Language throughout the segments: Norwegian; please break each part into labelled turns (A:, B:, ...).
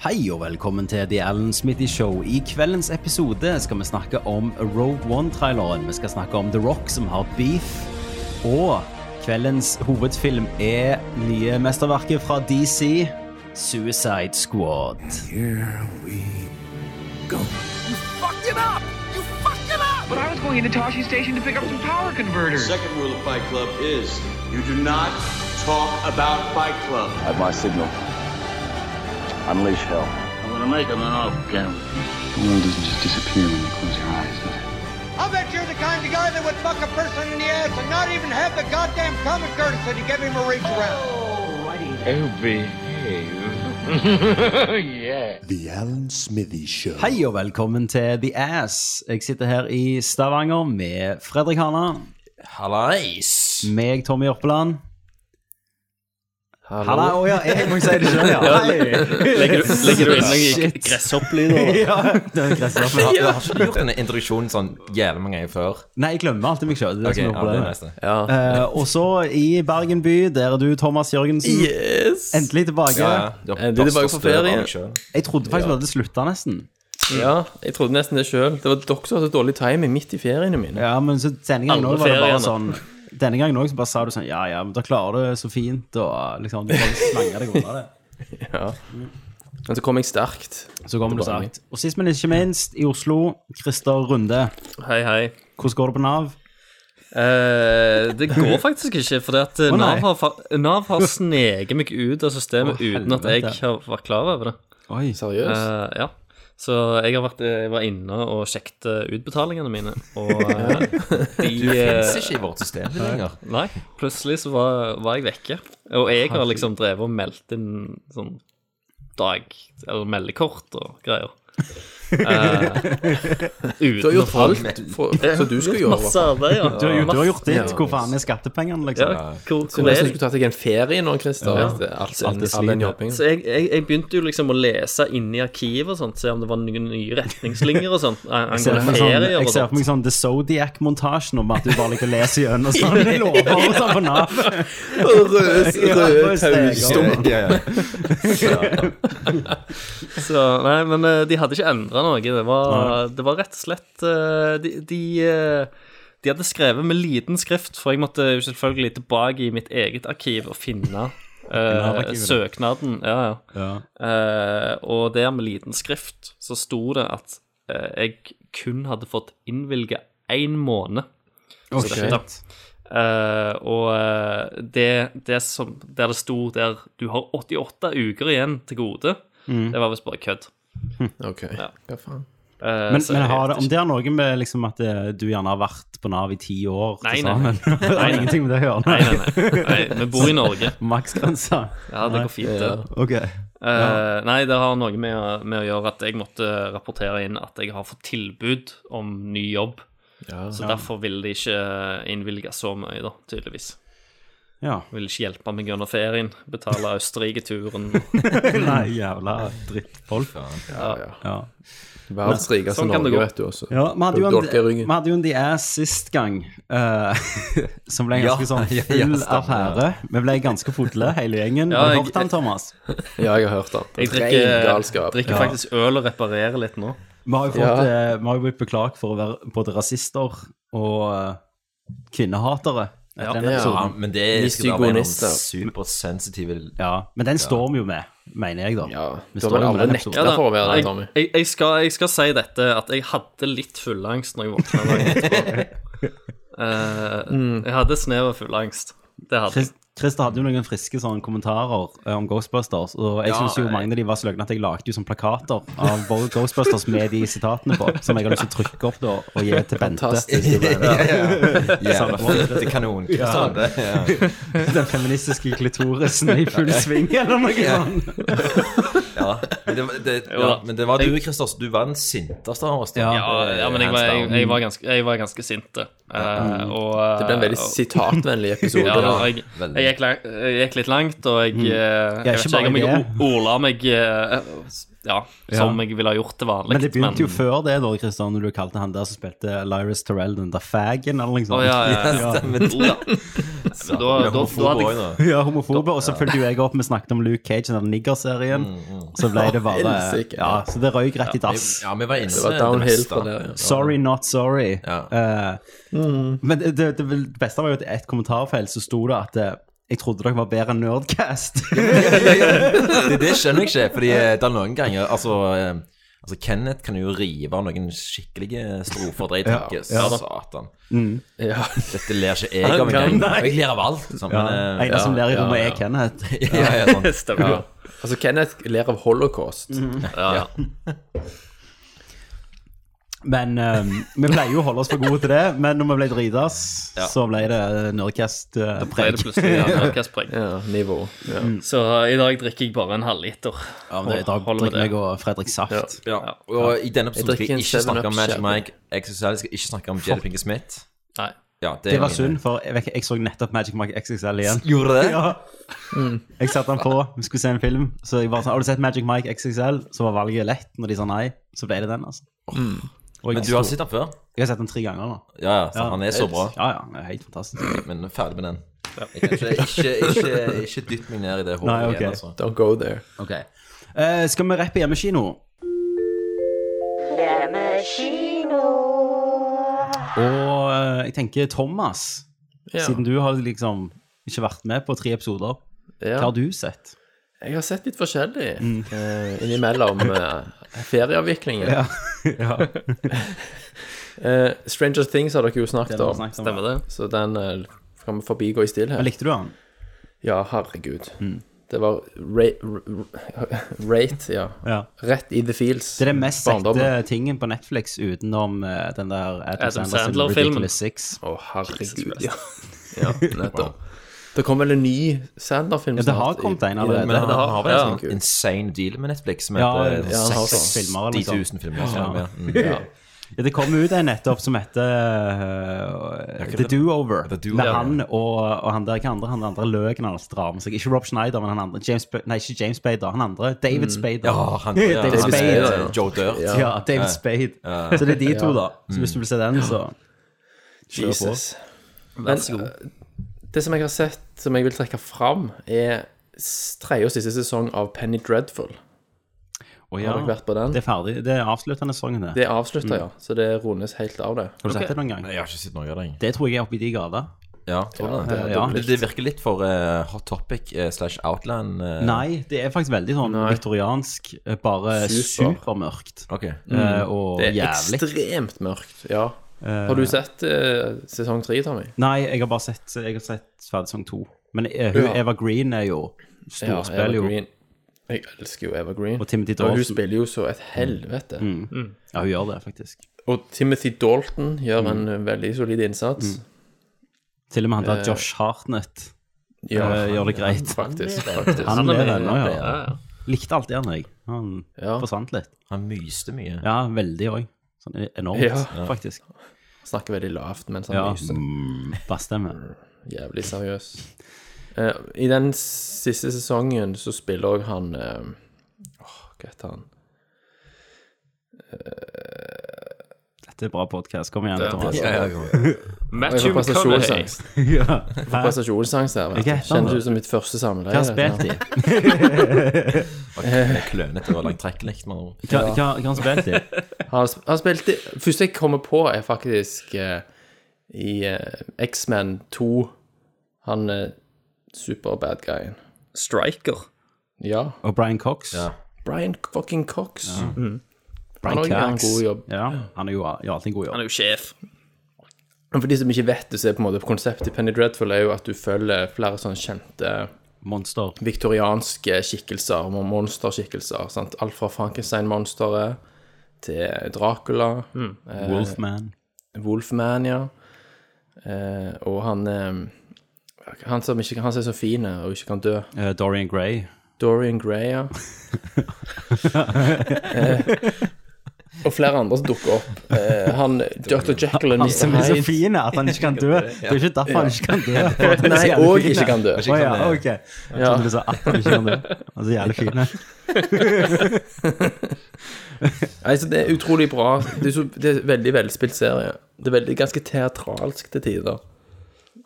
A: Hei og velkommen til The Alan Smithy Show. I kveldens episode skal vi snakke om Road One-traileren. Vi skal snakke om The Rock som har beef. Og kveldens hovedfilm er nye mesterverket fra DC, Suicide Squad.
B: But I was going into Toshi Station to pick up some power converters.
C: Second rule of Fight Club is you do not talk about Fight Club.
D: At my signal, unleash hell.
E: I'm gonna make him an off camera.
D: The world doesn't just disappear when you close your eyes, does it?
F: I bet you're the kind of guy that would fuck a person in the ass and not even have the goddamn common courtesy to give him a reach around.
G: The Alan Smithy Show.
A: Hei og velkommen til The Ass. Jeg sitter her i Stavanger med Fredrik Hana.
H: Hallais!
A: Meg, Tommy Jørpeland. Halla,
H: Hallo.
A: å ja, jeg må jo si det sjøl, ja. Hei.
H: Legger, du- legger du inn
A: Shit.
H: noen gresshopplyder?
A: Ja, det er gresshoppene.
H: Jeg har ikke gjort denne introduksjonen sånn jævlig mange ganger før.
A: Nei, jeg glemmer alltid meg sjøl. Det er det som
H: Ok,
A: er
H: ja, det er
A: problemet.
H: neste. Ja.
A: Eh, og så i Bergen by, der er du, Thomas Jørgensen.
I: Yes!
A: Endelig tilbake.
H: ja, du har
I: Eh, du er tilbake
H: børstet
I: på ferie.
H: støv av deg selv.
A: Jeg trodde faktisk du hadde slutta nesten.
I: Ja, jeg trodde nesten det sjøl. Det var dere som hadde så dårlig timing midt i feriene mine.
A: Ja, men så denne gangen
I: Andre
A: også var det bare
I: feriene.
A: sånn Denne gangen også så bare sa du sånn Ja, ja, men da klarer du det så fint, og liksom Du bare slanger deg unna det.
I: Men så kom jeg sterkt.
A: Så kommer du
I: Tilbake.
A: sagt. Og sist, men ikke minst, i Oslo, Christer Runde.
J: Hei, hei.
A: Hvordan går det på Nav?
J: Eh, det går faktisk ikke, fordi at eh,
A: Å, nei.
J: Nav har, fa- Nav har sneket meg ut av
A: Å,
J: systemet uten at jeg
A: helvete.
J: har vært klar over det.
A: Oi.
I: Seriøst?
J: Eh, ja. Så jeg, har vært, jeg var inne og sjekket eh, utbetalingene mine, og eh, de
H: Du finnes
J: eh,
H: ikke i vårt system lenger.
J: Nei, plutselig så var, var jeg vekke. Og jeg har liksom drevet og meldt inn sånn dag Eller meldekort og greier. Eh, uten
I: Du har gjort
J: å få-
I: alt for, som du skulle gjøre.
J: Masse arbeid, ja.
A: Du, har gjort- du har gjort ditt. Hvor faen er skattepengene, liksom?
J: Ja, hvor,
I: Så
J: hvor
I: nesten
J: er
I: skulle tatt deg en ferie nå, Christer. Alt,
A: Alt
I: alt,
A: det
I: all den
A: slitet.
I: jobbingen.
J: Så jeg, jeg, jeg begynte jo liksom å lese inn i arkivet og sånt, se om det var noen nye retningslinjer og sånt. an-
A: Jeg ser for
J: Angående
A: meg sånn,
J: ferier
A: jeg
J: og
A: ser for
J: sånt.
A: meg sånn The Zodiac-montasjen om at du bare liker å lese gjennom sånne lover og sånn på Nav. Ja,
I: Røde
A: for å steke.
I: taustump.
H: Ja, ja.
J: Så, nei, men eh, de hadde ikke endra noe. Det var, det var rett og slett eh, De, de, eh, de hadde skrevet med liten skrift, for jeg måtte jo selvfølgelig tilbake i mitt eget arkiv og finne eh,
A: Nav-arkivet.
J: søknaden. Ja, ja.
A: Ja.
J: Eh, og der med liten skrift så sto det at eh, jeg kun hadde fått innvilga én måned.
A: Oh,
J: Så
A: shit.
J: dette- Eh, og eh, det, det som Der det sto der du har 88 uker igjen til gode,
A: Mm.
J: det var visst bare kødd.
I: Ok, hva faen.
J: Eh,
A: Men,
J: så
A: men
J: jeg
A: har
J: vet
A: det, om
J: ikke.
A: det har noe med liksom at eh, du gjerne har vært på Nav i ti år til
J: Nei, nei, nei.
A: sammen? det har
J: nei.
A: ingenting med det å gjøre.
J: Nei, nei, nei. nei. Vi bor i Norge.
A: Maksgrensa.
J: Ja, det går fint, det.
A: Ok.
J: Eh, nei, det har noe med, å- med å gjøre at jeg måtte rapportere inn at jeg har fått tilbud om ny jobb. Så derfor ville de ikke innvilge så mye, da, tydeligvis.
A: Ja.
J: Ville ikke hjelpe meg gjennom ferien, betale Østerrike-turen.
A: Nei, jævla drittfolk. Ja.
I: Verdens rikeste
J: sånn kan det
I: Norge,
J: gå.
I: vet du også.
A: ja vi, hadde jo en,
I: Dolker i ryggen.
A: vi hadde jo en The Ass sist gang, eh, som ble ganske sånn
H: ja, ja,
A: full
H: stemmer.
A: affære. Vi ble ganske fotle, hele gjengen.
J: Ja,
A: Har du
J: jeg-
A: hørt den, Thomas?
I: Ja, jeg har hørt det.
J: Jeg
I: Ren
J: drikker,
I: galskap.
J: drikker faktisk øl og reparerer litt nå.
A: Vi har jo, fått,
I: Ja.
A: eh, vi har jo blitt beklagt for å være både rasister og eh, kvinnehatere.
J: Ja.
A: Etter den
I: Ja.
H: Ja,
A: episoden.
H: men det skal da være noen
I: Misogynister.
H: supersensitive
A: Ja, men den står vi jo med, mener jeg, da.
I: Ja,
A: Vi
I: du har
A: står
I: vel
A: jo med
I: aldri
A: den
I: nekta
A: episoden.
I: for å være
J: jeg,
I: der, Tommy.
J: jeg, jeg, skal, jeg skal si dette, at jeg hadde litt fullangst når jeg våkna. dagen etterpå. Eh, Jeg hadde et snev av fullangst. Det hadde jeg.
A: Chris- Christer hadde jo noen friske sånne kommentarer eh, om Ghostbusters, og jeg synes jo
I: eh,
A: mange av de var så løgne at jeg lagde jo sånne plakater av både Ghostbusters med de sitatene på, som jeg har lyst til å trykke opp da, og gi til Bente.
I: Fantastisk. det ble-
H: Jævla fette kanon. Hva sa du? Ja.
A: Den feministiske klitorisen i full sving, eller noe sånt.
H: Ja. Men det, var- det, ja. Men det var du, Christers. Du var den sinteste av oss. da.
A: Ja.
J: Ja, ja, men jeg var, jeg, jeg var ganske, jeg var ganske sint. eh, og, eh,
I: Det ble en veldig
J: og-
I: sitatvennlig episode.
J: Ja, da, jeg,
H: veldig.
J: jeg, gikk lang, jeg gikk litt langt, og
I: Mm.
J: jeg, eh, jeg vet
A: ikke
J: ikke om
A: bare
J: jeg
A: det.
J: o- ordla meg eh, ja, som jeg ville ha gjort til vanlig.
A: Men det begynte jo før det, da, Christer, når du kalte han der som spilte Lyris Terrell, den der faggen, eller noe
J: Å,
A: sånt.
J: ja, ja, ja.
H: Stemmer det.
J: Jo da. Så da, da, da, da hadde jeg
A: Ja, homofobe. Og så fulgte jo jeg opp, vi snakket om Luke Cage og den niggerserien. Så ble det bare
I: Mm, Helsike.
A: Ja, så det røyk rett i dass.
H: Ja, vi var inne
I: Det var downhill fra der, ja.
A: Sorry, not sorry.
H: Ja.
A: Eh, Men det, det, det beste var jo at i et kommentarfelt så sto det at eh, jeg trodde dere var bedre enn Nerdcast.
H: Det, det skjønner jeg ikke, fordi eh, det er noen ganger Altså, eh, altså Kenneth kan jo rive av noen skikkelige strofer der jeg tenker Satan.
I: Ja.
H: Dette ler ikke jeg
I: Han
H: av
I: kan-
H: engang. Og Jeg ler av alt. Sånn,
A: Ja.
H: men, eh,
A: En som ler i
I: ja,
A: rommet,
I: ja.
A: er Kenneth.
H: ja, ja, sånn.
I: Stemmer. Ja. Altså, Kenneth ler av holocaust.
A: Mm.
H: ja.
A: Men eh, vi pleier jo å holde oss for gode til det. Men når vi ble dritas,
H: Ja.
A: så ble det eh,
J: ble det
A: Nerdcast-preg.
J: plutselig ja, nordkastpreg.
I: Ja, nivå. Ja.
A: Mm.
J: Så eh, i dag drikker jeg bare en halvliter.
A: Ja, men det- I dag
J: Holder med
A: drikker jeg
J: det.
A: og Fredrik Saft.
H: Ja. Og i denne episoden
I: Jeg
H: skal
I: drikker en
H: jeg ikke snakke om
I: 7-Up
H: Magic
I: Sherry.
H: Mike. XXL skal ikke snakke om Jelly Pinky Smith.
J: Nei.
H: Ja, det,
A: Det
H: er
A: var
H: min-
A: synd, for jeg, vet ikke, jeg så nettopp Magic Mike XXL igjen.
H: Gjorde det?
A: Ja. Jeg satte den på, vi skulle se en film. Så jeg bare sånn, Har du sett Magic Mike XXL? Så var valget lett. Når de sa nei, så ble det den. altså.
I: Mm.
A: Og jeg,
H: Men du har sett den før?
A: jeg har sett den tre ganger nå.
H: Ja, ja. så
A: Ja.
H: Han er så bra.
A: Ja, ja, det er helt fantastisk.
H: Men ferdig med den. Jeg kan ikke, ikke, ikke, ikke dytt meg ned i det hålet
A: Nei, ok.
H: igjen, altså.
I: Don't go there.
A: Ok. Eh, skal vi rappe hjemmekino? Og eh, jeg tenker Thomas,
I: Ja.
A: siden du har liksom ikke vært med på tre episoder, hva
I: Ja.
A: har du Mm. sett?
I: Jeg har sett litt forskjellig eh, innimellom eh, ferieavviklingen.
A: Ja. ja.
I: Eh, Stranger Things har dere jo
A: Det har
I: snakket
A: vi
I: om,
A: snakket om,
J: Stemmer det?
I: så den eh, kan vi forbigå i
A: Men
I: stillhet.
A: Likte du han?
I: Ja, herregud.
A: Mm.
I: Det var ra ra rate, ja.
A: Ja.
I: Rett i the fields.
A: Det er den mest
I: Barndommen.
A: sette tingen på Netflix utenom eh, den der Adam,
J: Adam
A: Sandler sin
J: Sandler-filmen.
A: Ridiculous Six.
I: Å, herregud, ja. ja nettopp. Det kom vel en ny Sander-film
A: Ja, det har kommet en allerede.
H: Men han, han har vel en
I: Ja.
H: sånn insane deal med Netflix som
A: Ja,
H: heter
A: ja, han har sånn filmer, eller
H: 60
A: noe
H: 000 filmer. sånn, ja. Mm.
A: Ja, det kom ut en nettopp som heter eh, The Do-Over.
H: The Do-Over,
A: med
H: ja.
A: han og, og han der ikke andre, han andre løken hans drar med seg. Ikke Rob Schneider, men han andre. James, Sp- nei, ikke James Spader, han andre. David Spader.
H: Mm. Ja, han, ja,
A: David
H: han
A: Spade.
H: eh, Joe Dirt.
A: Ja, David Spade. Så det er de to, da. Så hvis du vil se den, så
I: Jesus. Men eh, det som jeg har sett, som jeg vil trekke fram, er s- tredje og siste sesong av Penny Dreadful.
A: Å,
I: Har dere vært på den?
A: Det Mm. er ferdig. Det er avsluttende sesongen, det.
I: Det avslutter, ja. Så det rundes helt av, det.
A: Har du sett det noen gang?
H: Nei, jeg har ikke sett noe av det. jeg.
A: Det tror jeg er oppi de grader.
H: Ja, tror du det?
A: det- Ja.
H: Det, det virker litt for eh, Hot Topic eh, slash Outland. eh,
A: Nei, det er faktisk veldig sånn viktoriansk, eh, bare
I: Super.
A: supermørkt.
H: Ok.
A: eh, Og
I: Mm. Det er
A: jævlig.
I: ekstremt mørkt, ja. Har du sett eh, sesong tre, Tommy?
A: Nei, jeg har bare sett, jeg har sett ferdig sesong to. Men eh, hun,
I: Ja.
A: Eva Green er jo storspill, jo.
I: Green. Jeg elsker jo Eva Green.
A: Og Timothy
I: Og hun
A: Dalton. Mm.
I: spiller jo så et helvete.
A: Ja, hun gjør det, faktisk.
I: Og Timothy Dalton gjør
A: Mm.
I: en eh, veldig solid innsats.
A: Til og med han
I: Eh.
A: der Josh Hartnett
I: Ja,
A: eh, gjør det greit.
I: faktisk. faktisk.
A: Han
J: er
A: lever
J: med,
A: ennå,
J: Ja,
A: ja.
J: ja.
A: Likte alltid han, jeg. Han
I: Ja.
A: forsvant litt.
H: Han myste mye.
A: Ja, veldig òg. Sånn enormt,
I: Ja.
A: faktisk.
I: Snakker veldig lavt mens han
A: Ja.
I: lyser.
A: Mm, Bassstemme.
I: Jævlig seriøs. Eh, I den siste sesongen så spiller også han eh, Åh, hva heter han?
A: Dette er bra podkast. Kom igjen,
J: Det-
A: Thomas.
H: Ja, ja, ja.
J: Matthew
I: Jeg får
J: McConaughey.
I: prestasjonsangst.
A: Ja.
I: Jeg får Prestasjonsangst der. vet
A: Hva
I: du.
A: heter han da?
I: Kjennes ut som mitt første samleie.
A: Hva har han spilt i?
H: Og det er Klønete og langtrekkelig. med andre ord.
A: Hva hva- hva har han spilt i?
I: Han, sp- han spilte Første jeg kommer på, er faktisk eh, i eh, X-Men 2. Han uh, super-bad-guyen.
J: Striker.
I: Ja.
A: Og Brian Cox.
H: Ja.
I: Brian fucking Cox.
A: Brian
I: Han har gjort en
A: Cox.
I: god jobb.
A: Ja, han er jo gjør alltid en god jobb.
J: Han er jo sjef.
I: For de som ikke vet det, så er på en måte konseptet i Penny Dreadful er jo at du følger flere sånn kjente
A: Monster.
I: viktorianske skikkelser, mon- monsterskikkelser. Sant? Alt fra Frankenstein-monsteret til Dracula,
A: Wolfman.
I: Wolfman, ja. Eh, og han eh, han, som ikke, han som er så fin og ikke kan dø.
A: Eh, Dorian Gray.
I: Dorian Gray, ja. eh, og flere andre som dukker opp. Eh, han Dr. Jekyll og
A: Han som er
I: Mr.
A: så
I: Hyde.
A: fin at han ikke kan dø. Det er jo ikke derfor han ikke kan dø.
I: Nei, og ikke kan dø.
A: Å ja, ok. Jeg
I: Ja.
A: trodde du sa at han ikke kan dø. Han er så jævlig fin.
I: Nei, så det er utrolig bra. Det er, så, det er en veldig velspilt serie. Det er veldig, ganske teatralsk til tider.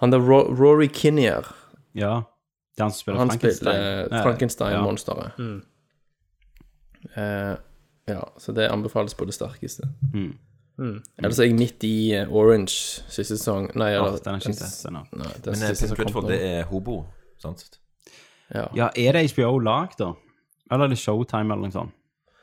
I: Han der Ro Rory Kinnear,
A: Ja. Det er han som spiller
I: han
A: Frankenstein. Mm.
I: spiller
A: Eh,
I: Frankenstein-monsteret. Eh, ja, så det anbefales på det sterkeste.
A: Mm.
I: Ellers er jeg midt i eh, Orange siste sesong. Nei,
A: Ja,
I: eller,
A: den har jeg ikke sett ennå.
I: Nei, den
H: Men eh,
I: siste
H: Pip
I: som kom
H: Goodford,
I: nå.
H: det er hobo, sant?
A: Ja, er det HBO-lag, da? Eller er det Showtime eller noe sånt?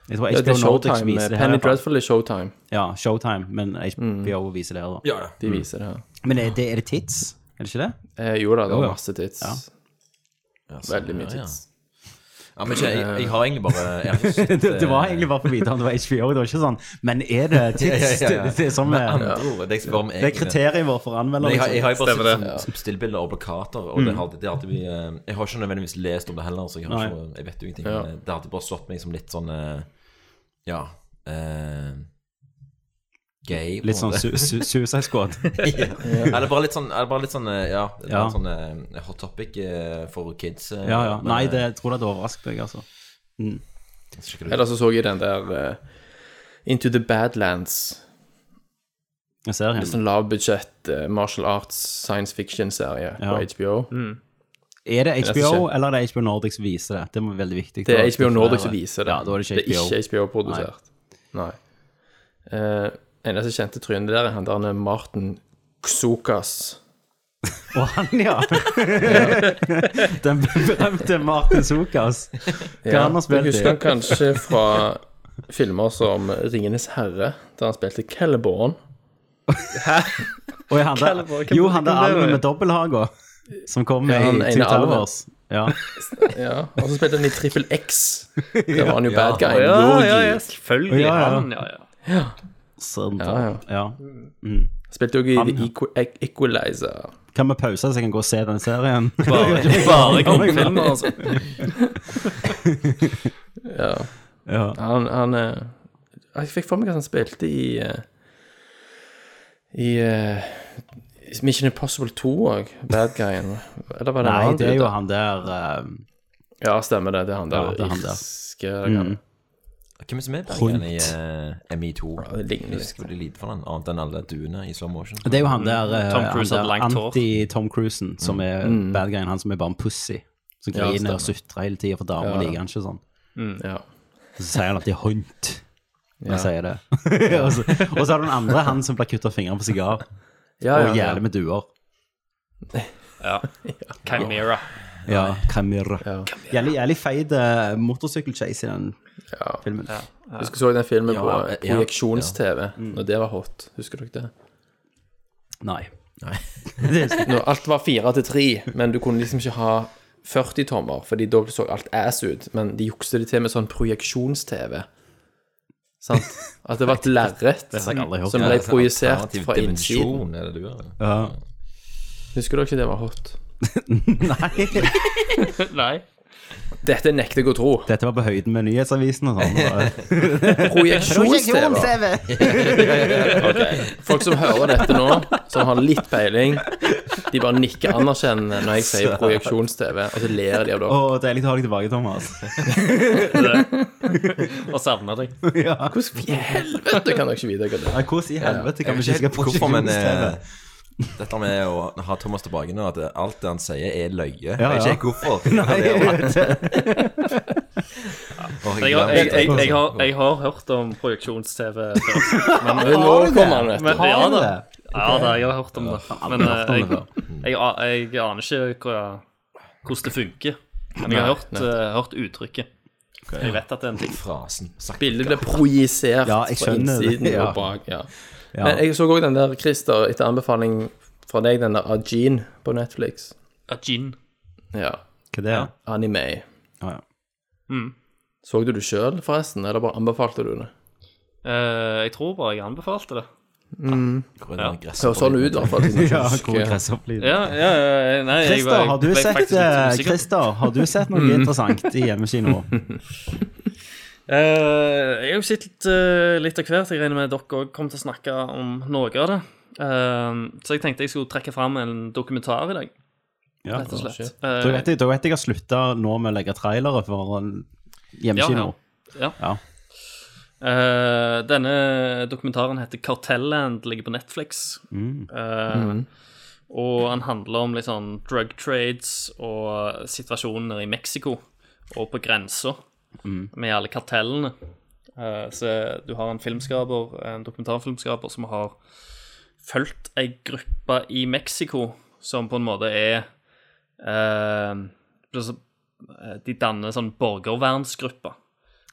A: Jeg tror HBO
I: Ja, det er
A: Nordics
I: Showtime. eh,
A: viser det her. i
I: Penny
A: hvert
I: Mm.
A: fall.
I: Dreadful er Showtime.
A: Ja, Showtime, men HBO viser det her, da.
H: Ja, ja.
I: De viser det her.
A: Men er det, er det Tits? Er det ikke det?
I: Eh, jo da, det
A: Jo,
I: var
A: ja.
I: masse tits.
A: Ja.
I: Veldig mye
H: Ja, ja.
I: tits.
H: Ja, men ikke, jeg, jeg har egentlig bare jeg har ikke sett,
A: det, det var
H: eh,
A: egentlig bare for å vite om det var HBO. Det var ikke sånn Men er det
H: ja, ja,
A: Tits?
H: ja, ja.
A: Det, det er sånn
H: Med
A: vi-
H: andre ord, det er ikke bare om
A: det er
H: egentlig-
A: kriteriet vårt for
H: Men
A: anmelder. liksom.
H: jeg, har- jeg har jo bare
J: Stemmer
H: sett sånn stillbilder og plakater, og det hadde, det hadde vi, eh, jeg har ikke nødvendigvis lest om det heller, så jeg, har
A: Mm. Nei.
H: ikke, jeg vet jo ingenting. men eh, Det hadde bare slått meg som litt sånn eh, Ja eh, Gay. på en
A: Litt sånn su
H: måte.
A: su Suicide Squad.
H: ja. Eller bare litt sånn, eller bare litt sånn eh, Ja, det er
A: Ja.
H: sånn eh, hot topic eh, for kids. eh,
A: Ja, ja.
H: men,
A: Nei,
H: eh,
A: det jeg tror jeg det overrasket deg, altså.
H: jeg skal ikke-
I: Eller så så jeg den der eh, Into the Badlands.
A: Jeg ser
I: Det er
A: henne.
I: sånn lavbudsjett eh, martial arts science fiction-serie på
A: Ja.
I: HBO.
A: Er det
I: er så
A: HBO,
I: kjent.
A: eller er det HBO Nordic som viser det? Det er veldig viktig.
I: Det er
A: å-
I: HBO Nordic som
A: for-
I: viser det.
A: Ja, da er det ikke HBO.
I: Det er ikke HBO-produsert. Nei. Eh, eneste kjente trynet der er han der med Martin Xukas.
A: Og han, ja. Den berømte Martin Sokas. Hva han har spilt
I: jeg husker
A: i?
I: han kanskje fra filmer som Ringenes herre, der han spilte Kelleborn.
A: Og han der,
J: Kalvor, hvem
A: jo, han der
J: hvem det er?
A: alven med dobbelthaga som kom med
I: Ja, han
A: i
I: ene
A: Two
I: alven.
A: Towers. Ja.
I: Ja, og så spilte han i Trippel X. Der var han jo bad guy.
J: Ja,
I: Logi.
J: ja, ja, selvfølgelig.
A: Ja, ja.
J: Han, ja, ja.
A: Sånn,
I: Ja, ja.
A: ja.
I: Spilte jo i The Equ- Equ- Equalizer.
A: Kan vi pause, så jeg kan gå og se den serien?
J: Bare, bare grunnfilmer, altså.
I: Ja.
A: Ja.
I: Han, han eh, Jeg fikk for meg at han spilte i eh, I eh, Mission Impossible 2 òg, bad guyen. Eller var det en
A: Nei,
I: annen
A: det er
I: dude?
A: jo han der eh,
I: Ja, stemmer det. Det er han der.
A: Ja, det er han der. Mm.
I: irske, eller hva?
H: eh, Hvem er det som er
A: Rundt.
H: Bergen i eh, ME2?
I: det ligner
H: Jeg husker veldig lite for den, annet enn alle duene i slow motion.
A: Det er jo
I: Mm.
A: han der, eh,
J: Tom Cruise
A: han
J: hadde
A: der
J: langt hår.
A: anti-Tom Cruisen, som er bad guyen, han som er bare en pussy. Som
I: Mm. Ja,
A: griner og
I: stemmer.
A: sutrer hele tida, for damer liker han ikke sånn.
I: Mm, Ja.
A: Så sier han alltid 'hunt' når jeg sier det. og, så, og så har du den andre, han som blir kutta fingeren på sigar,
I: Ja,
A: og
I: ja, ja.
A: jævlig med duer.
J: Ja. Chimera.
A: Ja, Camilla. Jævlig, jævlig feit eh, motorsykkelchase i den filmen.
I: Husker så jeg den filmen på
H: Ja, ja.
I: projeksjons-TV,
A: Mm.
I: når det var hot. Husker dere det?
A: Nei.
I: Når alt var fire til tre, men du kunne liksom ikke ha 40 tommer, fordi da så alt ass ut. Men de jukste det til med sånn projeksjons-TV. Sant? At det var et lerret
A: har jeg aldri hørt.
I: som
A: Ja,
I: ble
H: det er sånn
I: projisert
H: alternativ
I: fra innsiden.
H: dimensjon, Er det du er?
I: Husker dere ikke det var hot?
A: Nei.
J: Nei.
I: Dette nekter jeg å tro.
A: Dette var på høyden med nyhetsavisen og sånn.
I: Projeksjons-TV. Folk som hører dette nå, som har litt peiling, de bare nikker anerkjennende når jeg sier projeksjons-TV, og så ler de av dere.
A: Og deilig å ha deg tilbake, Thomas.
J: Og savner deg.
I: Hvordan i helvete kan dere ikke vite hva det er?
A: Nei, Hvordan i helvete kan vi ikke
H: helt
A: huske
H: hvorfor, men
A: prosjeksjonstv?
H: eh, dette med å ha Thomas tilbake nå, at det- alt det han sier, er løye.
A: Ja,
H: Jeg
A: ja.
H: vet ikke hvorfor. Det er rart. Åh,
J: Jeg,
H: glemmer
J: har- jeg,
H: det.
J: jeg, jeg, har, jeg har hørt om projeksjons-TV før.
I: Nå kommer han, vet du.
J: Men, ja, da.
A: det?
J: ja da, jeg har hørt om det. Men eh, jeg, jeg, a- jeg aner ikke hva- hvordan det funker. Men jeg har hørt, eh, hørt uttrykket. Jeg vet at det er en ting.
H: Frasen. Sagt.
I: Bildet ble projisert
A: Ja, jeg
I: fra
A: skjønner det,
I: innsiden
A: ja.
I: og bak. Ja. Men jeg så òg den der, Christer, etter anbefaling fra deg, den der Ajin på Netflix.
J: Ja, gin.
I: Ja.
A: Hva det er?
I: Anime.
A: Ja, ja.
J: Mm.
I: Så du det sjøl, forresten, eller bare anbefalte du det?
J: Eh, jeg tror bare jeg anbefalte det.
H: Hvor er den
I: Det
H: gressen
I: høres sånn ut, i hvert fall. siden jeg
A: Ja,
I: ikke
A: hvor
I: husker.
A: gresshopplyd.
J: Ja, ja, ja, nei, jeg,
A: Christer,
J: var-
A: har du
J: ble
A: sett
J: faktisk litt
A: eh,
J: usikker.
A: Christer, har du sett
J: Mm.
A: noe interessant i hjemmekino?
J: Eh, jeg har jo sett litt, eh, litt av hvert. Jeg regner med dere òg kommer til å snakke om noe av det. Eh, så jeg tenkte jeg skulle trekke fram en dokumentar i dag,
A: Ja.
J: rett og slett.
A: Da
J: Eh,
A: vet jeg da vet jeg jeg har slutta nå med å legge trailere for en hjemmekino.
J: Ja,
A: Ja.
J: Eh,
A: Mm.
J: denne dokumentaren heter 'Kartellet'. Den ligger på Netflix. Eh, Og han handler om litt sånn drug trades og situasjonen nede i Mexico og på grensa med alle kartellene. Eh, så du har en filmskaper, en dokumentarfilmskaper som har fulgt ei gruppe i Mexico som på en måte er eh, altså, eh, De danner sånn borgervernsgrupper.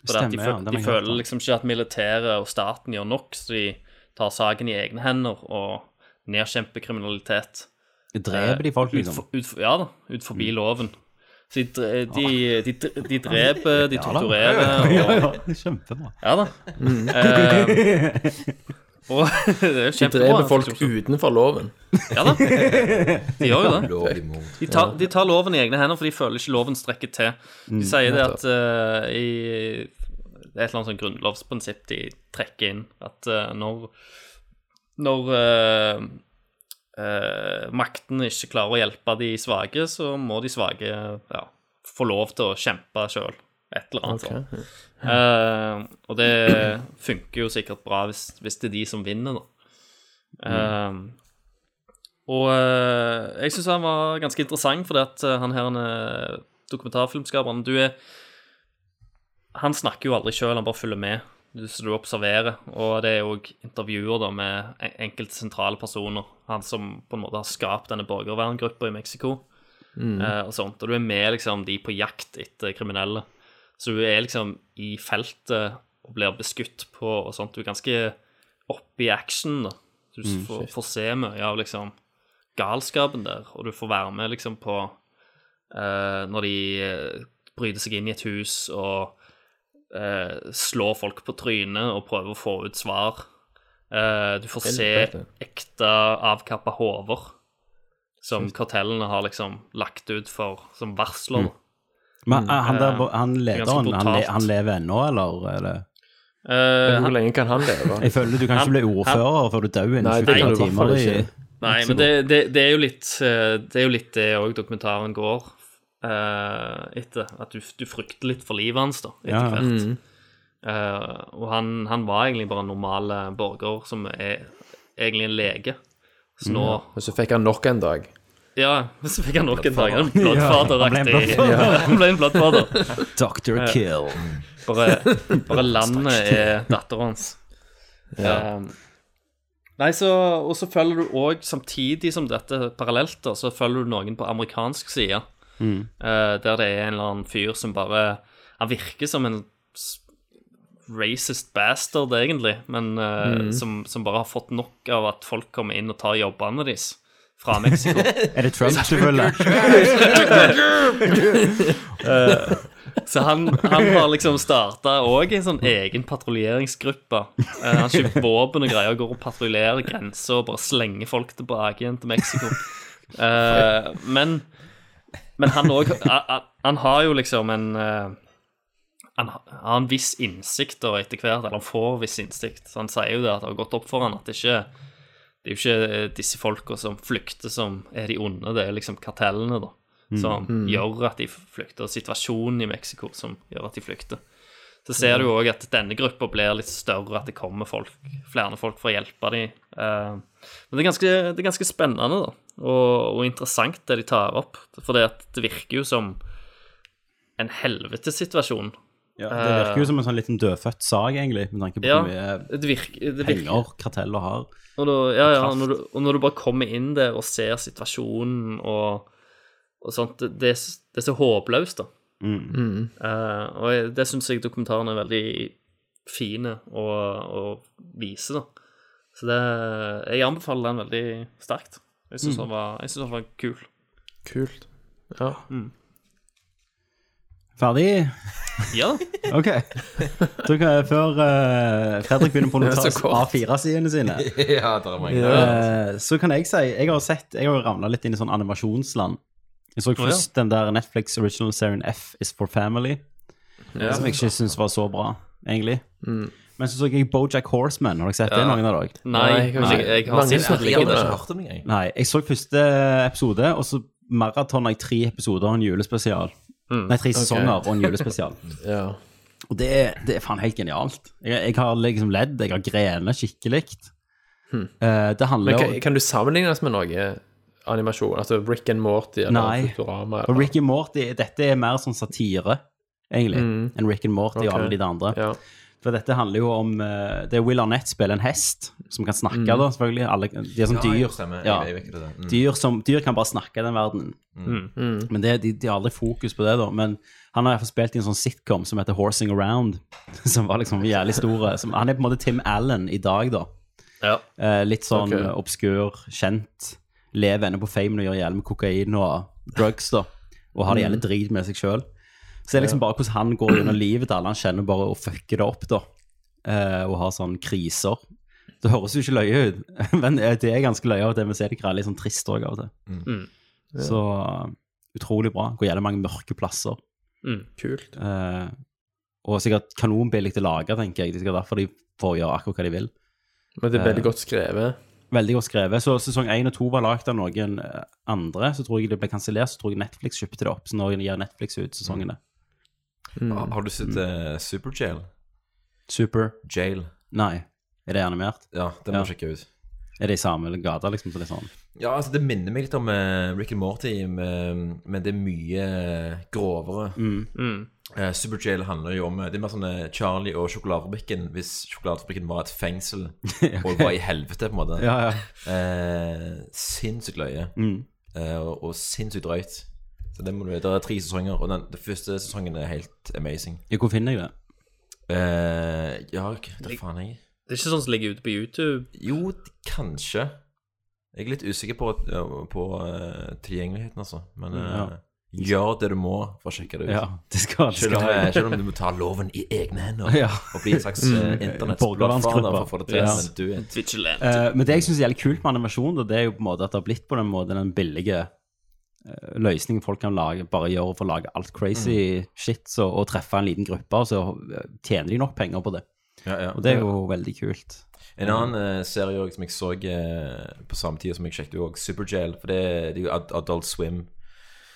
J: For det at de,
A: Stemmer, ja, den
J: fø-
A: har
J: de
A: jeg hørt
J: føler
A: om.
J: liksom ikke at militæret og staten gjør nok, så de tar saken i egne hender og nedkjemper kriminalitet.
A: Dreper de folk, liksom? Mm. Ah.
J: Ut, ut, ja da, ut forbi loven. Så de, dre- de, de, de, dreper, de
A: Ja da.
J: torturerer
A: Ja,
J: og
A: ja, kjempebra.
J: Ja da.
A: Mm.
J: Eh, og det er jo
I: De
J: kjempebra.
I: dreper folk utenfor loven.
J: Ja da, de gjør jo det.
H: Lovlig mord.
J: De tar, de tar loven i egne hender, for de føler ikke loven strekker til. De sier det at eh, i Det er et eller annet sånn grunnlovsprinsipp de trekker inn, at eh, når Når eh, eh, makten ikke klarer å hjelpe de svake, så må de svake ja, få lov til å kjempe sjøl. Et eller annet sånt. Eh, og det funker jo sikkert bra hvis, hvis det er de som vinner, da. Eh, og eh, jeg syns han var ganske interessant, fordi at eh, han her han er dokumentarfilmskaperen Du er Han snakker jo aldri sjøl, han bare følger med. Du- Så du observerer. Og det er òg intervjuer da med en- enkelte sentrale personer. Han som på en måte har skapt denne borgerverngruppa i Mexico. eh, og sånt. Og du er med liksom de på jakt etter kriminelle. Så du er liksom i feltet og blir beskutt på og sånt. Du er ganske oppe i action, da. Du
I: Mm,
J: får, får se mye av liksom galskapen der, og du får være med liksom på eh, Når de eh, bryter seg inn i et hus og eh, slår folk på trynet og prøver å få ut svar. Eh, du får se
I: Helvete.
J: ekte avkappa hoder som kartellene har liksom lagt ut for som varsler.
I: Mm.
J: da.
A: Men eh, han der, bo- han
J: ganske
A: lederen, han, le,
J: brutalt.
A: han lever ennå, eller? Er det?
J: Eh,
I: Hvor lenge kan han leve?
A: Jeg føler du kan ikke
J: Han-
A: bli ordfører før du dør innen
I: Nei, det
A: 24
I: kan du i hvert fall
A: timer. i-
I: ikke.
J: Nei, men det, det, det er jo litt eh, Det er jo litt det òg dokumentaren går eh, etter. At du, du frykter litt for livet hans, da, etter
A: Ja, Mm. ja.
J: hvert. Eh, og han, han var egentlig bare en normal eh, borger som er egentlig en lege.
A: Mm.
J: Så nå
I: Og så fikk han nok en dag.
J: Ja, så fikk han nok en dag. En bloodfather-aktig.
A: Ja, han ble en
J: Han ble en bloodfather.
A: Dr. Kill.
J: Bare, bare landet er datteren hans. Um, nei, så, og så følger du òg, samtidig som dette parallelt, da, så følger du noen på amerikansk side. eh, der det er en eller annen fyr som bare Han virker som en s- racist bastard, egentlig, men eh, som, som bare har fått nok av at folk kommer inn og tar jobbene deres fra Mexico.
A: Er det Trump du følger?
J: Så han, han har liksom starta òg en sånn egen patruljeringsgruppe. Eh, han kjøper våpen og greier og går og patruljerer grenser og bare slenger folk tilbake igjen til Mexico. Eh, men men han òg Han har jo liksom en eh, han har en viss innsikt da etter hvert, eller han får viss innsikt. Så han sier jo det at det har gått opp for han at det ikke det er jo ikke disse folka som flykter, som er de onde. Det er liksom kartellene, da. Som gjør at de flykter. Og situasjonen i Mexico som gjør at de flykter. Så ser du òg at denne gruppa blir litt større, at det kommer folk, flere folk for å hjelpe dem. Eh, Men det er ganske, det er ganske spennende, da. Og, og interessant, det de tar opp. For det, at det virker jo som en helvetessituasjon.
A: Ja,
I: Eh,
A: det virker jo som en sånn liten dødfødt sag, egentlig, med tanke på
J: Ja,
A: hvor mye
J: det virker, det virker
A: penger karteller har.
J: Og, da, ja, ja, og, når du, og når du bare kommer inn der og ser situasjonen og, og sånt, det, det, er s- det er så håpløst, da.
H: Mm.
J: Eh, og jeg, det syns jeg dokumentaren er veldig fin å, å vise, da. Så det, jeg anbefaler den veldig sterkt. Jeg
H: Mm.
J: syns den, var- jeg synes den var kul.
I: Kult. Ja.
A: Ferdig?
J: Ja,
A: Ok. Da kan jeg, før eh, Fredrik begynner på å
I: er så
A: notere
I: kort.
A: A4-sidene sine,
H: Ja, det er mange.
A: eh, så kan jeg si Jeg har sett, jeg har ramla litt inn i sånn animasjonsland. Jeg så først den der Netflix original serien F is for family, som jeg ikke syns var så bra, egentlig. Men så så jeg Bojack Horseman. Har dere sett det noen av dere?
J: Nei,
I: Nei,
J: men jeg, jeg har
I: mange
J: sett
I: som
J: den.
H: Jeg har ikke hørt om det engang.
A: Nei, jeg så første episode, og så maratona jeg tre episoder og en julespesial. Nei, tre sesonger og en julespesial.
I: ja.
A: Og det, er- det er faen helt genialt. Jeg, jeg har liksom ledd, jeg har grenet skikkelig. Eh, det handler
I: Men
A: jo
I: kan, kan du sammenligne oss med noe animasjon. Altså Rick and Morty eller
A: Nei.
I: Futurama.
A: Og
I: Eller,
A: Rick and Morty, dette er mer sånn satire, egentlig, enn Rick and Morty og
I: Mm. Ok.
A: alle de andre.
I: ja.
A: For dette handler jo om eh, Det er Will Arnett spiller en hest, som kan snakke,
I: Mm.
A: da, selvfølgelig. Alle, de er som
H: Ja,
A: dyr.
H: stemmer.
A: Ja.
H: Jeg, jeg, vet ikke det. Mm.
A: Dyr, som, dyr kan bare snakke i den verdenen.
I: Mm.
A: Men det, de, de har aldri fokus på det, da. Men han har i hvert fall spilt i en sånn sitcom som heter Horsing Around, som var liksom jævlig stor. Som, han er på en måte Tim Allen i dag, da.
J: Ja.
A: Eh, litt sånn
I: Ok.
A: eh, obskur, kjent. Lever ennå på fame og gjør jævlig med kokain og drugs, da. Og har det jævlig drit med seg sjøl. Så det er liksom bare hvordan han går gjennom livet til alle han kjenner, bare og fucker det opp, da. Eh, og har sånne kriser. Det høres jo ikke løye ut, men eh, det er ganske løye av og til. Men så er det ikke litt sånn trist òg av og til.
J: Mm.
A: Så eh, utrolig bra. Går gjennom mange mørke plasser.
J: Mm.
I: Kult.
A: Eh, og sikkert kanonbillig til å lage, tenker jeg. Det er sikkert derfor de får gjøre akkurat hva de vil.
I: Men det er
H: Eh.
I: veldig godt skrevet.
A: Veldig godt skrevet. Så sesong 1 og 2 var lagd av noen eh, andre. Så tror jeg det ble kansellert, så tror jeg Netflix kjøpte det opp. Så nå gir Netflix ut sesongene.
H: Har- Har du sett eh, Superjail?
A: Super.
H: Jail.
A: Nei. Er det animert?
H: Ja, det må
A: Ja.
H: du sjekke ut.
A: Er det i samme gata, liksom? Så det er sånn.
H: Ja, altså Det minner meg litt om eh, Rick and Morty, men, men det er mye grovere.
A: Mm.
H: Eh, Superjail handler jo om eh, Det er mer sånn eh, Charlie og sjokoladefabrikken hvis sjokoladefabrikken var et fengsel og var i helvete, på en måte.
A: Ja, ja.
H: Eh, sinnssykt løye
A: Mm.
H: eh, og, og sinnssykt drøyt. Så det, må du, det er tre sesonger, og den, den første sesongen er helt amazing.
A: Ja, Hvor finner jeg det?
H: Eh, ja, hva faen er jeg
J: Det er ikke sånn som ligger ute på YouTube.
H: Jo, d- kanskje. Jeg er litt usikker på, på eh, tilgjengeligheten, altså. Men eh, gjør det du må for å sjekke det ut.
A: Mm, Ja, det skal det.
H: Selv, om,
A: Skal.
H: eh, selv om du må ta loven i egne hender
A: Ja.
H: og bli en slags uh, internettsblåfader
A: Borgervernsgruppe.
H: for å få det til.
A: Ja.
H: Men du er et
J: Vigilant.
A: Eh, men det jeg syns er jævlig kult med animasjon, da, det er jo på en måte at det har blitt på den måten den billige eh, løsningen folk kan lage, bare gjøre for å lage alt crazy shit så, og treffe en liten gruppe, og så eh, tjener de nok penger på det.
H: ja, ja.
A: Og det er jo veldig kult.
H: En annen eh, serie også som jeg så eh, på samme tid som jeg sjekket òg, Superjail. For det, det er jo Ad- Adult Swim.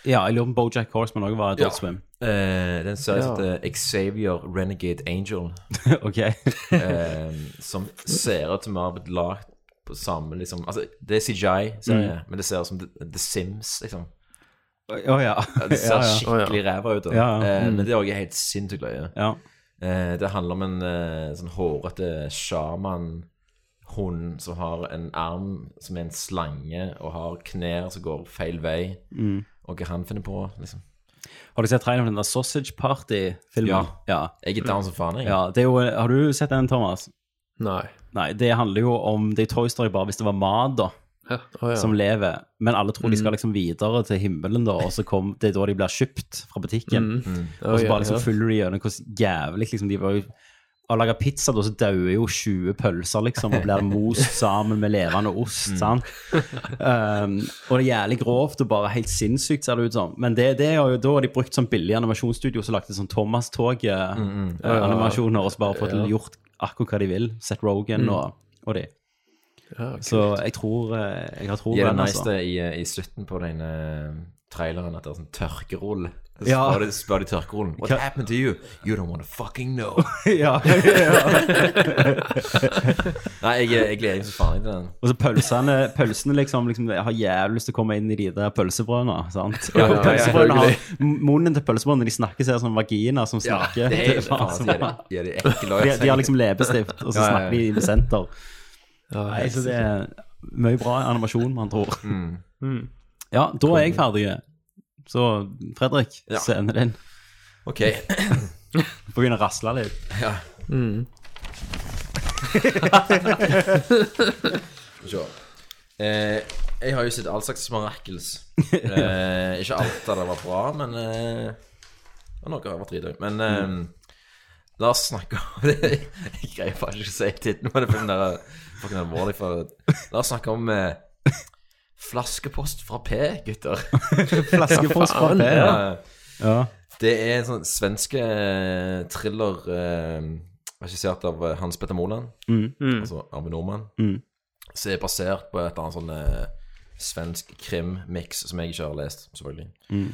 A: Ja, jeg lurer på om Bojack Horseman også var Adult
H: Ja.
A: Swim.
H: Eh, det er en serie som
I: Ja.
H: heter Xavier Renegade Angel.
A: ok.
H: eh, som ser ut som har blitt lagd på samme liksom Altså, det er
A: Mm.
H: CJI-serie, men det ser ut som The, The Sims, liksom.
A: Å ja.
H: Det ser
A: Ja, ja.
H: skikkelig ræva ut. da.
A: Ja, Mm. ja.
H: Eh, men det er også helt sinnssykt løye.
A: ja.
H: Eh, det handler om en eh, sånn hårete sjamanhund som har en arm som er en slange, og har knær som går feil vei.
A: Mm.
H: Og hva han finner på, liksom.
A: Har du sett traileren for den der Sausage Party-filmen?
H: Ja.
A: Ja.
H: Jeg er down som faen, jeg.
A: ja. Det er jo, har du sett den, Thomas?
I: Nei.
A: Nei, det handler jo om det er Toy Story bare hvis det var mat, da.
I: Å, ja.
A: som lever, men alle tror de
H: Mm.
A: skal liksom videre til himmelen, da, og så kom, det er da de blir kjøpt fra butikken.
H: Mm.
A: Og så
I: ja,
A: bare liksom
I: ja.
A: følger de gjennom hvordan jævlig liksom, de var jo Å lage pizza, da, så dauer jo 20 pølser, liksom, og blir most sammen med levende ost.
H: Mm.
A: sant? Um, og det er jævlig grovt og bare helt sinnssykt, ser det ut som. Men det, det er jo, da har de brukt sånn billig animasjonsstudio som lagde sånn
H: Mm,
A: Thomas-tog-animasjoner, eh, og så bare fått gjort akkurat hva de vil. Seth Rogan
H: Mm.
A: og, og de. Så jeg tror eh, Jeg har tro på
H: Ja, det
A: den,
H: nice
A: altså.
H: det i, i slutten på den eh, traileren at det er sånn tørkerull. Så
A: Ja.
H: spør, de, spør de tørkerullen What
A: Hva-
H: happened to you? You don't wanna fucking know.
A: ja, ja.
H: Nei, jeg, jeg gleder meg så faen til den.
A: Og så pølsene, pølsene liksom, liksom Jeg har jævlig lyst til å komme inn i de der pølsebrødene. sant?
H: Ja, ja, ja,
A: pølsebrødene har, Munnen til pølsebrødene de snakker, ser ut som vaginaer som snakker.
H: det
A: Det
H: er
A: er bare
H: faen,
A: så
H: de er,
A: bra.
H: de er de ekle.
A: de, de har liksom leppestift, og så
H: Ja, ja, ja.
A: snakker de med senter. Nei, så det er mye bra animasjon, man tror.
H: Mm.
A: Ja, da er jeg ferdig. Så Fredrik,
H: Ja.
A: scenen din.
H: Ok,
A: Begynner å rasle litt.
H: ja. Skal vi se. Eh, jeg har jo sett all slags smarakels. Eh, ikke alt av det var bra, men eh, og noe har vært dritdøyt. Men eh, la oss snakke om det. Jeg greier bare ikke å si tittelen, men det er der, fucking alvorlig. For, la oss snakke om eh, flaskepost fra P, gutter. Eh,
A: Flaskepost fra P. Ja.
H: Ja.
A: Ja.
H: Det er en sånn svenske eh, thriller eh, regissert av eh, Hans Petter Moland, altså Arve Nordmann, som er basert på et eller annet sånn eh, svensk krimmiks som jeg ikke har lest, selvfølgelig.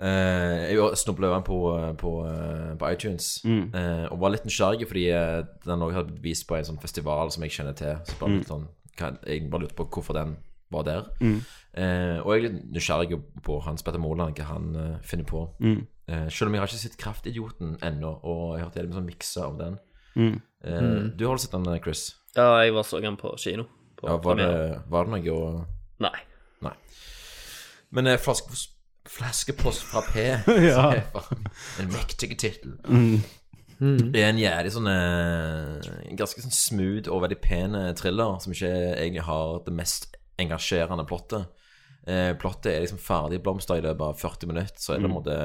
H: Eh, jeg snubla over den på, eh, på, eh, på iTunes eh, og var litt nysgjerrig fordi eh, den også hadde blitt vist på en sånn festival som jeg kjenner til. Så bare litt sånn, hva- jeg bare lurte på hvorfor den var der. Eh, og jeg er litt nysgjerrig på Hans Petter Moland, hva han eh, finner på. Eh, selv om jeg har ikke sett Kraftidioten ennå, og jeg har hørt det er en sånn mikse av den. Eh, Du har vel sett den, Chris?
J: Ja, jeg var så den på kino. På
H: Ja, var,
J: premiere.
H: det, var det noe å
J: Nei.
H: Nei. Men eh, flaske, Flaskepost fra P
A: Ja.
H: er faen En mektig tittel. Det er en jævlig sånn eh, en Ganske sånn smooth og veldig pen eh, thriller som ikke egentlig har det mest engasjerende plottet. Eh, plottet er liksom ferdig blomster i løpet av 40 minutter, så er det på en måte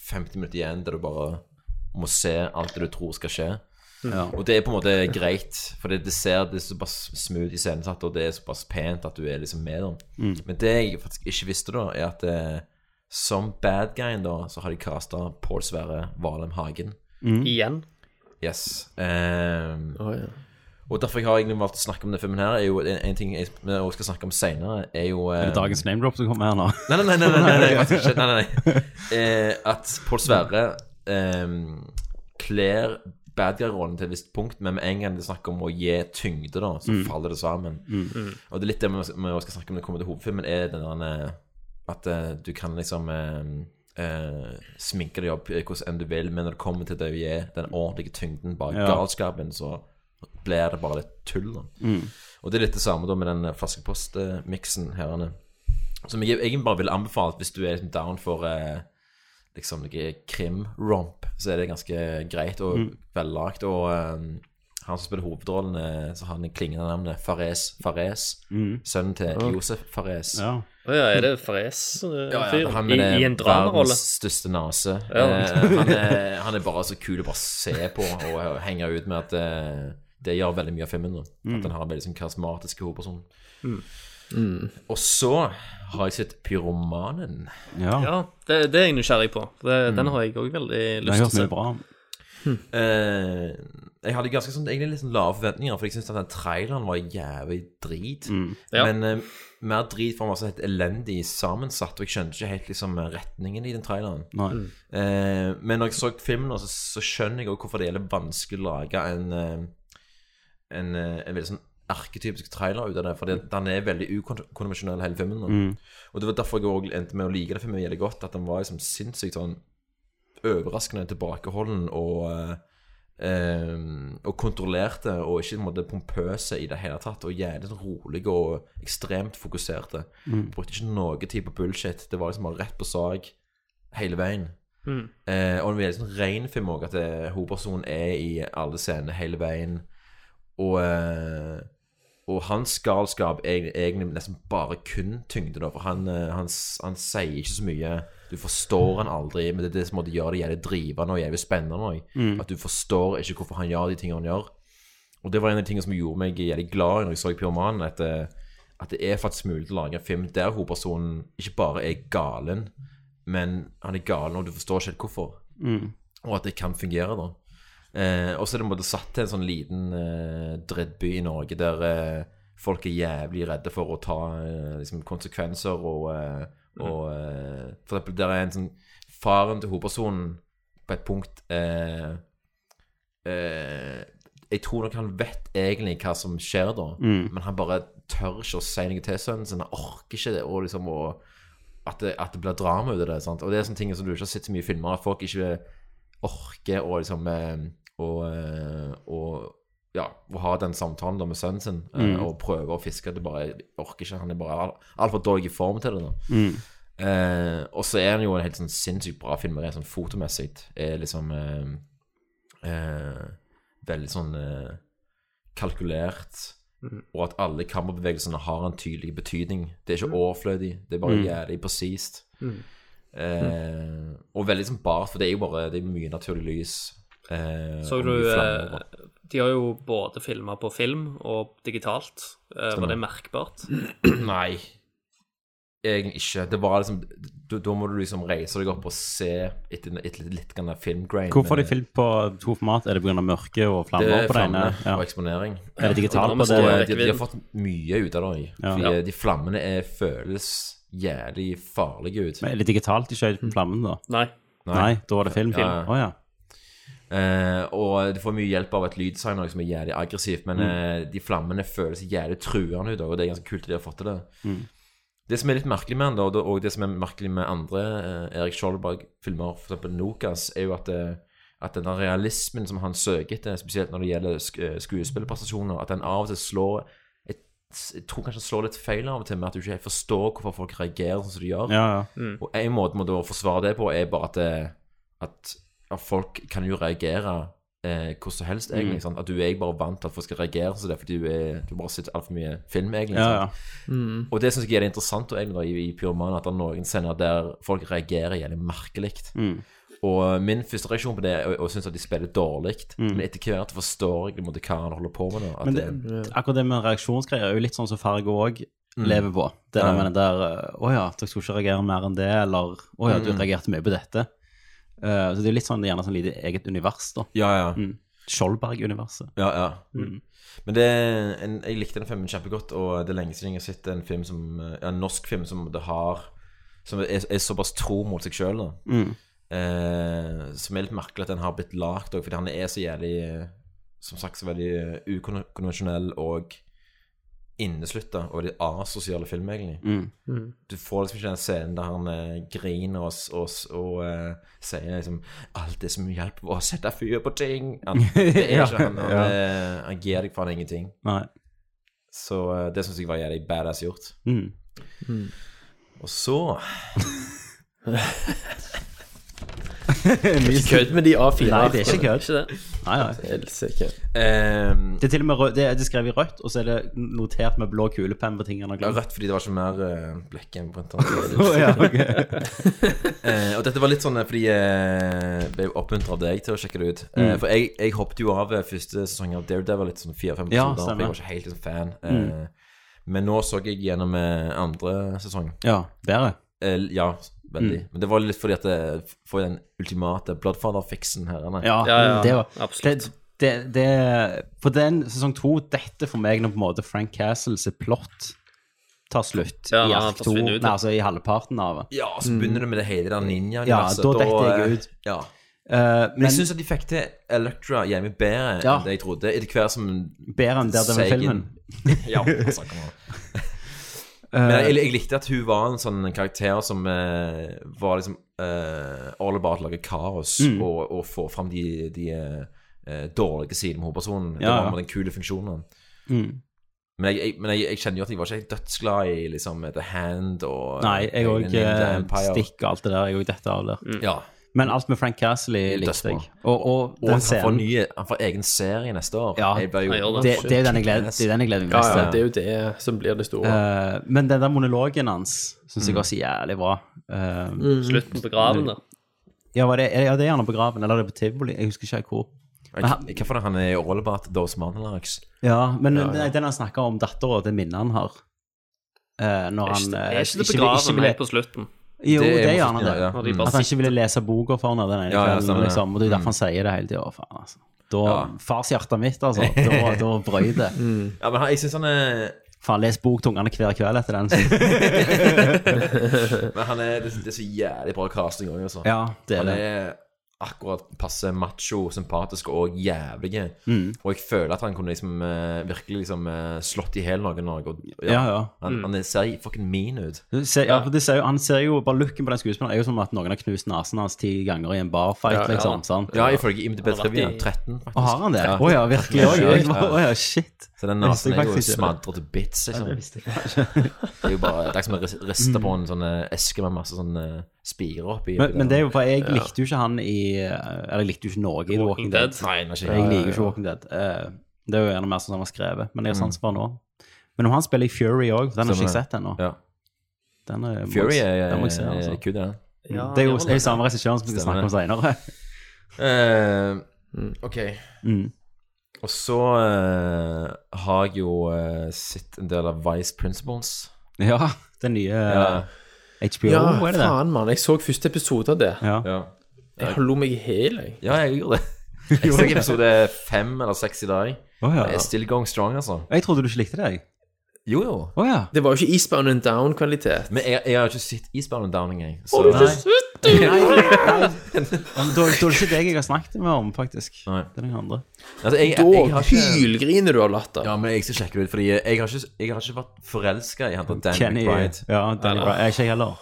H: 50 minutter igjen der du bare må se alt det du tror skal skje. Og det er på en måte greit, for det, det ser det er såpass smooth iscenesatt, og det er såpass pent at du er liksom med dem. Men det jeg faktisk ikke visste da, er at eh, som bad guyen da, så har de casta Pål Sverre Valheim Hagen.
J: Igjen.
H: Yes. Ehm,
I: Å, ja.
H: og derfor jeg har egentlig valgt å snakke om denne filmen her, er jo en, en ting jeg vi også skal snakke om seinere, er jo eh,
A: Det er dagens name drop som kommer her nå.
H: Nei, nei, nei, nei, nei, nei, nei, faktisk ikke. nei, nei, nei. Eh, At Pål Sverre eh, kler badguy-rollen til et visst punkt, men med en gang det er snakk om å gi tyngde, da, så faller det sammen. Og det er litt det vi vi også skal snakke om når det kommer til hovedfilmen, er den der eh, at eh, du kan liksom eh, eh, sminke deg opp eh, hvordan enn du vil, men når det kommer til det å gi den ordentlige tyngden bak
A: Ja.
H: galskapen, så blir det bare litt tull. Da. Og det er litt det samme da med den flaskepostmiksen her. Anne. Som jeg egentlig bare vil anbefale at hvis du er liksom down for eh, liksom noe krim-romp, så er det ganske greit og
J: Mm.
H: vellagt. Og eh, han som spiller hovedrollen, eh, så har han det klingende navnet Farez Farez. Sønnen til Josef Farez.
A: Ja.
J: Å Mm. ja, er det Fres? eh,
H: Ja, ja, han med
J: I,
H: det
J: I en dramarolle?
H: verdens største nase.
J: Ja.
H: Eh, han, er, han er bare så kul å bare se på og henge ut med at eh, det gjør veldig mye av filmen. Da.
J: Mm.
H: At han har en veldig sånn karismatisk hovedperson.
J: Mm.
H: Og så har jeg sett Pyromanen.
A: ja.
J: Ja, det, det er jeg nysgjerrig på. Det, Den har jeg òg veldig
A: Det har
J: lyst
A: hørt
J: til
A: mye
J: å se.
A: bra.
H: Eh, jeg hadde ganske sånn, egentlig litt sånn lave forventninger, for jeg syntes at den traileren var jævlig drit.
J: Ja.
H: Men eh, mer drit for han var så helt elendig sammensatt, og jeg skjønte ikke helt liksom, retningen i den traileren.
A: Nei.
H: Eh, men når jeg så filmen, så, så skjønner jeg også hvorfor det er litt vanskelig å lage en, eh, en, eh, en veldig sånn arketypisk trailer ut av det. For det- den er veldig ukonvensjonell, hele filmen. da.
A: Mm.
H: Og det var derfor jeg også endte med å like det filmen veldig godt. At den var liksom sinnssykt sånn overraskende tilbakeholden og eh, eh, og kontrollerte og ikke på en måte pompøse i det hele tatt. Og jævlig sånn rolige og ekstremt fokuserte. Brukte ikke noe tid på bullshit. Det var liksom bare rett på sak hele veien. Eh, og det er en veldig sånn ren film òg, at eh, hovedpersonen er i alle scenene hele veien. Og, eh, og hans galskap er egentlig- egentlig nesten bare kun tyngde, da. For han, eh, han, s- han sier ikke så mye. Du forstår han aldri, men det er det som måtte gjøre det jævlig drivende og jævlig spennende òg. At du forstår ikke hvorfor han gjør de tingene han gjør. Og det var en av de tingene som gjorde meg jævlig glad når jeg så Pyromanen, at, eh, at det er faktisk mulig til å lage en film der hovedpersonen ikke bare er galen, men han er galen, og du forstår ikke helt hvorfor. Og at det kan fungere, da. Eh, og så er det på en måte satt til en sånn liten eh, drittby i Norge der eh, folk er jævlig redde for å ta eh, liksom konsekvenser og, eh, og eh, For eksempel, der er en sånn Faren til hovedpersonen på et punkt eh, eh, Jeg tror nok han vet egentlig hva som skjer da, men han bare tør ikke å si noe til sønnen sin. Han orker ikke det. Og liksom å at det, at det blir drama ut av det. Sant? Og det er sånne ting som du ikke har sett så mye i filmer, at folk ikke orker å liksom eh, å, eh, å- ja, å ha den samtalen da med sønnen sin eh, og prøve å fiske. Det bare orker ikke. Han er bare al- altfor dårlig i form til det. da Eh, og så er han jo en helt sånn sinnssykt bra film rent sånn fotomessig. Er liksom eh, eh, veldig sånn eh, kalkulert. Og at alle kammerbevegelsene har en tydelig betydning. Det er ikke overflødig, det er bare jævlig presist. Eh, og veldig sånn bart, for det er jo bare det er mye naturlig lys. Eh,
J: Så du
H: og mye
J: eh,
H: flammer, da.
J: De har jo både filma på film og digitalt. Eh,
H: Stemmer.
J: Var det merkbart?
H: Nei. Egentlig ikke. Det var liksom Da da må du liksom reise deg opp og se etter et litt, litt grann filmgrain.
A: Hvorfor har de filmt på to format? Er det pga. mørke og flammer på det ene? Ja.
H: og eksponering. eh,
A: Er det digitalt på
J: Og da
A: det?
J: må
H: de, de har fått mye ut av det.
A: Ja.
H: Fordi eh, De flammene er, føles jævlig farlige ut.
A: Men Er det digitalt de skjøt på flammen, da?
J: Nei.
A: Nei, da var det film. Å ja.
H: Eh, og du får mye hjelp av et lyddesign som er jævlig aggressivt, men eh, de flammene føles jævlig truende ut, og det er ganske kult at de har fått til det. Det som er litt merkelig med han da, og det- og det som er merkelig med andre eh, Erik Skjoldberg-filmer, f.eks. Nokas, er jo at, eh, at den der realismen som han søker etter, spesielt når det gjelder sk eh, skuespillerprestasjoner, at den av og til slår et, Jeg tror kanskje han slår litt feil av og til, med at du ikke helt forstår hvorfor folk reagerer sånn som de gjør.
A: Ja, ja.
H: Og en måte må da forsvare det på er bare at, eh, at, at folk kan jo reagere eh, hvor som helst,
A: Mm.
H: egentlig. Sant? At du er ikke bare vant til at folk skal reagere som det, fordi du, er, du bare har sett altfor mye sånn. film, egentlig.
A: ja,
H: sant?
A: ja.
H: Og det syns jeg er det interessant da, egentlig, da, i, i Pyroman, at det er noen scener der folk reagerer jævlig merkelig.
A: Mm.
H: Og min første reaksjon på det er å- å synes at de spiller dårlig, men etter hvert forstår jeg på en måte, hva han holder på med. Da, at
A: Mm. Men det, akkurat det med reaksjonsgreier er jo litt sånn som Fargo òg lever på. Det der med den der eh, 'Å ja, dere skulle ikke reagere mer enn det', eller 'Å ja, du reagerte mye på dette'. Eh, så det er jo litt sånn, gjerne sånn lite eget univers, da.
H: ja, ja.
A: Skjoldberg-universet.
H: Ja, ja. Men det, en, jeg likte den filmen kjempegodt, og det er lenge siden jeg har sett en film som eh, ja, En norsk film som det har Som er, er såpass tro mot seg sjøl, da.
A: Mm.
H: Eh, som er litt merkelig at den har blitt lagd òg, fordi han er så jævlig eh, Som sagt så veldig eh, ukonvensjonell og inneslutta og veldig asosiale film, egentlig.
A: Mm.
H: Du får liksom ikke den scenen der han eh, griner og, s- og, s- og eh, sier liksom 'Alt det som hjelper, var å sette fyr på ting'. Han, det er ikke han. Han,
A: Ja.
H: eh, han gir deg faen ingenting.
A: Nei.
H: Så eh, det syns jeg var jævlig badass gjort.
A: Mm.
H: Og så
I: Ikke kødd med de A4.
A: Nei, det er ikke kødd.
I: Ikke det.
A: Nei, nei.
I: Helsike.
H: eh,
A: Det er til og med rød, det er det er skrevet i rødt, og så er det notert med blå kulepenn på ting han har
H: Det var
A: glemt.
H: rett fordi det var ikke mer uh, blekk enn brent annet.
A: Å, ja, ok.
H: Eh, og dette var litt sånn eh, fordi jeg ble oppmuntra av deg til å sjekke det ut. Eh,
A: Mm.
H: for jeg, jeg hoppet jo av eh, første sesong av Daredevil litt sånn fire-fem
A: Ja, stemmer.
H: episoder. for
A: Mm.
H: jeg var ikke helt liksom, fan. Eh, Men nå så jeg gjennom eh, andre sesong.
A: ja, bedre.
H: Eh, ja,
A: Mm.
H: veldig. Men det var litt fordi at jeg får den ultimate Bloodfather-fiksen her. eller?
A: Ja,
I: Ja, ja,
A: det var
I: absolutt.
A: Det, det, det, på den sesong to Dette for meg når på en måte Frank Castles plott tar slutt
J: Ja,
A: i
J: han
A: ark 2,
J: forsvinner
A: nei,
J: ut, ja.
A: altså i halvparten av det.
H: ja så begynner det med det hele der ninja-universet.
A: Mm. Ja, da detter jeg
H: eh,
A: ut.
H: Ja.
A: Eh,
H: Men
A: men
H: jeg syns at de fikk til Electra hjemme bedre
A: Ja.
H: enn det jeg trodde. Etter hver som
A: bedre enn der det var
H: Sagen-
A: filmen.
H: ja, altså, kom an. Men jeg, jeg likte at hun var en sånn karakter som eh, var liksom eh, all about å lage kaos
A: Mm.
H: og, og få fram de, de eh, dårlige sidene med hovedpersonen. Det
A: Ja,
H: var
A: ja.
H: på en måte den kule funksjonen.
A: Eh, mm.
H: Men, jeg, jeg, men jeg, jeg kjenner jo at jeg var ikke helt dødsglad i liksom, The Hand og
A: Nei, jeg eh,
H: og
A: òg
H: Ninja Empire.
A: Stikk og alt det der. Jeg òg dette av der.
J: Mm.
H: Ja.
A: Men alt med Frank Castley
H: Det er
A: likte jeg.
H: dødsbra.
A: Og, og
H: Og
A: den
H: at han får,
A: scenen.
H: nye, han får egen serie neste år.
A: Ja,
H: jeg ble jo,
J: han gjør
A: Det, det er jo den jeg gleder, det er den jeg gleder meg
I: Ja,
A: mest
I: ja,
H: eh.
A: til.
I: det er jo det som blir det store.
A: Eh, men den der monologen hans syns jeg også er jævlig bra. Eh,
J: Slutten på graven, da.
A: ja, var det, ja, det er gjerne på graven, eller er det på tivoli? Jeg husker ikke helt hvor.
H: Jeg- Hvorfor er han er all about those monologues?
A: Ja, men nei, den han snakker om dattera, det minnet han har Eh, Når
J: Er
A: han
J: ikke,
A: eh,
J: er ikke det
A: ikke
J: på
A: ville- ikke
J: graven
A: ville-
J: helt på slutten?
A: Jo, det,
H: er-
A: gjør han det.
H: ja,
J: Når
H: ja.
J: de bare
A: At han ikke ville lese boka for henne den ene
H: Ja, ja,
A: kvelden.
H: stemmer det.
A: liksom, og Det er jo derfor han sier det hele tida. Å, Faen, altså. Da,
H: Ja.
A: Farshjertet mitt, altså. Da, da brøy det.
H: Ja, men han- jeg synes han er
A: Faen, les bok til ungene hver kveld etter den. så-
H: Men han er, det, det er så jævlig bra casting òg, altså.
A: Ja, det er
H: han
A: det.
H: er akkurat passe macho, sympatisk og jævlig.
A: Mm.
H: Og jeg føler at han kunne liksom eh, virkelig liksom eh, slått i hjel noen òg. og- ja.
A: Ja, ja.
H: Han, han er- ser fucking mean ut.
A: Du ser, ja, for det ser jo, han ser jo, bare Looken på den skuespilleren er jo som at noen har knust nesen hans ti ganger i en barfight.
I: Ja, ja.
A: liksom, sant?
H: Ja, ifølge IMDb-trivia.
J: i-
H: 13,
A: Og
H: faktisk.
A: har han det? Å
H: Ja.
A: ja, virkelig òg?
H: Ja, ja.
A: Å ja, shit.
H: Så den
A: Det visste
H: nesen
A: jeg
H: er jo
A: faktisk ikke.
H: smadret til bits, liksom.
A: det
H: Det er jo bare Det er som å ris- riste på en sånn eh, eske med masse sånn eh, spirer oppi.
A: Mm. Men, men det er jo for jeg likte jo ikke han i Eller jeg likte jo ikke Norge i The Walking Dead.
H: Nei, den er ikke
A: Jeg liker jo ikke Walking Dead. Eh, Det er jo gjerne mer sånn han var skrevet, men jeg har sans for han nå. Men om han spiller i Fury òg, den har ikke jeg
H: Mm. Stemmer.
A: sett ennå.
H: Ja.
A: Den er- må
H: Fury
A: jeg-
H: er,
A: den må jeg se,
H: er,
A: altså.
H: er kul, den.
A: Det er jo det er jo samme regissør som vi skal snakke
H: Stemmer.
A: om seinere.
H: Eh, ok.
A: Mm.
H: Og så eh, har jeg jo eh, sett en del av Vice Principles.
A: Ja, den nye eh, HBO,
I: Ja,
A: er det det?
I: faen, mann. Jeg så første episode av det.
A: Ja.
H: Ja,
I: Jeg lo meg i hjel, jeg.
H: ja jeg gjorde det. Jeg ser episode fem eller seks i dag.
A: Å, ja.
H: Jeg er still going strong, altså.
A: Jeg trodde du ikke likte det, jeg.
H: Jo, jo.
A: Å ja.
I: Det var jo ikke Eastbound and Down-kvalitet.
H: Men jeg, jeg har ikke sett Eastbound and Down engang. Så
A: Nei. Nei, nei. Da, da er det ikke deg jeg har snakket med om, faktisk.
H: Nei.
A: Det er den andre.
H: Altså, jeg, jeg, jeg
I: Da
H: har ikke
I: hylgriner du av latter.
H: Ja, men jeg skal sjekke det ut, fordi jeg har ikke, jeg har ikke vært forelska i han der Sånn Danny
A: Kenny
H: McBride.
A: Ja, Danny Bride. Jeg er ikke jeg heller.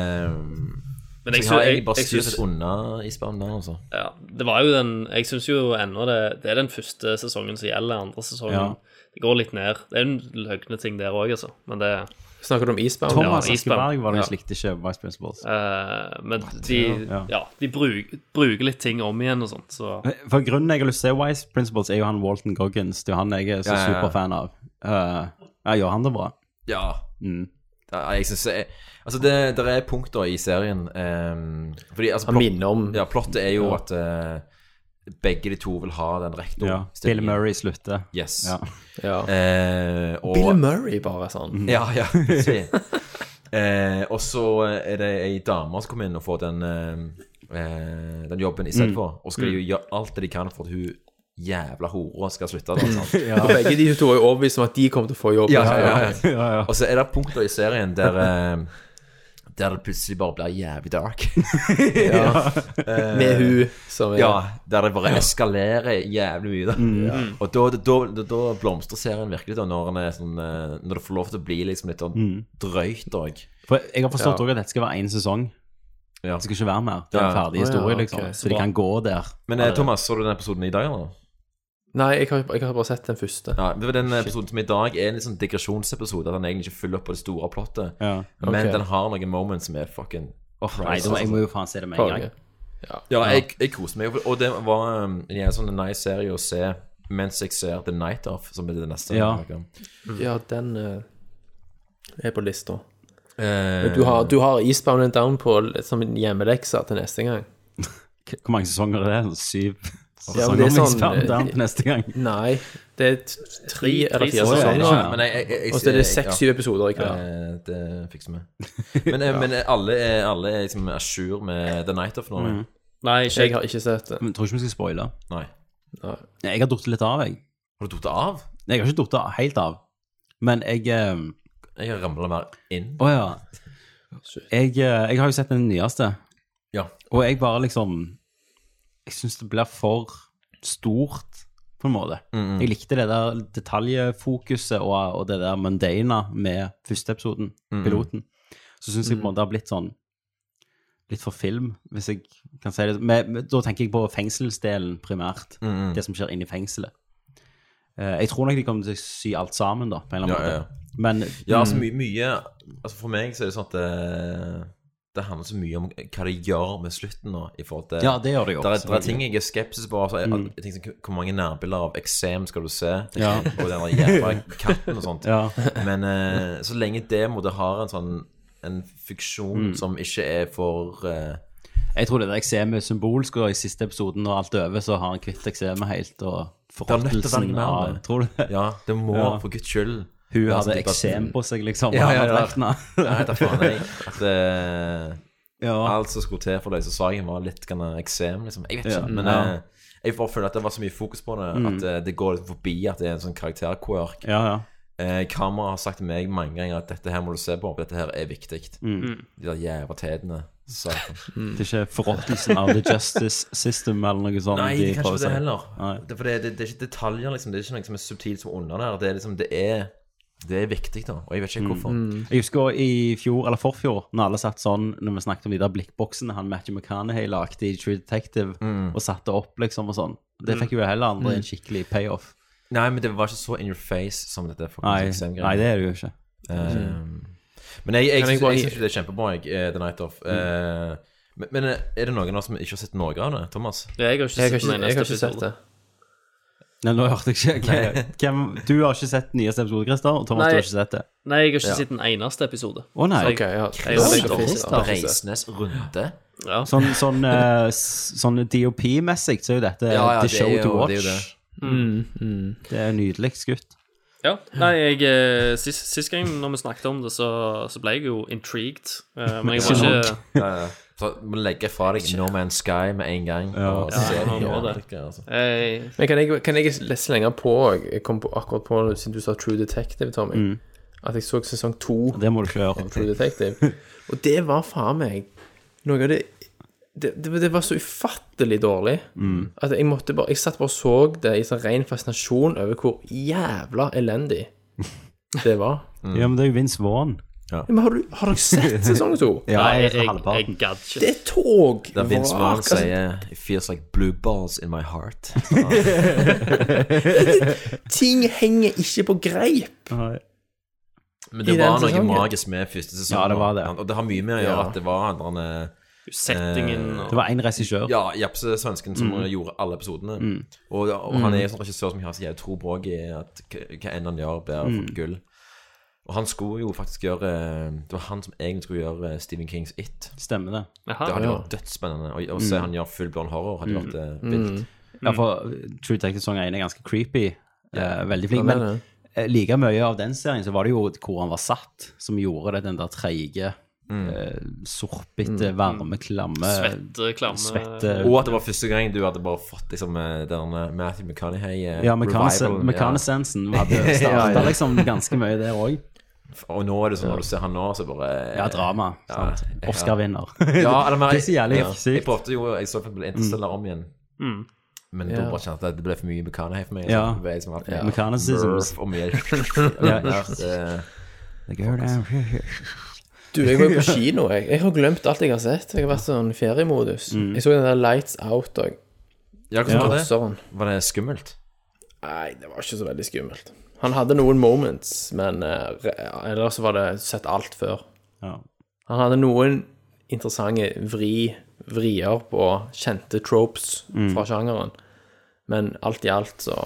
H: Ehm,
J: Men
H: så
J: jeg,
H: jeg har
J: sy-
H: egentlig
J: jeg,
H: bare
J: jeg
H: styrt
J: syns
H: unna i spam der, altså.
J: ja, Det var jo den Jeg syns jo ennå det, det er den første sesongen som gjelder. Andre sesongen
A: Ja.
J: Det går litt ned. Det er en løgne ting der òg, altså. Men det
I: Snakker du om isbjørn?
J: Ja.
A: Thomas Askeberg var den
J: Ja.
A: jeg likte ikke Vice Principals.
J: eh, Men de, ja.
A: Ja.
J: de bruk, bruker litt ting om igjen og sånt, så
A: For grunnen jeg har lyst til å se Wise Principles, er jo han Walton Goggins. Det er jo han jeg er så
H: Ja, ja, ja.
A: superfan av. Eh, ja, gjør han det bra?
H: Ja.
A: Mm.
H: ja jeg synes jeg, Altså, det der er punkter i serien ehm, Fordi altså,
I: Han
H: plot-
I: minner om
H: Ja, plottet er jo at eh, begge de to vil ha den rektoren.
A: Ja. Bill Murray slutter.
H: Yes.
A: Ja.
I: ja.
H: Eh, og, Mm,
I: Bill Murray, bare sånn.
H: Ja, ja. plutselig. eh, og så er det ei dame som kommer inn og får den, eh, eh, den jobben istedenfor. Og skal jo gjøre alt det de kan for at hun jævla hora skal slutte. Da, sant?
I: Og begge de to er jo overbevist om at de kommer til å få jobb.
H: Mm. Ja, ja, ja, ja.
A: ja, ja.
H: Og så er det punkter i serien der eh, der det plutselig bare blir jævlig dark. eh,
I: Med hun som er
H: Ja, Mm. Der det bare eskalerer jævlig mye. Da. Og da, da, da, da blomstrer serien virkelig, da, når, den er sånn, eh, når det får lov til å bli liksom litt sånn drøyt òg.
A: Mm. For jeg har forstått også at dette skal være én sesong.
H: Ja.
A: Det skal ikke være mer. Det er en
H: Ja.
A: ferdig
I: Å, ja,
A: historie,
I: ok.
A: liksom. Så de kan gå der.
H: Men eh, Thomas, så du den episoden i dag, eller?
I: Nei, jeg har, jeg har bare sett den første.
H: Ja, det var den episoden som i dag er en litt sånn digresjonsepisode. At han egentlig ikke følger opp på det store plottet.
A: Ja.
H: Men
I: Ok.
H: den har noen moments som er fucking
A: Nei, da må, jeg må jo faen se det med en gang.
I: Konge.
H: Ja, jeg, jeg koser meg. Og det var um, en jævla sånn nice serie å se mens jeg ser The Night Off, som er det neste.
A: Ja.
H: jeg snakker om.
I: Ja, den eh, er på lista.
H: Eh,
I: Du har, du har Eastbound and Down på l- som en hjemmelekse til neste gang.
A: K- Hvor mange sesonger er det? Sånn Syv
I: Ja,
A: sesonger
I: men det er
A: med
I: sånn-
A: Spam Down til neste gang.
I: Nei, det er t- tre eller fire
J: sesonger.
I: sesonger.
H: ja, men jeg, jeg, jeg, jeg,
I: Og så er det
H: jeg-
I: seks-syv episoder i
H: Ja,
I: hver.
H: eh, det fikser vi. Men, eh, men eh, alle er, alle er liksom à jour med The Night Off nå?
I: Mm.
J: Nei, ikke
I: Jeg
J: jeg.
I: har ikke sett det.
A: Men tror ikke vi skal spoile.
H: Nei.
A: Nei, Jeg har datt litt av, jeg.
H: Har du tatt det av?
A: Nei, Jeg har ikke datt helt av. Men jeg eh,
H: Jeg har ramla mer inn.
A: Å ja. Jeg, eh, jeg har jo sett den nyeste,
H: Ja.
A: og jeg bare liksom Jeg syns det blir for stort, på en måte.
H: Mm,
A: Jeg likte det der detaljfokuset og, og det der mundana med første episoden,
H: Mm.
A: piloten. Så syns jeg på en måte det har blitt sånn Litt for film, hvis jeg kan si det. Men, men, da tenker jeg på fengselsdelen primært.
H: mm,
A: Det som skjer inne i fengselet. Eh, jeg tror nok de kommer til å sy alt sammen, da, på en eller annen
H: Ja, ja, ja.
A: måte. Men
H: Ja, altså mye, mye Altså For meg så er det sånn at det, det handler så mye om hva de gjør med slutten nå. I forhold til
A: Ja, det gjør det jo.
H: der, er- der er ting jeg er skeptisk på. Altså, jeg, jeg tenker, sånn, hvor mange nærbilder av eksem skal du se?
A: Ja.
H: Og den der jævla katten og sånt.
A: Ja.
H: Men eh, så lenge det måtte ha en sånn En funksjon
A: Mm.
H: som ikke er for eh,
A: Jeg tror det der eksemet er symbolsk, og i siste episoden, når alt er over, så har han kvitt eksemet helt, og
H: er nødt til å være
A: forråttelsen
H: mer
A: av
H: med.
A: Tror du det?
H: Ja, det må,
A: Ja.
H: for guds skyld
A: Hun
H: være sånn
A: hadde
H: type at-
A: eksem på seg, liksom. og
H: Ja, ja,
A: han hadde
H: ja.
A: vært nær.
H: Nei, da faen jeg At eh,
A: ja.
H: alt som skulle til for deg, så sa jeg var litt grann eksem, liksom. Jeg vet ikke,
A: Ja.
H: men
A: Ja. Mm.
H: eh, jeg bare føler at det var så mye fokus på det, at eh, det går litt forbi at det er en sånn karakterquirk.
A: ja, ja.
H: Eh, Kamera har sagt til meg mange ganger at dette her må du se på, for dette her er viktig.
A: Mm.
H: De der jævla tetene. Satan.
A: Det er ikke forråttelsen av the justice system eller noe sånt.
H: Nei,
A: de
H: det kan
A: prøver
H: ikke det
A: seg.
H: heller.
A: Nei.
H: Det, for det, det, det er ikke detaljer, liksom. Det er ikke noe som er subtilt som under der. Det er liksom, det er det er viktig, da, og jeg vet
A: Mm.
H: ikke hvorfor.
A: Jeg husker også i fjor, eller forfjor, når alle satt sånn, når vi snakket om de der blikkboksene han Matthew McConaughey lagde i True Detective,
H: Mm.
A: og satte opp, liksom, og sånn. Det fikk jo heller andre en skikkelig payoff.
H: Nei, men det var ikke så in your face som dette. fucking
A: Nei,
H: XM-greiene.
A: nei, det er det jo ikke.
H: Eh, Men jeg, jeg,
I: Kan jeg
H: syns-
I: bare-
H: jeg syns jo det er kjempebra, jeg, eh, The Night Off. Eh, men, men er det noen av oss som ikke har sett noe av det, Thomas?
J: Jeg har ikke
I: Jeg
J: sett
I: har ikke, jeg
J: den eneste
I: har ikke sett det.
J: episoden.
A: Nei, nå hørte jeg ikke. Hvem- Hvem, du har ikke sett nyeste episode, Christer, og Thomas,
J: Nei.
A: du har ikke sett det.
J: Nei, jeg har ikke sett den eneste episode.
A: Å nei.
I: Ok, ja.
J: Jeg har sett
I: Christer.
J: det.
H: Reisnes runde?
J: Ja.
A: Sånn, sånn, eh, s- sånn DOP-messig så er jo dette
H: Ja, ja,
A: the
H: det er
A: show
H: jo-
A: to watch. Mm,
H: det
A: Det
H: er
A: er,
H: jo
A: nydelig skutt.
J: Ja, nei, jeg eh, Sist, sist gang når vi snakket om det, så, så ble jeg jo intrigued. eh, men jeg
A: Ikke
J: var ikke
H: Så må du legge fra deg No Man's Sky med en gang. Og
A: Ja,
H: se
J: ja, man må
H: ja,
J: det.
H: altså.
J: jeg,
I: Men kan jeg, kan jeg lese lenger på òg? Jeg kom på, akkurat på siden du sa True Detective, Tommy.
H: Mm.
I: At jeg så sesong to
A: Det må du ikke gjøre.
I: True Detective. Og det var faen meg noe av det det, det, det var så ufattelig dårlig at jeg måtte bare Jeg satt bare og så det i sånn ren fascinasjon over hvor jævla elendig det var.
A: Ja, men det er jo Vince Vaughn.
I: Men har, du, har dere sett sesong to?
A: Ja,
J: jeg,
A: jeg,
J: jeg, jeg
A: halvparten.
J: gadd ikke.
I: Det er tog!
H: Der Vince
I: vrak,
H: Vaughn
I: altså.
H: sier It feels like blue balls in my heart.
I: Ting henger ikke på greip.
A: Nei.
H: Men
I: I
H: det
I: den
H: var noe
I: sesongen.
H: magisk med første sesong.
A: Ja, det var det.
H: Og det har mye med å gjøre
I: Ja.
H: at det var en eller annen
J: Settingen og
A: Det var én regissør.
H: Ja, Japse svensken som gjorde alle episodene. Og, og han er en sånn regissør som har så jævlig tro på også i at k- hva enn han gjør, blir fått gull. Og han skulle jo faktisk gjøre eh, Det var han som egentlig skulle gjøre eh, Stephen Kings It.
A: Stemmer det.
J: Jaha.
H: Det hadde vært dødsspennende. Og, og se han gjøre full blown horror, hadde vært eh, vilt.
A: Ja, for uh, True Detective Song 1 er ganske creepy. eh, veldig flink.
I: Ja, det
A: Men
I: er
A: eh, like mye av den serien så var det jo hvor han var satt, som gjorde det den der treige, eh, sorpete, varme, klamme
J: svette, klamme
A: svette-
H: Og at det var første gang du hadde bare fått liksom eh, den eh, Matthew McConaughey eh,
A: Ja, mechanic-
H: revivalen,
A: mechanisensen hadde starta liksom ganske mye der òg.
H: Ja. Og nå er det sånn når du ser han nå, så bare
A: Ja, drama. sant?
H: ja.
A: Oscar-vinner.
H: Ja, eller men,
A: Det er så jævlig
H: ja.
A: sykt.
H: Jeg prøvde jo Jeg så for eksempel Interstellar om igjen. Men da
I: Ja.
H: bare kjente jeg at det ble for mye Bukhana her for meg.
A: Ja.
H: Så ble jeg liksom alt-
A: Mechanicisms.
H: Burf og mye
A: Ja.
H: Det-
I: Du, jeg var jo på kino, jeg. Jeg har glemt alt jeg har sett. Jeg har vært sånn feriemodus. Jeg så den der Lights Out òg.
H: Ja, hvordan var det?
I: Sånn.
H: Var det skummelt?
I: Nei, det var ikke så veldig skummelt. Han hadde noen moments, men eh, re- ellers så var det sett alt før.
A: Ja.
I: Han hadde noen interessante vri, vrier på kjente tropes
A: Mm.
I: fra sjangeren. Men alt i alt så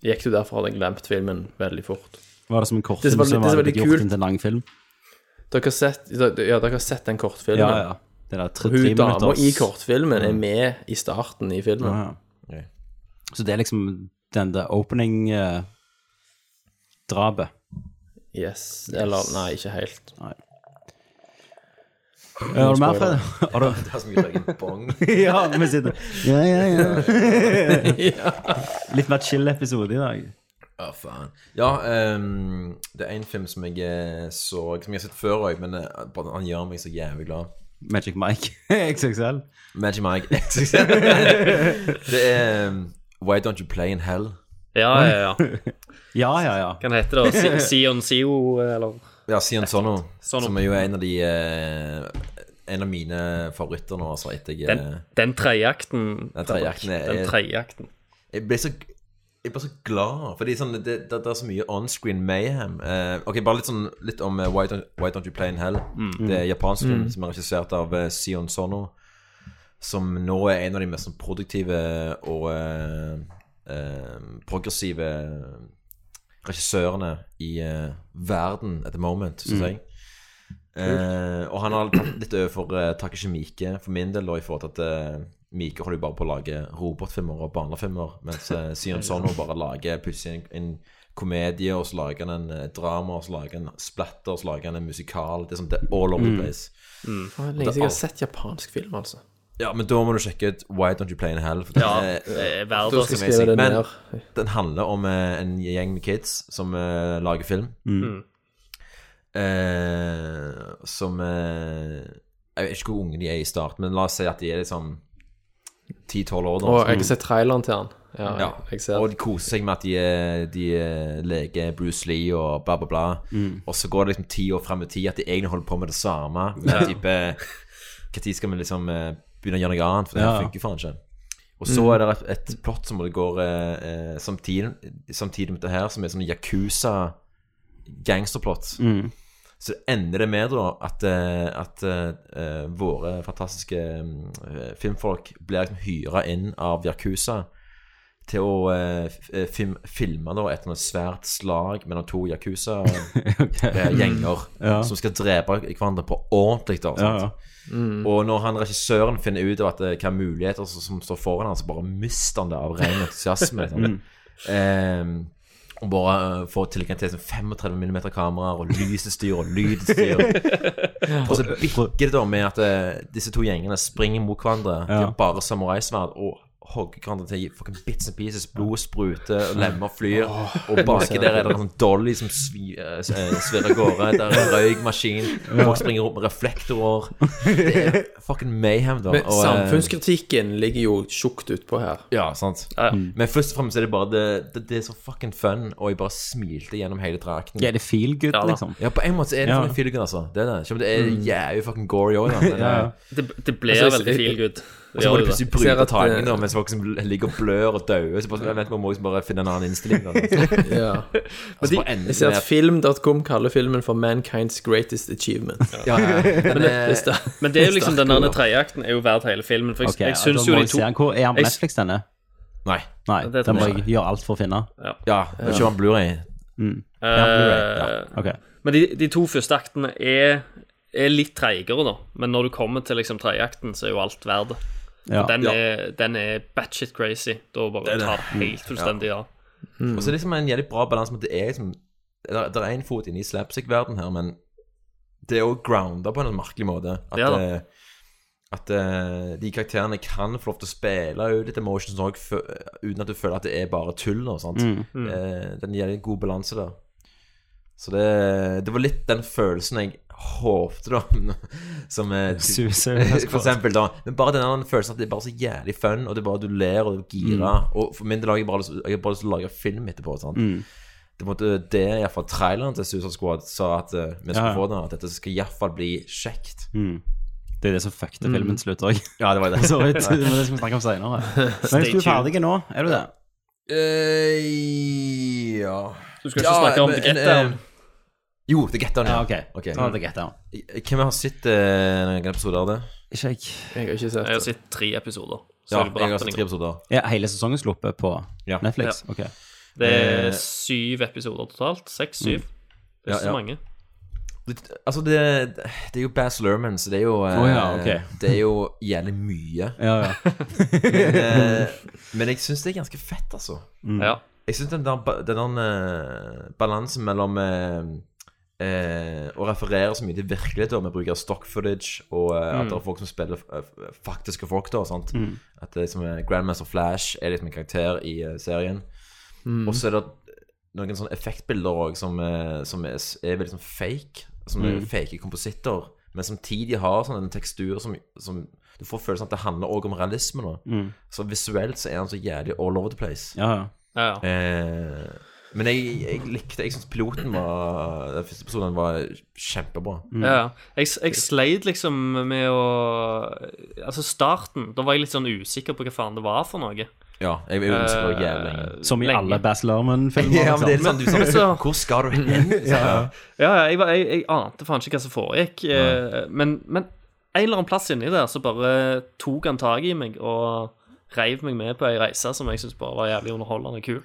I: gikk du derfra hadde jeg glemt filmen veldig fort.
A: Var det som en kortfilm
I: Det som var-
A: som
I: det
A: var
I: som var
A: blitt
I: litt
A: gjort
I: kult-
A: om til en lang film?
I: Dere har sett, dere, ja, dere har sett den kortfilmen?
A: Ja, ja. Det der tre, tre
I: Hun dama
A: minutters-
I: i kortfilmen
A: Mm.
I: er med i starten i filmen.
A: Ja, ja.
H: Ja.
A: Så det er liksom den der eh, opening-drapet.
I: Yes. Eller nei, ikke helt.
A: Har du mer, Fred? Har du...
H: Det var så mye egen bong.
A: ja, vi sitter Ja, ja, ja. Litt mer chill episode i dag.
H: Ja, faen. Ja, ehm, det er en film som jeg eh, så Som jeg har sett før òg, men eh, bare- han gjør meg så jævlig glad.
A: Magic Mike XXL.
H: Magic Mike Det er ehm, Why Don't You Play in Hell?
J: Ja, ja, ja.
A: Ja, ja, ja.
J: Hva heter det? Si- Sion Sio, eller
H: Ja, Sian Sono,
J: Sono.
H: som er jo en av de eh, En av mine favoritter nå, altså, etter jeg
J: Den,
H: eh,
J: den tredjeakten.
H: Den tredjeakten er-
J: Den tredjeakten.
H: Jeg ble så jeg ble så glad, fordi sånn, det, det, det er så mye on-screen mayhem. Eh, ok, Bare litt sånn Litt om eh, Why, Don't, Why Don't You Play In Hell.
J: Mm.
H: Det er en japansk film som er regissert av eh, Sion Sono, som nå er en av de mest sånn, produktive og eh, eh, progressive regissørene i eh, verden at the moment, syns
J: Mm.
H: jeg. Eh, og han har tatt litt over for uh, Takeshi Miike for min del, og i forhold til at uh, Miike holder jo bare på å lage robotfilmer og barnefilmer, mens uh, Sion Sono bare lager plutselig en, en komedie, og så lager han en eh, drama, og så lager han splatter, og så lager han en musikal. Det er sånn, det er all over the place.
I: Faen, det er Lenge siden jeg har sett japansk film, altså.
H: Ja, men da må du sjekke ut Why Don't You Play In Hell? For
J: Ja,
H: den, er,
J: eh,
I: Da
J: verdens
I: skal jeg skrive det
H: Men-
I: ned.
H: den handler om eh, en gjeng med kids som eh, lager film.
I: Mm.
H: Eh, som eh, Jeg vet ikke hvor unge de er i starten, men la oss si at de er liksom 10-12 år. da.
I: Og jeg har sett traileren til han. Ja,
H: Altså, mm. Ja,
I: jeg ser
H: og
I: det.
H: de koser seg med at de, er- de er- leker Bruce Lee og bla, bla, bla. Og så går det liksom ti år frem i tid at de egentlig holder på med det samme. Men type Når skal vi liksom eh, begynne å gjøre noe annet? For det her
A: Ja.
H: funker faen ikke. Og så er det et, et plott som går eh, eh, samtidig, samtidig med det her, som er sånn Yakuza gangsterplott. Så ender det med da at, eh, at eh, våre fantastiske eh, filmfolk blir liksom hyra inn av Yakuza til å eh, f- eh, film, filme da, et eller annet svært slag mellom to Yakuza-gjenger som skal drepe hverandre på ordentlig. da, sant?
A: ja.
H: Og når han regissøren finner ut av at eh, hva muligheter som, som står foran han, så bare mister han det av ren entusiasme. Liksom. Ehm, og bare eh, får tilgang til sånn 35 mm kameraer og lysstyr og lydstyr. og så bikker det da med at eh, disse to gjengene springer mot hverandre. De har bare samuraisverd og hogger hverandre til fucking bits and pieces. Blod spruter, og lemmer flyr. Og baki der er det en sånn dolly som svi- eh, s- eh, svirrer av gårde. Der er en røykmaskin. Folk springer rundt med reflektorer. Det er fucking mayhem, da.
I: Men
H: og, eh,
I: samfunnskritikken ligger jo tjukt utpå her.
H: Ja, sant. Mm. Men først og fremst er det bare det, det, det er så fucking fun, og jeg bare smilte gjennom hele drakten.
A: Er det feel good,
J: da.
A: liksom?
H: Ja, på en måte så er det
A: Ja.
H: fucking feelgood, altså. Det er det. Selv om det er jævlig fucking gory òg, da. Men, eh,
J: Det, det ble
I: Altså, jeg-
J: veldig feel good.
H: Og så må de
J: Gjør det.
H: plutselig
I: Jeg ser
H: bryte
I: at,
H: timingen
I: eh,
H: da, mens folk som ligger og blør og dauer. Så bare, vent, vi må liksom bare finne en annen innstilling. Da.
I: Ja.
H: Altså, bare enden
I: Jeg ser
H: er-
I: at film.com kaller filmen for 'Mankind's Greatest Achievement'.
H: ja, ja, ja. Men, eh,
I: Hvis det-
J: Men det er jo liksom den der tredjeakten er jo verdt hele filmen. For jeg,
A: Ok,
J: jeg syns
A: da
J: jo
A: må
J: de
A: jeg
J: to
A: se den. Hvor er han på
J: Jeg-
A: Netflix, denne?
H: Nei.
A: Nei,
J: Ja, det
A: den må
J: tror jeg
A: jeg gjøre alt for å finne.
H: Ja, da kjører han Blu-ray
J: eh,
A: Ok,
J: Men de, de to første aktene er, er litt treigere, da. Men når du kommer til liksom tredjeakten, så er jo alt verdt det.
A: ja.
J: Den, er, den er batshit crazy. Da bare
H: er det. Mm.
J: tar det helt fullstendig av.
H: Og så er det liksom en jævlig bra balanse med at det er liksom der, der er en fot inne i slapstick-verden her, men det er jo grounda på en merkelig måte. At,
J: Ja da.
H: eh, at eh, de karakterene kan få lov til å spille ut litt emotions òg, uten at du føler at det er bare tull. Og sant? Eh, den gir en god balanse der. Så det, det var litt den følelsen jeg håpte, da. Som eh,
A: Suicide Squad.
H: For eksempel, da. Men bare den andre følelsen at det er bare så jævlig fun, og det er bare du ler og du er gira.
A: Mm.
H: Og for min del har jeg bare lyst jeg har bare lyst til å lage film etterpå. Sant? Det måtte det i hvert fall traileren til Suicide Squad sa at eh, vi skulle
A: Ja, ja.
H: få den, at dette skal i hvert fall bli kjekt.
A: Det er det som fuckte
J: Mm.
A: filmen til slutt òg.
H: Ja, det var det.
A: Så vidt. Men det skal vi snakke om seinere. Men du er ferdig nå, er du det?
H: Eh, ja
J: Du skal ikke snakke om
H: men,
J: The Get Down.
H: eh, Jo, The Get Down.
A: Ja, ok.
H: Ok.
A: Da er det greit, ja.
H: Hvem har sett eh, noen episoder av det?
A: Ikke jeg.
I: Jeg har ikke sett
J: Jeg har
I: det.
J: sett tre episoder. Så er
H: Ja,
J: det,
H: jeg
J: bare
H: har sett
J: atten
H: tre
J: igjen.
H: episoder.
A: Er hele sesongen sluppet på
H: Ja.
A: Netflix? Ok.
J: det
H: Eh, Mm.
J: er syv episoder totalt. Seks-syv. Det er ikke
H: Ja, ja.
J: så mange.
H: Det, altså, det, det er jo Baz Luhrmann, så det er jo eh,
A: Å, ja, ok.
H: Det er jo jævlig mye.
A: Ja, ja.
H: Men, eh, men jeg syns det er ganske fett, altså.
J: Ja.
H: Jeg syns den der, ba- den der eh, balansen mellom eh, eh, å referere så mye til virkelighet da, med bruk av stock footage, og eh, at det er folk som spiller eh, f- faktiske folk, da, sant? At det er liksom eh, Grandmaster Flash er liksom en karakter i eh, serien. Og så er det noen sånne effektbilder òg som, eh, som er, s- er veldig sånn fake. Som er fake kompositter. Men samtidig har sånn en tekstur som, som Du får følelsen at det handler òg om realisme. nå Så visuelt så er han så jævlig all over the place.
A: ja, ja.
J: Ja, ja.
H: Eh, men jeg, jeg likte Jeg syns piloten var Den første episoden var kjempebra.
J: Ja, ja. jeg, jeg sleit liksom med å Altså, starten Da var jeg litt sånn usikker på hva faen det var for noe.
H: Ja, jeg jeg ønsker det var jævlig lenge.
A: Som i
J: Lenge.
A: alle Baz Luhrmann-filmer.
H: Ja, Eh, men det er
A: liksom.
H: sånn du sa
J: så-
H: Hvor skal du hen? Ja.
J: Ja, ja, jeg, var- jeg, jeg ante faen ikke hva som foregikk. eh, Men, men en eller annen plass inni der så bare tok han tak i meg og reiv meg med på ei reise som jeg syntes bare var jævlig underholdende og kul.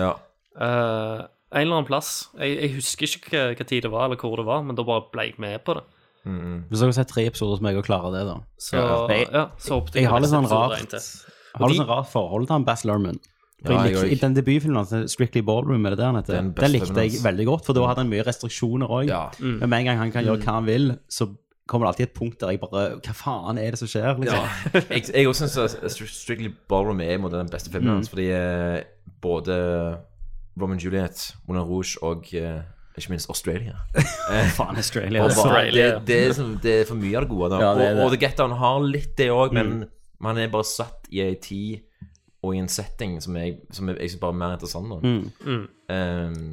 H: Ja.
J: Eh, en eller annen plass. Jeg, jeg husker ikke hva, hva tid det var, eller hvor det var, men da bare ble jeg med på det.
A: Hvis dere har sett tre episoder som jeg og klarer det, da.
J: Så,
A: Ja.
J: ja, så håpet
A: Jeg har litt
J: neste
A: sånn
J: episode
A: rart
J: en til.
A: Jeg har litt sånn rart forhold til han Bass Lerman.
H: Ja, jeg
A: I
H: også.
A: den debutfilmen hans, Strictly Ballroom, er det der han heter? Den,
H: Den beste filmen
A: likte jeg
H: hans.
A: veldig godt, for da hadde han mye restriksjoner òg.
H: Ja. Mm.
A: Men med en gang han kan gjøre hva han vil, så kommer det alltid et punkt der jeg bare Hva faen er det som skjer? Liksom.
H: Jeg, jeg også syns Strictly Ballroom er imot den beste filmen hans, fordi eh, både Roman Juliet, Moulin Rouge og eh, ikke minst Australia.
A: Faen, Australia.
H: Og
A: Altså.
H: bare, det,
J: Australia.
H: det, er som, det er for mye av det gode. Da.
A: Ja, det er det.
H: Og, og The Get Down har litt det òg, men man er bare satt i ei tid og i en setting som jeg, som jeg, jeg synes bare er mer interessant. Da.
A: Mm.
H: Ehm,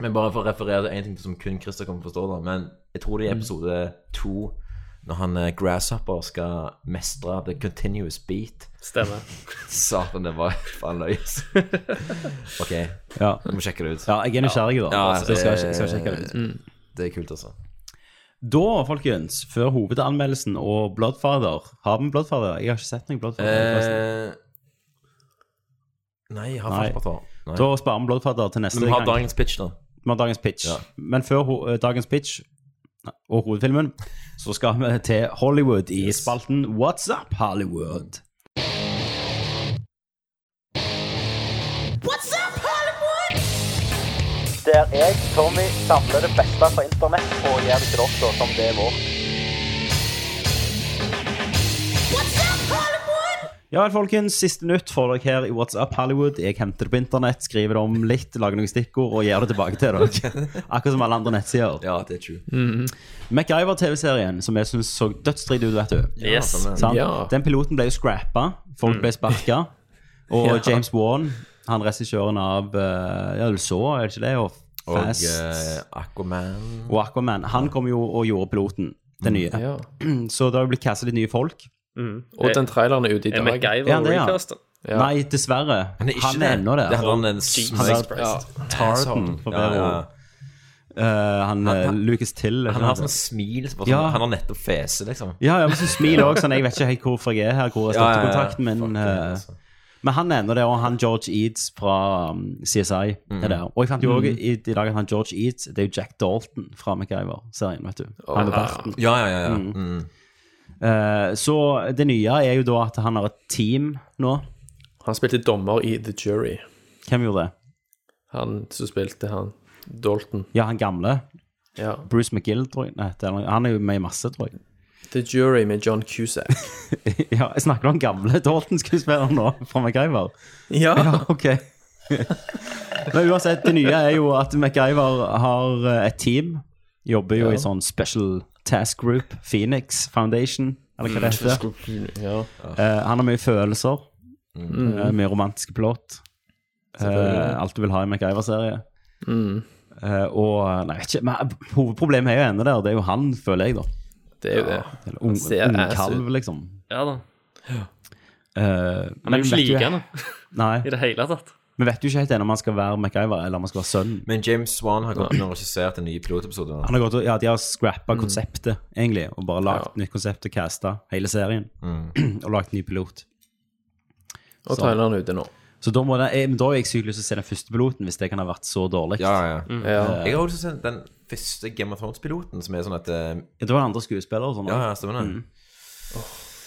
H: men bare for å referere til én ting som kun Christer kommer til å forstå, da. Men jeg tror det
A: Mm.
H: er i episode to, når han eh, Grasshopper skal mestre The Continuous Beat
J: Stemmer.
H: Satan, det var faen løs. OK, jeg
A: Ja.
H: må sjekke det ut.
A: ja, jeg er nysgjerrig, da.
H: Ja, Mm.
A: altså, jeg, skal, jeg skal sjekke det ut.
H: Det er kult, altså.
A: Da, folkens, før hovedanmeldelsen og Bloodfather Har vi en Bloodfather? Jeg har ikke sett noen Bloodfather. forresten.
H: Eh, nei, jeg har
A: Nei.
H: faktisk bare tatt. Nei.
A: Da sparer vi Bloodfather til neste
H: Men vi har
A: gang.
H: dagens pitch, da.
A: Vi har dagens pitch.
H: Ja.
A: Men før ho eh, dagens pitch og hovedfilmen, så skal vi til Hollywood i spalten What's Up Hollywood?
K: Der jeg, Tommy, samler det beste fra internett og gjør det til dere som det er vårt.
A: Ja vel, folkens. Siste nytt får dere her i What's Up Hollywood. Jeg henter det på internett, skriver det om litt, lager noen stikkord og gir det tilbake til dere. Akkurat som alle andre nettsider.
H: Ja, det er true.
A: Mm. MacGyver-TV-serien, som jeg syns så dødsdrit ut, vet du.
H: Ja, Yes. stemmer.
A: Sant?
H: Ja.
A: Den piloten ble jo scrappa. Folk ble sparka. Og
H: Ja.
A: James Wan, han regissøren av eh, Ja, du så, er det ikke det? Og
H: Og
A: Fast.
H: eh, Aquaman
A: Og Aquaman. Han kom jo og gjorde piloten. Den
I: Mm.
A: nye. Så det har jo blitt castet litt nye folk.
I: Og den traileren er ute i dag.
A: Ja, det er han. Nei, dessverre.
I: Han er ikke det.
A: ennå der.
I: Det er han en
A: Jesus
I: smøk-
A: Christ.
I: Ja.
A: Tartan. for
H: Ja,
A: bedre
H: eh, ja.
A: ord. Eh, han, eh, Lucas Till.
H: Han har sånn smil som bare sånn,
A: Ja.
H: Han har nettopp fese, liksom.
A: Ja, ja, men så smiler også, sånn. Jeg vet ikke helt hvorfor jeg er her, hvor jeg
H: Ja, ja,
A: starter
H: ja.
A: kontakten min. eh,
H: altså.
A: Men han er ennå der, og han George Eads fra um, CSI
H: Mm.
A: er der. Og jeg fant jo
H: Mm.
A: også i, i dag at han George Eads, det er jo Jack Dalton fra MacGyver-serien, vet du. Han med
H: Ah.
A: barten.
H: Ja, ja, ja, ja.
A: Mm.
H: Mm.
A: Eh, så det nye er jo da at han har et team nå.
I: Han spilte dommer i The Jury.
A: Hvem gjorde det?
I: Han som spilte han Dalton.
A: Ja, han gamle.
I: Ja.
A: Bruce McGill, tror jeg. Nei, det er noe- han er jo med i masse, tror jeg.
I: The Jury med John Cusack.
A: ja, jeg snakker om gamle Dalton-skuespilleren nå, fra MacGyver.
I: Ja.
A: ok. Men uansett, det nye er jo at MacGyver har eh, et team. Jobber jo
I: Ja.
A: i sånn special task group, Phoenix Foundation, eller
I: Mm,
A: hva det heter.
I: Ja.
A: Eh, han har mye følelser.
I: Mm.
A: eh, mye romantiske plott. eh,
I: Selvfølgelig.
A: alt du vil ha i MacGyver-serie.
I: Mm.
A: Eh, og nei, jeg vet ikke, men eh, hovedproblemet er jo ennå der. Det er jo han, føler jeg, da.
I: Det er jo det.
A: Eller
I: Han
A: ung-
I: ser ass
A: Ungkalv,
I: ut.
A: liksom.
J: Ja da.
A: Eh,
J: Han er
A: men
J: jo ikke
A: vet
J: like henne
A: Nei.
J: i det hele tatt.
A: Vi vet jo ikke helt ennå om han skal være MacGyver eller om han skal være sønnen.
H: Men James Swan har gått inn og regissert en ny pilotepisode. nå.
A: Han har gått, og- ja, De har scrappa
H: Mm.
A: konseptet, egentlig, og bare lagd nytt konsept og casta hele serien.
H: Mm.
A: og lagd ny pilot.
I: Og
A: Så-
I: traileren er ute nå.
A: Så da, må det, eh, men da har jeg sykt lyst til å se den første piloten, hvis det kan ha vært så dårlig.
H: Ja, ja, ja.
A: Mm.
I: Ja.
H: Jeg har også sett den første Game of Thrones-piloten, som er sånn at eh,
A: Det var andre skuespillere og sånn.
H: Ja, ja, stemmer det.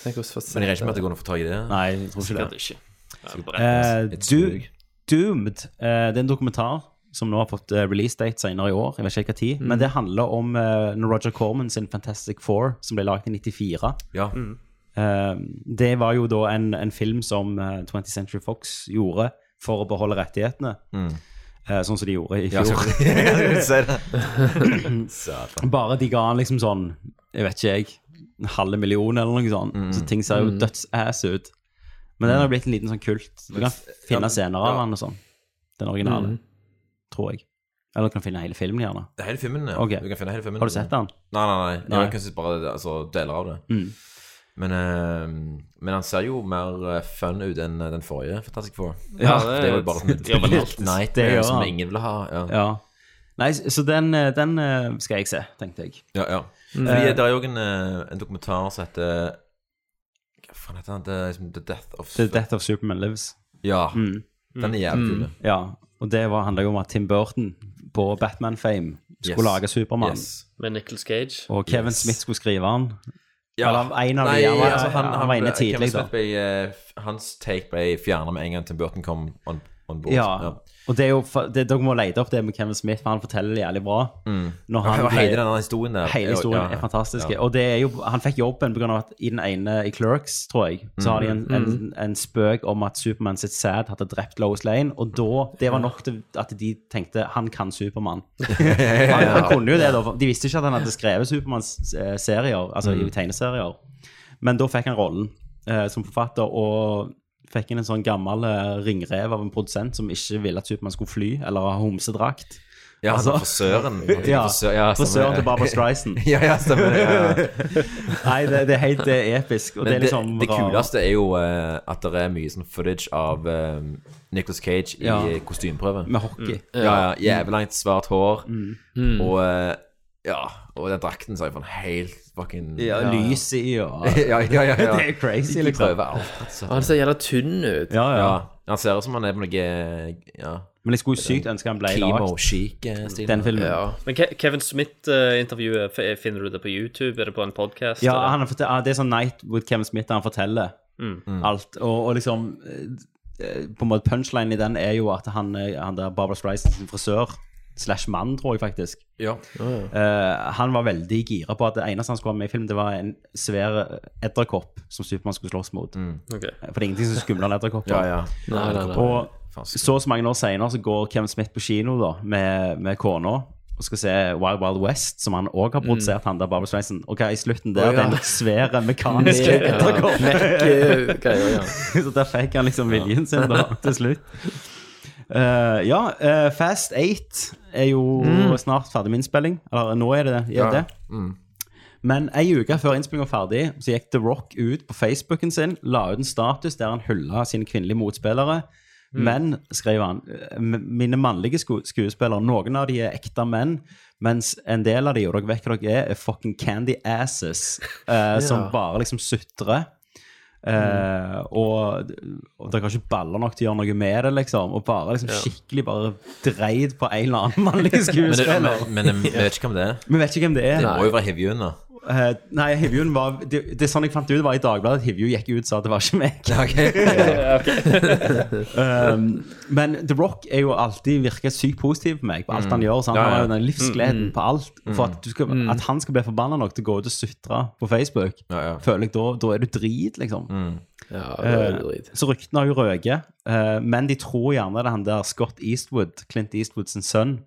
I: Tenk oss først.
H: Men jeg regner ikke med at det går an å få tak i det.
A: Nei, jeg tror ikke det.
J: Sikkert ikke.
A: Eh,
H: Et
A: du,
H: smug.
A: Doomed eh, Det er en dokumentar som nå har fått eh, release date senere i år. Jeg vet ikke hva tid,
H: Mm.
A: Men det handler om eh, når Roger Corman sin Fantastic Four, som ble laget i 94.
H: Ja.
A: Eh, det var jo da en, en film som eh, 20th Century Fox gjorde for å beholde rettighetene.
H: Mm.
A: Eh, sånn som de gjorde i
H: Ja,
A: fjor.
H: sorry. Jeg skulle si det. Satan.
A: Bare de ga han liksom sånn, jeg vet ikke jeg, en halv million eller noe sånt.
H: Mm.
A: Så ting ser jo dødsass ut. Men den har blitt en liten sånn kult. Du kan finne scener av
H: Ja.
A: han og sånn. Den
H: Mm.
A: originale. Tror jeg. Eller du kan finne hele filmen, gjerne.
H: Det er hele filmen, ja.
A: Ok.
H: Du kan finne hele filmen.
A: Har du sett den?
H: Nei, nei, nei.
A: Nei.
H: Jeg kan synes bare altså, deler av det.
A: Mm.
H: Men, eh, men han ser jo mer eh, fun ut enn eh, den forrige Fantastic Four.
A: Ja,
H: det,
J: det-
H: er jo bare sånn
J: det gjør vel
H: et night
A: Det gjør
H: som
A: han.
H: ingen vil ha. Ja, ja.
A: Ja. Nei, s- så den, eh, den eh, skal jeg se, tenkte jeg.
H: ja,
A: Mm.
H: Fordi det er jo en, eh, en dokumentar som heter Hva faen heter den? Det er liksom The Death of
A: The Death of Superman Lives.
H: Ja.
A: Mm.
H: Den er jævlig kul.
A: Ja, og det var- handler jo om at Tim Burton på Batman-fame skulle
H: Yes.
A: lage Superman.
H: Yes.
J: Med Nicholas Cage.
A: Og Kevin
H: Yes.
A: Smith skulle skrive han.
H: Ja.
A: Eller en av de,
H: Nei,
A: han var-
H: ja,
A: altså, han- han var inne
H: ble- Kevin
A: tidlig, da.
H: Smith ble, eh, f- hans take ble fjernet med en gang Tim Burton kom on, on board.
A: Ja. Og det er jo, for- det, dere må lete opp det med Kevin Smith, for han forteller det jævlig bra.
H: Mm.
A: Når
H: Og
A: han
H: hele
A: ble-
H: denne historien der
A: hele historien
H: Ja, ja.
A: er fantastisk.
H: Ja.
A: Og det er jo, han fikk jobben pga. at i den ene i Clerks, tror jeg, så har de en,
H: Mm-hmm.
A: en, en spøk om at Superman sitt sæd hadde drept Lois Lane. Og da, det var nok til at de tenkte han kan Supermann. Han, han kunne jo det, da. for De visste ikke at han hadde skrevet Supermanns eh, serier, altså
H: Mm.
A: i tegneserier. Men da fikk han rollen eh, som forfatter, og fikk inn en sånn gammel eh, ringrev av en produsent som ikke ville at Supermann skulle fly, eller ha homsedrakt.
H: Ja, han
A: Altså-
H: var frisøren. Han fikk
A: Ja,
H: frisør- ja, stemmer
A: frisøren
H: det.
A: til Barbra Streisand.
H: ja, ja, stemmer det. Ja.
A: Nei, det, det er helt det er episk. Og
H: Men
A: det er liksom
H: det, det
A: rar-
H: kuleste er jo eh, at det er mye sånn footage av eh, Nicolas Cage i
A: Ja.
H: kostymeprøve.
A: med hockey.
H: Ja, ja, Jævlig langt, svart hår.
A: Mm.
H: Og eh, ja, og den drakten ser jo sånn helt fucking
A: Ja, Lys i og
H: ja, ja, ja, ja.
A: Det er crazy,
H: De
A: liksom.
H: prøver alt. Altså.
I: Han ser jævla tynn ut.
A: Ja, ja.
H: Ja. Han ser ut som han er på noe eh, ja, eh,
A: Men jeg skulle jo sykt ønske han ble lagd,
H: kemo-chic-stil.
A: den filmen. Ja,
J: Men Ke Kevin Smith-intervjuet, finner du det på YouTube? Er det på en podkast?
A: han har fortell- ah, Det er sånn Night with Kevin Smith der han forteller
H: Mm.
A: alt. Og, og liksom eh, eh, På en måte punchline i den er jo at han, eh, han der Barbara Streisand sin frisør slash mann, tror jeg faktisk.
H: Ja.
A: Eh, han var veldig gira på at det eneste han skulle ha med i film, det var en svær eh, edderkopp som Supermann skulle slåss mot.
J: Ok.
A: For det er ingenting som er skumlere enn edderkopper.
H: Mm. Ja, ja. Nei, nei, nei.
A: Og så og så mange år senere så går Kevin Smith på kino da, med, med kona og skal se Wild Wild West, som han òg har
H: Mm.
A: produsert, han der Barbara Streisand. Og hva er i slutten der?
I: Å, ja.
A: Den svære mekaniske
I: Mega-
A: edderkoppen.
I: Mekk, eh, greier, ja.
A: Så der fikk han liksom viljen sin da, til slutt. Eh, ja, eh, Fast 8 er jo snart ferdig med innspilling. Eller nå er det det. Ja,
H: Ja.
A: det. Men ei uke før innspillingen var ferdig, så gikk The Rock ut på Facebooken sin, la ut en status der han hylla sine kvinnelige motspillere. Men, skrev han, eh, mine mannlige sku skuespillere, noen av de er ekte menn, mens en del av de, og dere vet hva dere er, er fucking candy asses, eh, som
I: Ja.
A: bare liksom sutrer. Eh, og, og dere har ikke baller nok til å gjøre noe med det, liksom. Og bare liksom skikkelig bare dreid på en eller annen mannlig
H: Men, det,
A: skuespiller.
H: men, men jeg vet ikke hvem det er.
A: Vi vet ikke hvem det er.
H: Det må jo være Hivjun, da.
A: Eh, nei, Hivjun var det, det er sånn jeg fant ut var i Dagbladet at Hivju gikk ut og sa at det var ikke meg. Um, men The Rock er jo alltid virker sykt positiv på meg, på alt han gjør. Sant?
H: Mm. Ja, Mm. ja.
A: Han har jo den livsgleden på alt. For at, du skal, at han skal bli forbanna nok til å gå ut og sutre på Facebook,
H: Ja, ja. Mm.
A: føler jeg da, da er du drit, liksom.
I: Ja,
A: Eh,
I: det er drit.
A: Så ryktene har jo røket, eh, men de tror gjerne det er han der Scott Eastwood, Clint Eastwood sin sønn.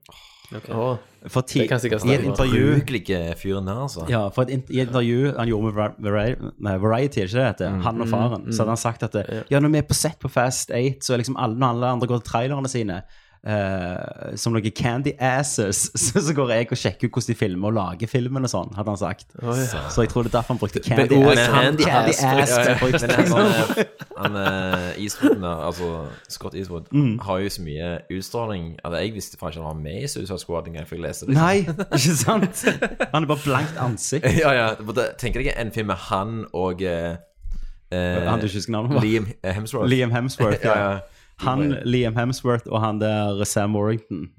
I: Å,
A: For ti,
I: Det kan sikkert
A: I et
I: stemme.
A: intervju
H: Brukelige fyren der, altså.
A: ja, for et int- i et intervju han gjorde med Vari- Vari- nei, Variety, er ikke det det heter? han og faren, så hadde han sagt at det, ja, når vi er på set på Fast 8, så er liksom alle, når alle andre går til trailerne sine eh, som noen candy asses, så, så går jeg og sjekker ut hvordan de filmer og lager filmen og sånn, hadde han sagt. Så jeg tror det er derfor han brukte candy
I: ordet
A: ass.
I: candy
A: candy
I: ass,
A: ass
H: Ja, ja.
A: ble brukt.
H: Men det er sånn, eh, han eh, Eastwood, da, altså Scott Eastwood,
A: Mm.
H: har jo så mye utstråling Altså, jeg visste faen ikke han var med i Suicide Squad engang før jeg leste det.
A: Nei, ikke sant? Han er bare blankt ansikt.
H: Ja, ja, for da, tenker deg en film med han og eh, eh,
A: Han du ikke husker navnet på.
H: Liam Hemsworth.
A: Liam Hemsworth,
H: ja,
A: ja.
H: ja.
A: Han, Liam Hemsworth og han der Sam Warrington.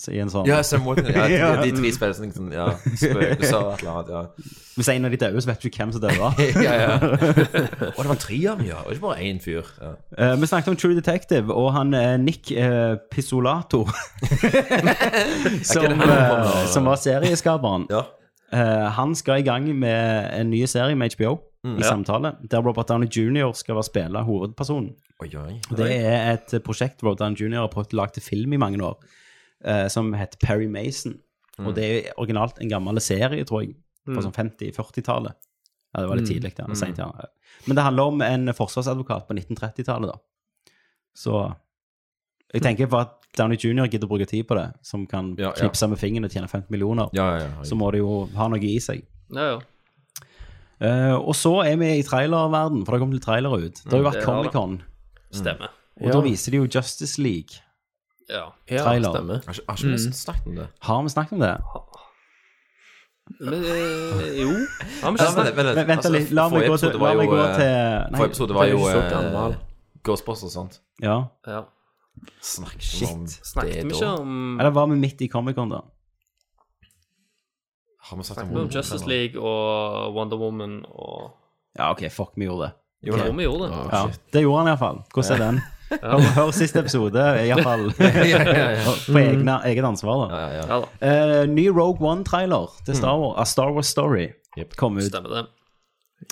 A: Så I en sånn
H: Ja, Sam Walton. Ja,
A: Ja.
H: de, de tre spillerne som liksom, ja, spøkelser og et eller annet. Ja.
A: Hvis en av de døde, så vet du ikke hvem som døde.
H: ja, ja. Og det var tre av dem, ja. Og ikke bare én fyr. Ja.
A: Eh, vi snakket om True Detective og han eh, Nick eh, Pisolato. som,
H: det han er
A: eh,
H: for noe?
A: som var serieskaperen.
H: ja.
A: Eh, han skal i gang med en ny serie med HBO,
H: Mm,
A: i samtale, der Robert Downey jr. skal være spille hovedpersonen.
H: Oi, oi.
A: Og Det er et eh, prosjekt Robert Downey jr. har prøvd å lage til film i mange år, eh, som heter Perry Mason.
H: Mm.
A: Og det er originalt en gammel serie, tror jeg, fra sånn 50-40-tallet. Ja, det var
H: Mm.
A: litt tidlig, da. sent, ja. Men det handler om en forsvarsadvokat på 1930-tallet, da. Så jeg tenker for at Downey jr. gidder å bruke tid på det, som kan
H: Ja, ja.
A: knipse med fingeren og tjene 15 millioner,
H: Ja, ja, ja.
A: så må det jo ha noe i seg.
J: Ja, ja.
A: Eh, og så er vi i trailerverden, for det kommer til trailere ut. Det har jo vært
J: Det har det.
A: Comic-Con,
J: Stemmer.
A: og da viser de jo Justice League.
J: Ja.
I: Ja,
A: Trailer.
I: stemmer.
H: Har ikke- har ikke vi
A: Mm.
H: snakket om det?
A: Har vi snakket om det?
H: Altså,
J: Men eh, jo Har vi ikke
H: Altså,
J: snakket
H: vent, vent,
A: Men Vent
H: altså,
A: litt, la meg
H: forrige
A: gå til,
H: episode
A: la
H: var
A: meg
H: jo,
A: gå
H: eh,
A: til
H: Forrige episode var jo
I: det er ikke så
H: eh,
I: gammel.
H: Ghostbusters og sånt.
A: Ja.
J: ja.
H: Snakk shit. Om det
J: Snakket vi ikke
H: da.
J: om,
A: Eller var vi midt i Comic-Con, da?
H: Har vi sagt om,
J: om Justice League og Wonder Woman og
A: Ja, OK, fuck, vi gjorde det.
H: Jo,
J: Jo, vi gjorde det.
A: Ja,
H: Ja.
A: det gjorde han iallfall. Hvordan er den? Hør, hør siste episode, iallfall. På egne, eget ansvar, da.
H: Ja, ja.
J: Ja da,
A: Eh, ny Rogue One-trailer til Star Wars, av Star Wars Story
H: Jep.
A: kom ut.
J: stemmer det.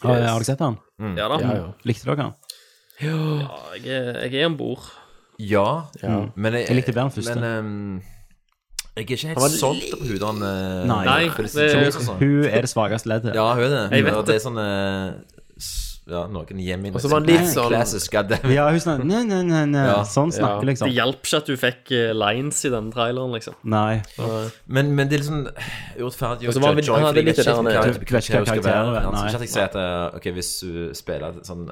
A: Har, har dere sett den?
J: Ja da.
I: Ja, ja.
A: Likte dere den?
J: Ja, jeg er- jeg er om bord.
H: ja, men jeg,
A: Jeg likte bedre den første.
H: Men ehm, jeg er ikke helt solgt på hun den eh,
A: Nei.
J: Nei,
H: for det-
J: det-
H: Jones og sånn.
A: Hun er det svakeste leddet.
H: Ja, hun er det.
J: Jeg vet
H: og det er sånn eh, s- Ja, noen hjemme
I: Og så var han litt sånn-
H: Classic, goddamn.
A: Ja, hun snakker nei, nei, nei, nei.
H: Ja.
A: Sånn snakker
J: Det
A: liksom.
J: hjalp ikke at du fikk eh, lines i den traileren, liksom.
A: Nei.
H: Men, men det er litt sånn urettferdig å
A: Altså,
I: Og så var han-
H: judge
I: han
H: henne,
I: hadde
H: fordi
I: litt
H: jeg vet ikke
I: det der
H: hva-
A: med-
H: hva hun skal
A: Hvilken
H: være.
A: karakter,
H: Altså,
A: nei. Mm.
H: Ikke at jeg sier at eh, ok, hvis hun spiller sånn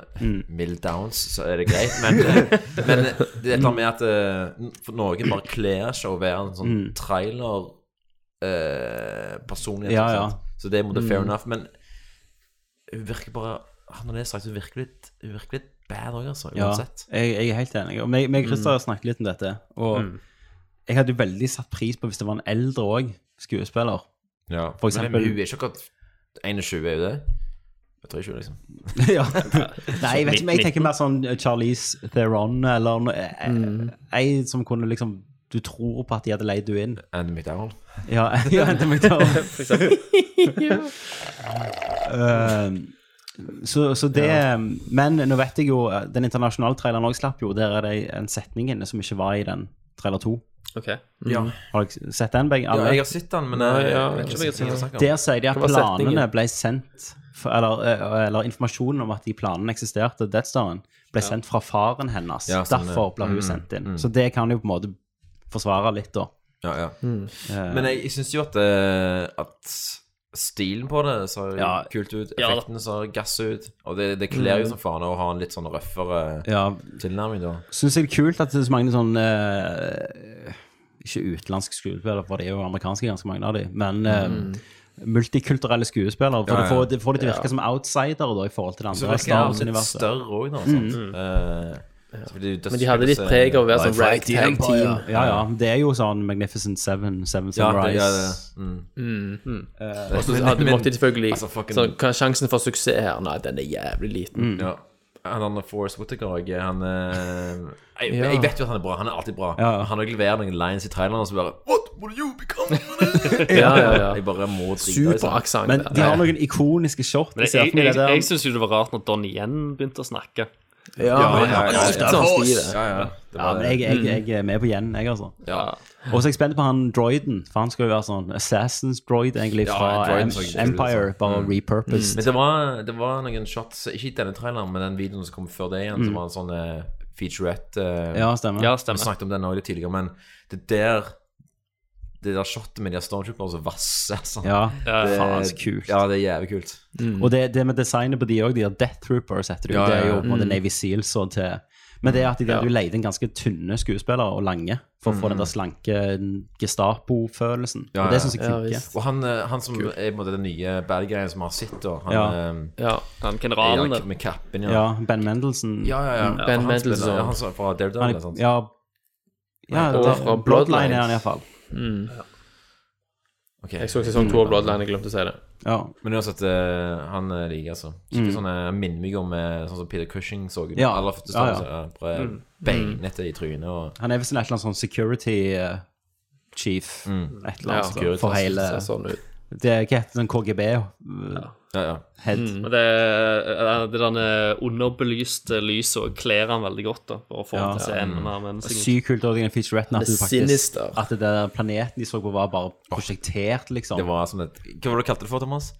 H: mild downs, så er det greit, men, eh, men det er et eller annet med at eh, for noen bare kler seg å være en
A: Mm.
H: sånn eh, trailer-personlighet.
A: Ja, Mm. ja.
H: Så det er i en måte fair enough, men hun virker bare ah, Når det er sagt, hun virker litt, hun virker litt bad òg, altså,
A: Ja,
H: uansett. Mm.
A: jeg, jeg er helt enig. Og meg, meg og Christer har snakket litt om dette. Og jeg hadde jo veldig satt pris på hvis det var en eldre òg, skuespiller.
H: Ja,
A: For eksempel-
H: Men hun er ikke akkurat 21, er hun det? Jeg tror ikke, liksom.
A: ja. Nei, jeg vet
H: Mm.
A: ikke, men jeg tenker mer sånn Charlize Theron eller noe, ei eh, som kunne liksom Du tror på at de hadde leid du inn.
H: Andy McDowell.
A: Ja, ja Andy McDowell.
H: For eksempel.
A: Ehm, så, så det ehm, Men nå vet jeg jo eh, Den internasjonale traileren òg slapp jo. Der er det en setning inne som ikke var i den trailer 2.
I: Ok.
H: Ja.
A: Har dere sett den, begge?
H: Ja, jeg har sett den, men jeg,
I: Nei, ja,
H: vet
I: jeg
H: ikke
I: tror jeg
H: hva
I: har
H: snakker om.
A: Der sier de at
I: Hva var
A: planene
I: setningen?
A: ble sendt for, eller, eh, eller informasjonen om at de planene eksisterte, Death Staren, ble sendt fra faren hennes.
H: Ja, sånn,
A: Derfor ble hun
H: mm,
A: sendt inn.
H: mm.
A: Så det kan jo på en måte forsvare litt, da.
H: Ja, ja.
I: Mm.
H: Mm. Men jeg, jeg syns jo at, eh, at stilen på det ser
A: Ja.
H: kult ut.
J: Ja, da.
H: Effektene ser gass ut. Og det, det kler
I: Mm.
H: jo som faen å ha en litt sånn røffere
A: Ja,
H: tilnærming, da.
A: Syns jeg det er kult at det er så mange sånn eh, Ikke utenlandske skuespillere, for de er jo amerikanske, ganske mange av de, men eh, multikulturelle skuespillere. For
H: Mm. Ja, ja.
A: det får det får de til å virke som outsidere da, i forhold til det
H: Så
A: andre
H: det er
A: Star
H: litt
A: Wars-universet.
H: større òg, da. Sant? Eh, så blir det jo
I: Mm. Men de hadde litt
H: dødskult å se-
I: preg av å være sånn
A: Fight the
I: ragtag
A: Empire.
I: team.
A: Ja, ja. Det er jo sånn Magnificent Seven, Seven
H: Ja,
A: Sunrise.
H: det, ja, det. Mm.
I: Og så hadde
H: Men-
I: måtte de selvfølgelig
H: altså, fucking-
I: sånn, hva er Sjansen for suksess her, nei, den er jævlig liten.
H: Ja. Han andre Forrest Whittaker òg, han eh, jeg,
I: Ja.
H: jeg vet jo at han er bra. Han er alltid bra.
A: Ja.
H: Han òg leverer noen lines i traileren som bare What will you become?
I: Ja, ja, ja.
H: Jeg bare må drite i sånn.
I: Superaksent.
A: Men de har noen ikoniske shot.
J: Jeg, jeg, jeg, jeg syns jo det var rart når Don igjen begynte å snakke.
I: Ja, men
H: ja,
I: han
H: ja,
I: har
H: ja.
I: ofte sånn stil.
H: Ja, ja. Det
A: ja,
H: var,
A: men jeg, jeg, jeg er med på igjen, jeg, altså.
H: Mm. ja.
A: Og så er jeg spent på han droiden, for han skal jo være sånn Assassins droid, egentlig,
H: Ja,
A: fra Em-
H: droiden så kult ut,
A: Empire,
H: Mm.
A: bare repurposed.
H: Men det var, det var noen shots, ikke i denne traileren, men den videoen som kom før det igjen, som var en sånn eh, featurette eh,
A: Ja, stemmer.
J: Ja,
H: Vi
J: stemmer.
H: snakket om den også litt tidligere, men det der Det der shotet med de der stormtrooperne som vasser sånn
A: Ja,
J: Ja,
H: det-
A: faen, så kult.
H: Ja, det er jævlig kult.
A: Og det, det med designet på de òg, de der Death Troopers heter det jo,
H: Ja, ja,
A: det er jo
H: ja. Mm.
A: på en måte Navy Seals og til Men det er at de hadde jo leid inn ganske tynne skuespillere og lange for å få den der slanke Gestapo-følelsen.
H: Mm. Ja,
A: Og det
H: ja.
A: syns jeg
I: Ja,
A: funker.
I: visst.
H: Og han, eh, han som er på en måte den nye bad guyen som har sett, og han
A: Ja.
H: eh,
I: Ja.
J: Han
H: er
J: generalen der.
H: med kappen,
A: Ja,
H: ja.
A: Ben Mendelsown.
H: Ja, ja, ja.
I: Ben
H: Han spiller-
I: Mendelsohn.
H: ja, Han som er fra Daredevil,
A: Han
H: eller
A: er-
H: sant?
A: ja, ja
I: Og
A: det-
I: fra
A: Bloodline
I: Bloodlines.
A: er han iallfall.
H: Ok.
I: Jeg så sesong to av Bloodline, jeg glemte å si det.
A: Ja.
H: Men uansett, eh, han eh, liker jeg, altså. Skikkelig sånn eh, minner meg om eh, sånn som Peter Cushing så ut.
A: Mm. Ja.
H: Aller første
A: Ja, ja.
H: stund, ja, Bare beinete i trynet og
A: Han er visst en et eller annet sånn security eh, chief, et eller annet,
H: Security,
A: for hele
I: Ser sånn ut.
A: Det er ikke et sånn KGB-head.
H: Ja, Mm. ja.
J: Men Det, eh, det der underbelyste lyset og kler han veldig godt. da For å få
A: Ja.
J: han til å se enda mer menneskelig ut.
A: Sykt kult at i den featuretten at
I: er
A: du faktisk
I: sinister.
A: At det der planeten de så på, var bare prosjektert, liksom.
H: Det var som et Hva var det du kalte det for, Thomas?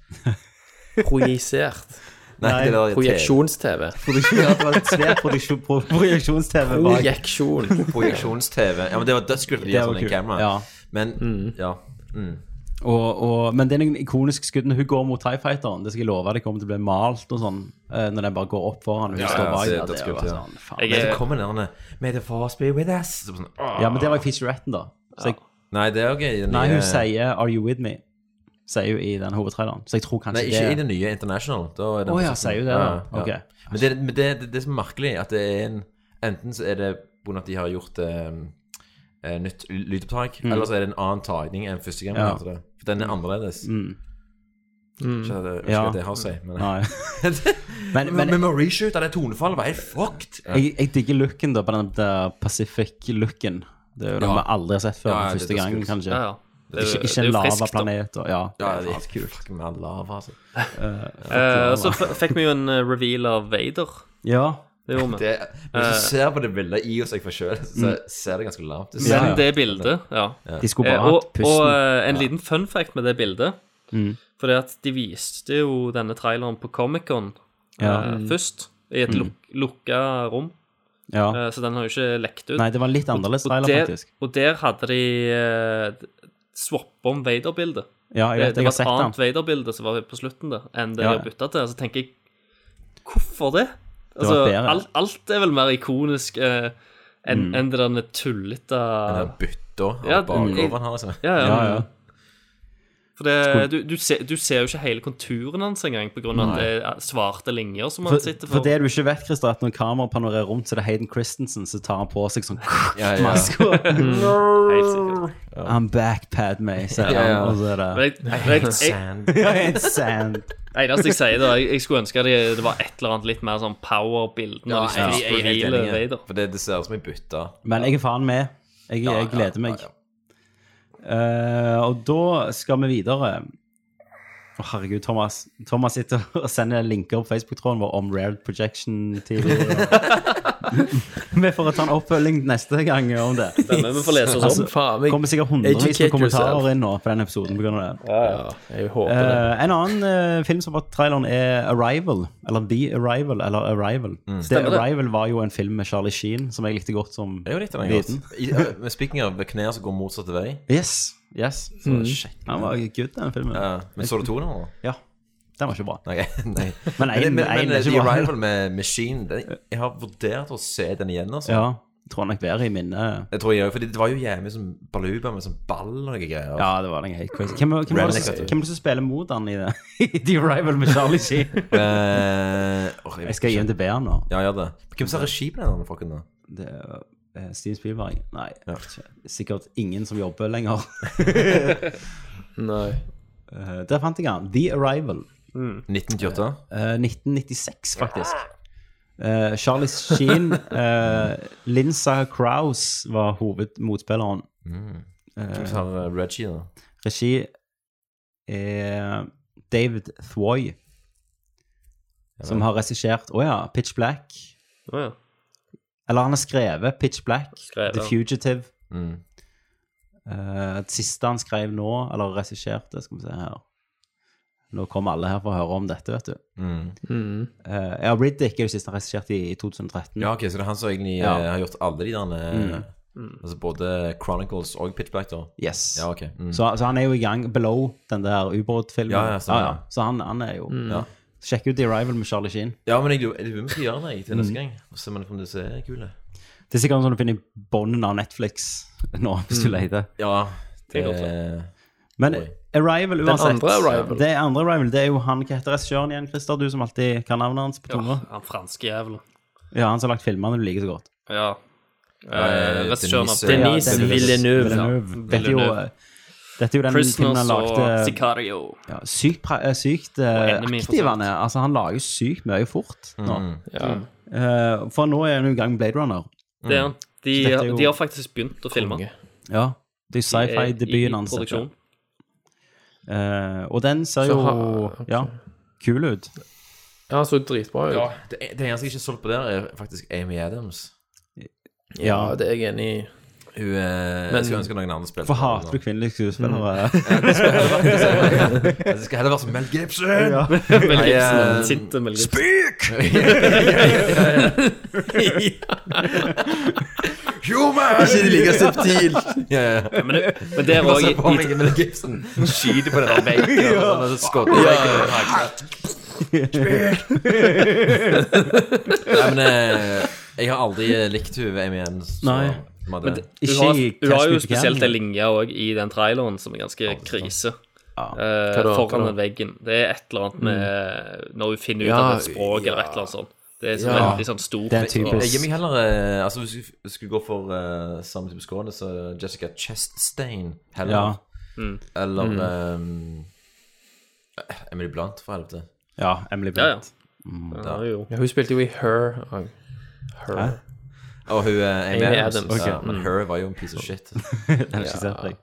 I: Projisert.
H: Nei, det der
I: Projeksjons-TV.
A: Produksjon- ja, det var et svært produksjon- pro- projeksjons-TV bak.
I: Projeksjon.
H: Projeksjons-TV. Ja, men det var dødskult å
A: Det
H: gjøre
A: var
H: sånn i
A: kult,
H: kamera.
A: ja.
H: Men ja. Mm.
A: Og, og, men det er noen ikoniske skudd når hun går mot TIE Fighteren. Det skal jeg love, det kommer til å bli malt og sånn eh, når den bare går opp foran. og Hun
H: Ja,
A: står
H: ja,
A: bak
H: det-
A: der,
H: det
A: det
H: skulle
A: var
H: jeg
A: sånn, faen.
J: Jeg
H: Men så
J: er,
H: kommer den der May the force be with us. Så Sånn, åh.
A: Ja, men det var i featuretten, da. Så jeg,
H: Nei, det er jo ikke i den nye
A: nei, hun sier 'Are you with me?' Sier hun i den hovedtraileren. Så jeg tror kanskje
H: Nei, ikke i
A: Altså, det
H: den nye International. Da er den
A: Å ja,
H: prosessen.
A: sier hun det, da? Ok.
H: Men, det, men det, det, det som er merkelig, at det er en Enten så er det pga. at de har gjort eh, eh, nytt ly- lydopptak, eller så er det en annen tagning enn første gang. vi
A: Mm. Ja. Mm.
H: hørte det. For den er annerledes. Ikke at det, ikke
A: Ja.
H: at det har å si, men
A: Mm, Nei. Men,
H: Men,
A: men
H: men reshoot av det tonefallet var helt fucked.
A: jeg, jeg digger looken da på den der Pacific-looken. Det er jo noe
H: Ja.
A: vi aldri har sett før.
H: Ja, ja, det-
A: første
H: det er
A: gang,
H: skummelt.
A: kanskje.
J: ja, ja. Det,
A: Ikke,
J: er jo-
A: ikke
J: det er
A: en
J: jo friskt, da.
A: lavaplanet. og- Ja,
H: Ja,
A: det er faen kult.
H: kult. Med lava, altså.
J: Eh, Så f- fikk vi jo en eh, reveal av Vader.
A: altså. Ja.
J: Det gjorde vi.
H: Det, hvis
A: Eh,
H: du ser på det bildet i og seg for sjøl, så ser det ganske lavt ut.
A: mm. Ja, ja.
J: Men det bildet, ja.
A: De skulle
J: Eh,
A: bare
J: og,
A: hatt pusten.
J: og eh, en liten fun fact med det bildet.
A: Mm.
J: For det at de viste jo denne traileren på Comic-Con eh,
A: Ja. Mm.
J: først, i et luk lukka rom.
A: ja.
J: Eh, så den har jo ikke lekt ut.
A: Nei, det var en litt annerledes
J: og,
A: trailer,
J: der,
A: faktisk.
J: og der hadde de uh, swappa om Vader-bildet.
A: Ja, jeg
J: Det,
A: vet, jeg har
J: det var et
A: sett den.
J: annet Vader-bilde som var på slutten der, enn det
A: Ja,
J: de
A: ja.
J: har bytta til. Så tenker jeg Hvorfor det?
A: var
J: Altså,
A: bedre. Mm.
J: alt, alt er vel mer ikonisk eh, enn enn det der tullete
H: Bytta
J: Ja,
H: av bakoven her, altså.
J: ja,
A: Ja, ja.
J: For det, du, du, ser, du ser jo ikke hele konturen hans engang pga. at det er svarte linjer som han
A: For,
J: sitter
A: for
J: for.
A: det du ikke vet, Christer, er at når kameraet panorerer rundt, så er det Hayden Christensen som tar han på seg sånn
H: Ja, ja.
A: maske.
J: Helt sikkert.
A: I'm back, Padme, sier
H: Ja, ja.
A: han. Og så er
J: Men
A: det
J: jeg, jeg, jeg,
H: Sand.
A: Ja, en sand.
J: eneste jeg sier, da jeg, jeg skulle ønske det, det var et eller annet litt mer sånn power-bilde når de
H: jeg-
J: skulle
H: jeg er helt
J: reveale
H: enig.
J: Vader.
H: For det, det ser ut som ei bytte.
A: Men jeg er faen med. Jeg,
H: Ja,
A: jeg
H: ja,
A: gleder
H: ja,
A: meg. Eh, og da skal vi videre. Å, herregud, Thomas. Thomas sitter og sender linker på Facebook-tråden vår om Rared Projection TV. vi får ta en oppfølging neste gang om det.
J: Stemmer, vi får lese oss om. Faen,
A: det
J: jeg-
A: sånn. kommer sikkert hundrevis
J: Educate
A: av kommentarer
J: yourself.
A: inn nå på den episoden pga. det.
I: jeg
A: Eh, en annen eh, film som var på traileren, er Arrival. Eller The Arrival, eller Arrival. The
H: Stemmer det.
A: Arrival var jo en film med Charlie Sheen som jeg likte godt som
H: Jeg likte den
A: liten.
H: godt. I, eh, men speaking of knær som går motsatt vei
A: Yes. yes.
H: Så
A: Mm.
H: sjekk den.
A: Den var good, den filmen.
H: Ja, men så du to nå?
A: Ja. Den var ikke bra.
H: Nei, nei.
A: Men en-
H: men,
A: en er
H: men
A: ikke
H: The
A: bra.
H: Arrival med Machine den, Jeg har vurdert å se den igjen, altså.
A: Ja. Tror nok været i minnet
H: Jeg tror jeg, fordi Det var jo jævlig som baluba med sånn ball og noe greier.
A: Ja, det var noe helt crazy. Hvem, hvem, var det som-
H: Renegade.
A: hvem var det som spiller mot han i det? I The Arrival med Charlie Sheen?
H: Eh, åh,
A: Jeg skal gi en til B nå.
H: Ja, gjør det. Hvem som har regi på den? Folkene?
A: Det er eh, Steven Spielberg? Nei, sikkert ingen som jobber lenger.
I: Nei.
A: Eh, Der fant jeg han. The Arrival.
H: 1928?
A: Eh, 1996, faktisk. Eh, Charlie Sheen, uh, Linsa Krause var hovedmotspilleren.
H: Mm.
A: Eh,
H: Hvem som har regi, da?
A: Regi er David Thwoy, som har regissert Å ja, Pitch Black.
J: Å ja.
A: Eller han har skrevet Pitch Black,
J: Skrevet,
A: The
J: ja.
A: Fugitive.
H: Mm.
A: Eh, det siste han skrev nå, eller regisserte, skal vi se her Nå kommer alle her for å høre om dette, vet du.
H: Mm.
A: Eh, ja, Riddick er det siste han regisserte i, i 2013.
H: Ja, ok, så det er han som egentlig
A: Mm. Ja.
H: eh, har gjort alle de der eh,
A: Mm.
H: Altså både Chronicles og Pitch Black, da?
A: Yes.
H: Ja, ok. Mm.
A: så, så han er jo i gang below den der ubåtfilmen.
H: Ja, ja, stemmer.
A: Så han, han er jo
J: Mm.
H: Ja.
A: Sjekk ut The Arrival med Charlie Sheen.
H: ja, men jeg lurer jeg lurer på om vi skal gjøre det jeg, til neste gang. Og se om det fremdeles er kule.
A: Det er sikkert sånn du finner i bånden av Netflix nå, hvis du
H: Mm.
A: leter.
H: Ja, det
J: er
H: Eh,
J: godt,
A: Men
H: Oi.
A: Arrival uansett.
I: andre Arrival.
A: Det er andre Arrival. Det er jo han Hva heter regissøren igjen, Christer? Du som alltid kan navnet hans på tunga.
J: Han franske jævelen.
A: Ja, han som har lagt filmene du liker så godt.
J: Ja. Eh, Regissøren av
H: Denise-
J: Denise
H: Denise
I: Villeneuve.
A: Dette er jo, eh,
J: Villeneuve.
A: dette er jo den filmen han
J: Prisoners og
A: lagde
J: Sicario.
A: ja, Sykt, pra- eh, sykt eh,
J: Enemy, for
A: aktiv
J: så
A: han er. Altså, han lager jo sykt mye fort nå.
I: Ja.
A: Eh, for nå er han jo i gang med Blade Runner.
J: Det er han. De,
A: Så dette Mm. er jo-
J: de har faktisk begynt å filme.
I: Konge.
A: Ja, det er jo
J: De er
A: sci-fi-debuten
J: i
A: hans. dette.
J: produksjon.
A: Eh, og den ser
I: Så
A: jo
I: har- ok.
A: ja, kul ut.
I: Ja, han så dritbra ut.
H: Ja,
I: Ja,
H: det, det eneste jeg ikke er solgt på der, er faktisk Amy Adams.
A: Ja.
I: det er jeg enig i.
H: Hun
I: Men-
H: eh, Jeg skulle ønske noen andre spilte.
A: For hater du kvinnelige skuespillere?
J: Mm.
H: Jeg skal heller være som Mel Gibson!
A: Ja.
J: Mel
H: Nei,
J: Gibson,
H: eh,
J: sinte Mel Gibson.
H: Human! Ikke like subtilt. Ja, ja.
J: Men, det- men det er
H: Og så
J: også
H: får
J: i, i
H: meg Mel Gibson skyter på den der veggen. og så skodder jeg veggen med hagle. Nei, men eh, jeg har aldri likt hun Amy Adams. så-
A: Nei.
H: som hadde-
J: Men det,
A: Ikke
J: hun, har,
A: i
J: hun har jo
A: Cashmere
J: spesielt
A: Canyon.
J: en linje også i den traileren som er ganske krise. eh,
I: Hva da?
J: foran
I: Hva da?
J: den veggen. Det er et eller
A: Mm.
J: annet med eh, Når hun finner ut
I: Ja,
J: av et språk eller et eller annet sånt. Det er så
I: Ja.
J: veldig sånn stort.
A: Det er typisk.
H: Jeg gir meg heller eh, Altså Hvis vi skulle gå for eh, samme type skåne, så Jessica Chastain heller.
A: Ja.
H: Eller Mm. eh, Emily Blunt, for helvete.
A: ja, Emily
J: Ja, ja.
A: Blunt.
J: Ja, jo.
I: Ja, hun spilte jo i Her. og- Her.
A: Hæ?
H: Og hun eh, Amy,
I: Amy
H: Adams. Mm.
I: Adams,
H: Ja, men her var jo en piece of shit.
A: Den har jeg ikke sett, jeg.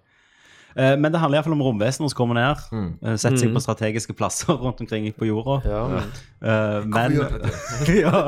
A: Eh, Men det handler iallfall om romvesener som kommer ned.
H: Mm.
A: eh, Setter seg på strategiske plasser rundt omkring på jorda.
I: Mm. Ja, men
A: Eh, Men ja,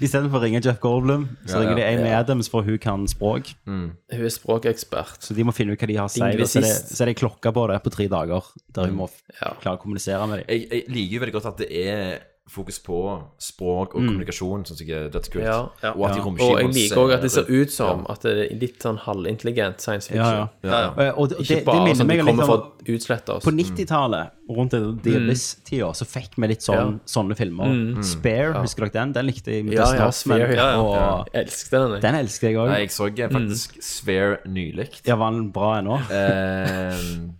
A: istedenfor å ringe Jeff Goldblum, så
H: Ja, ja.
A: ringer de Amy Adams, for hun kan språk.
I: hun er språkekspert.
A: Så de må finne ut hva de har å si. og Så er det- så er det klokka på det på tre dager, der hun må f-
I: Ja.
A: klare å kommunisere med dem.
H: jeg, jeg liker jo veldig godt at det er fokus på språk og kommunikasjon, synes jeg er
I: Mm.
H: dødskult.
I: Ja, ja.
H: Og at de
I: Og jeg
H: romskipene
I: liker òg at
J: eh,
I: det ser ut som at det er litt sånn halvintelligent
A: Ja,
I: science fiction.
A: ja.
H: ja, ja.
A: Eh, Og det, det,
I: Ikke
A: det
I: bare
A: minner
I: sånn at
A: meg
I: de
A: litt
I: kommer
A: om
I: for å utslette oss.
A: På 90-tallet, rundt den The Abyss-tida, så fikk vi litt sånn, sånne filmer. Spare, husker dere den? Den likte jeg. med
I: Ja,
A: Dustin
I: ja,
A: Hoffman,
I: Spare, ja.
A: Og
I: Jeg elsket den. jeg.
A: Den elsket jeg òg.
H: Nei, jeg så eh,
I: Mm.
H: faktisk Sphere nylig.
A: Ja, var den bra ennå?
H: Ehm,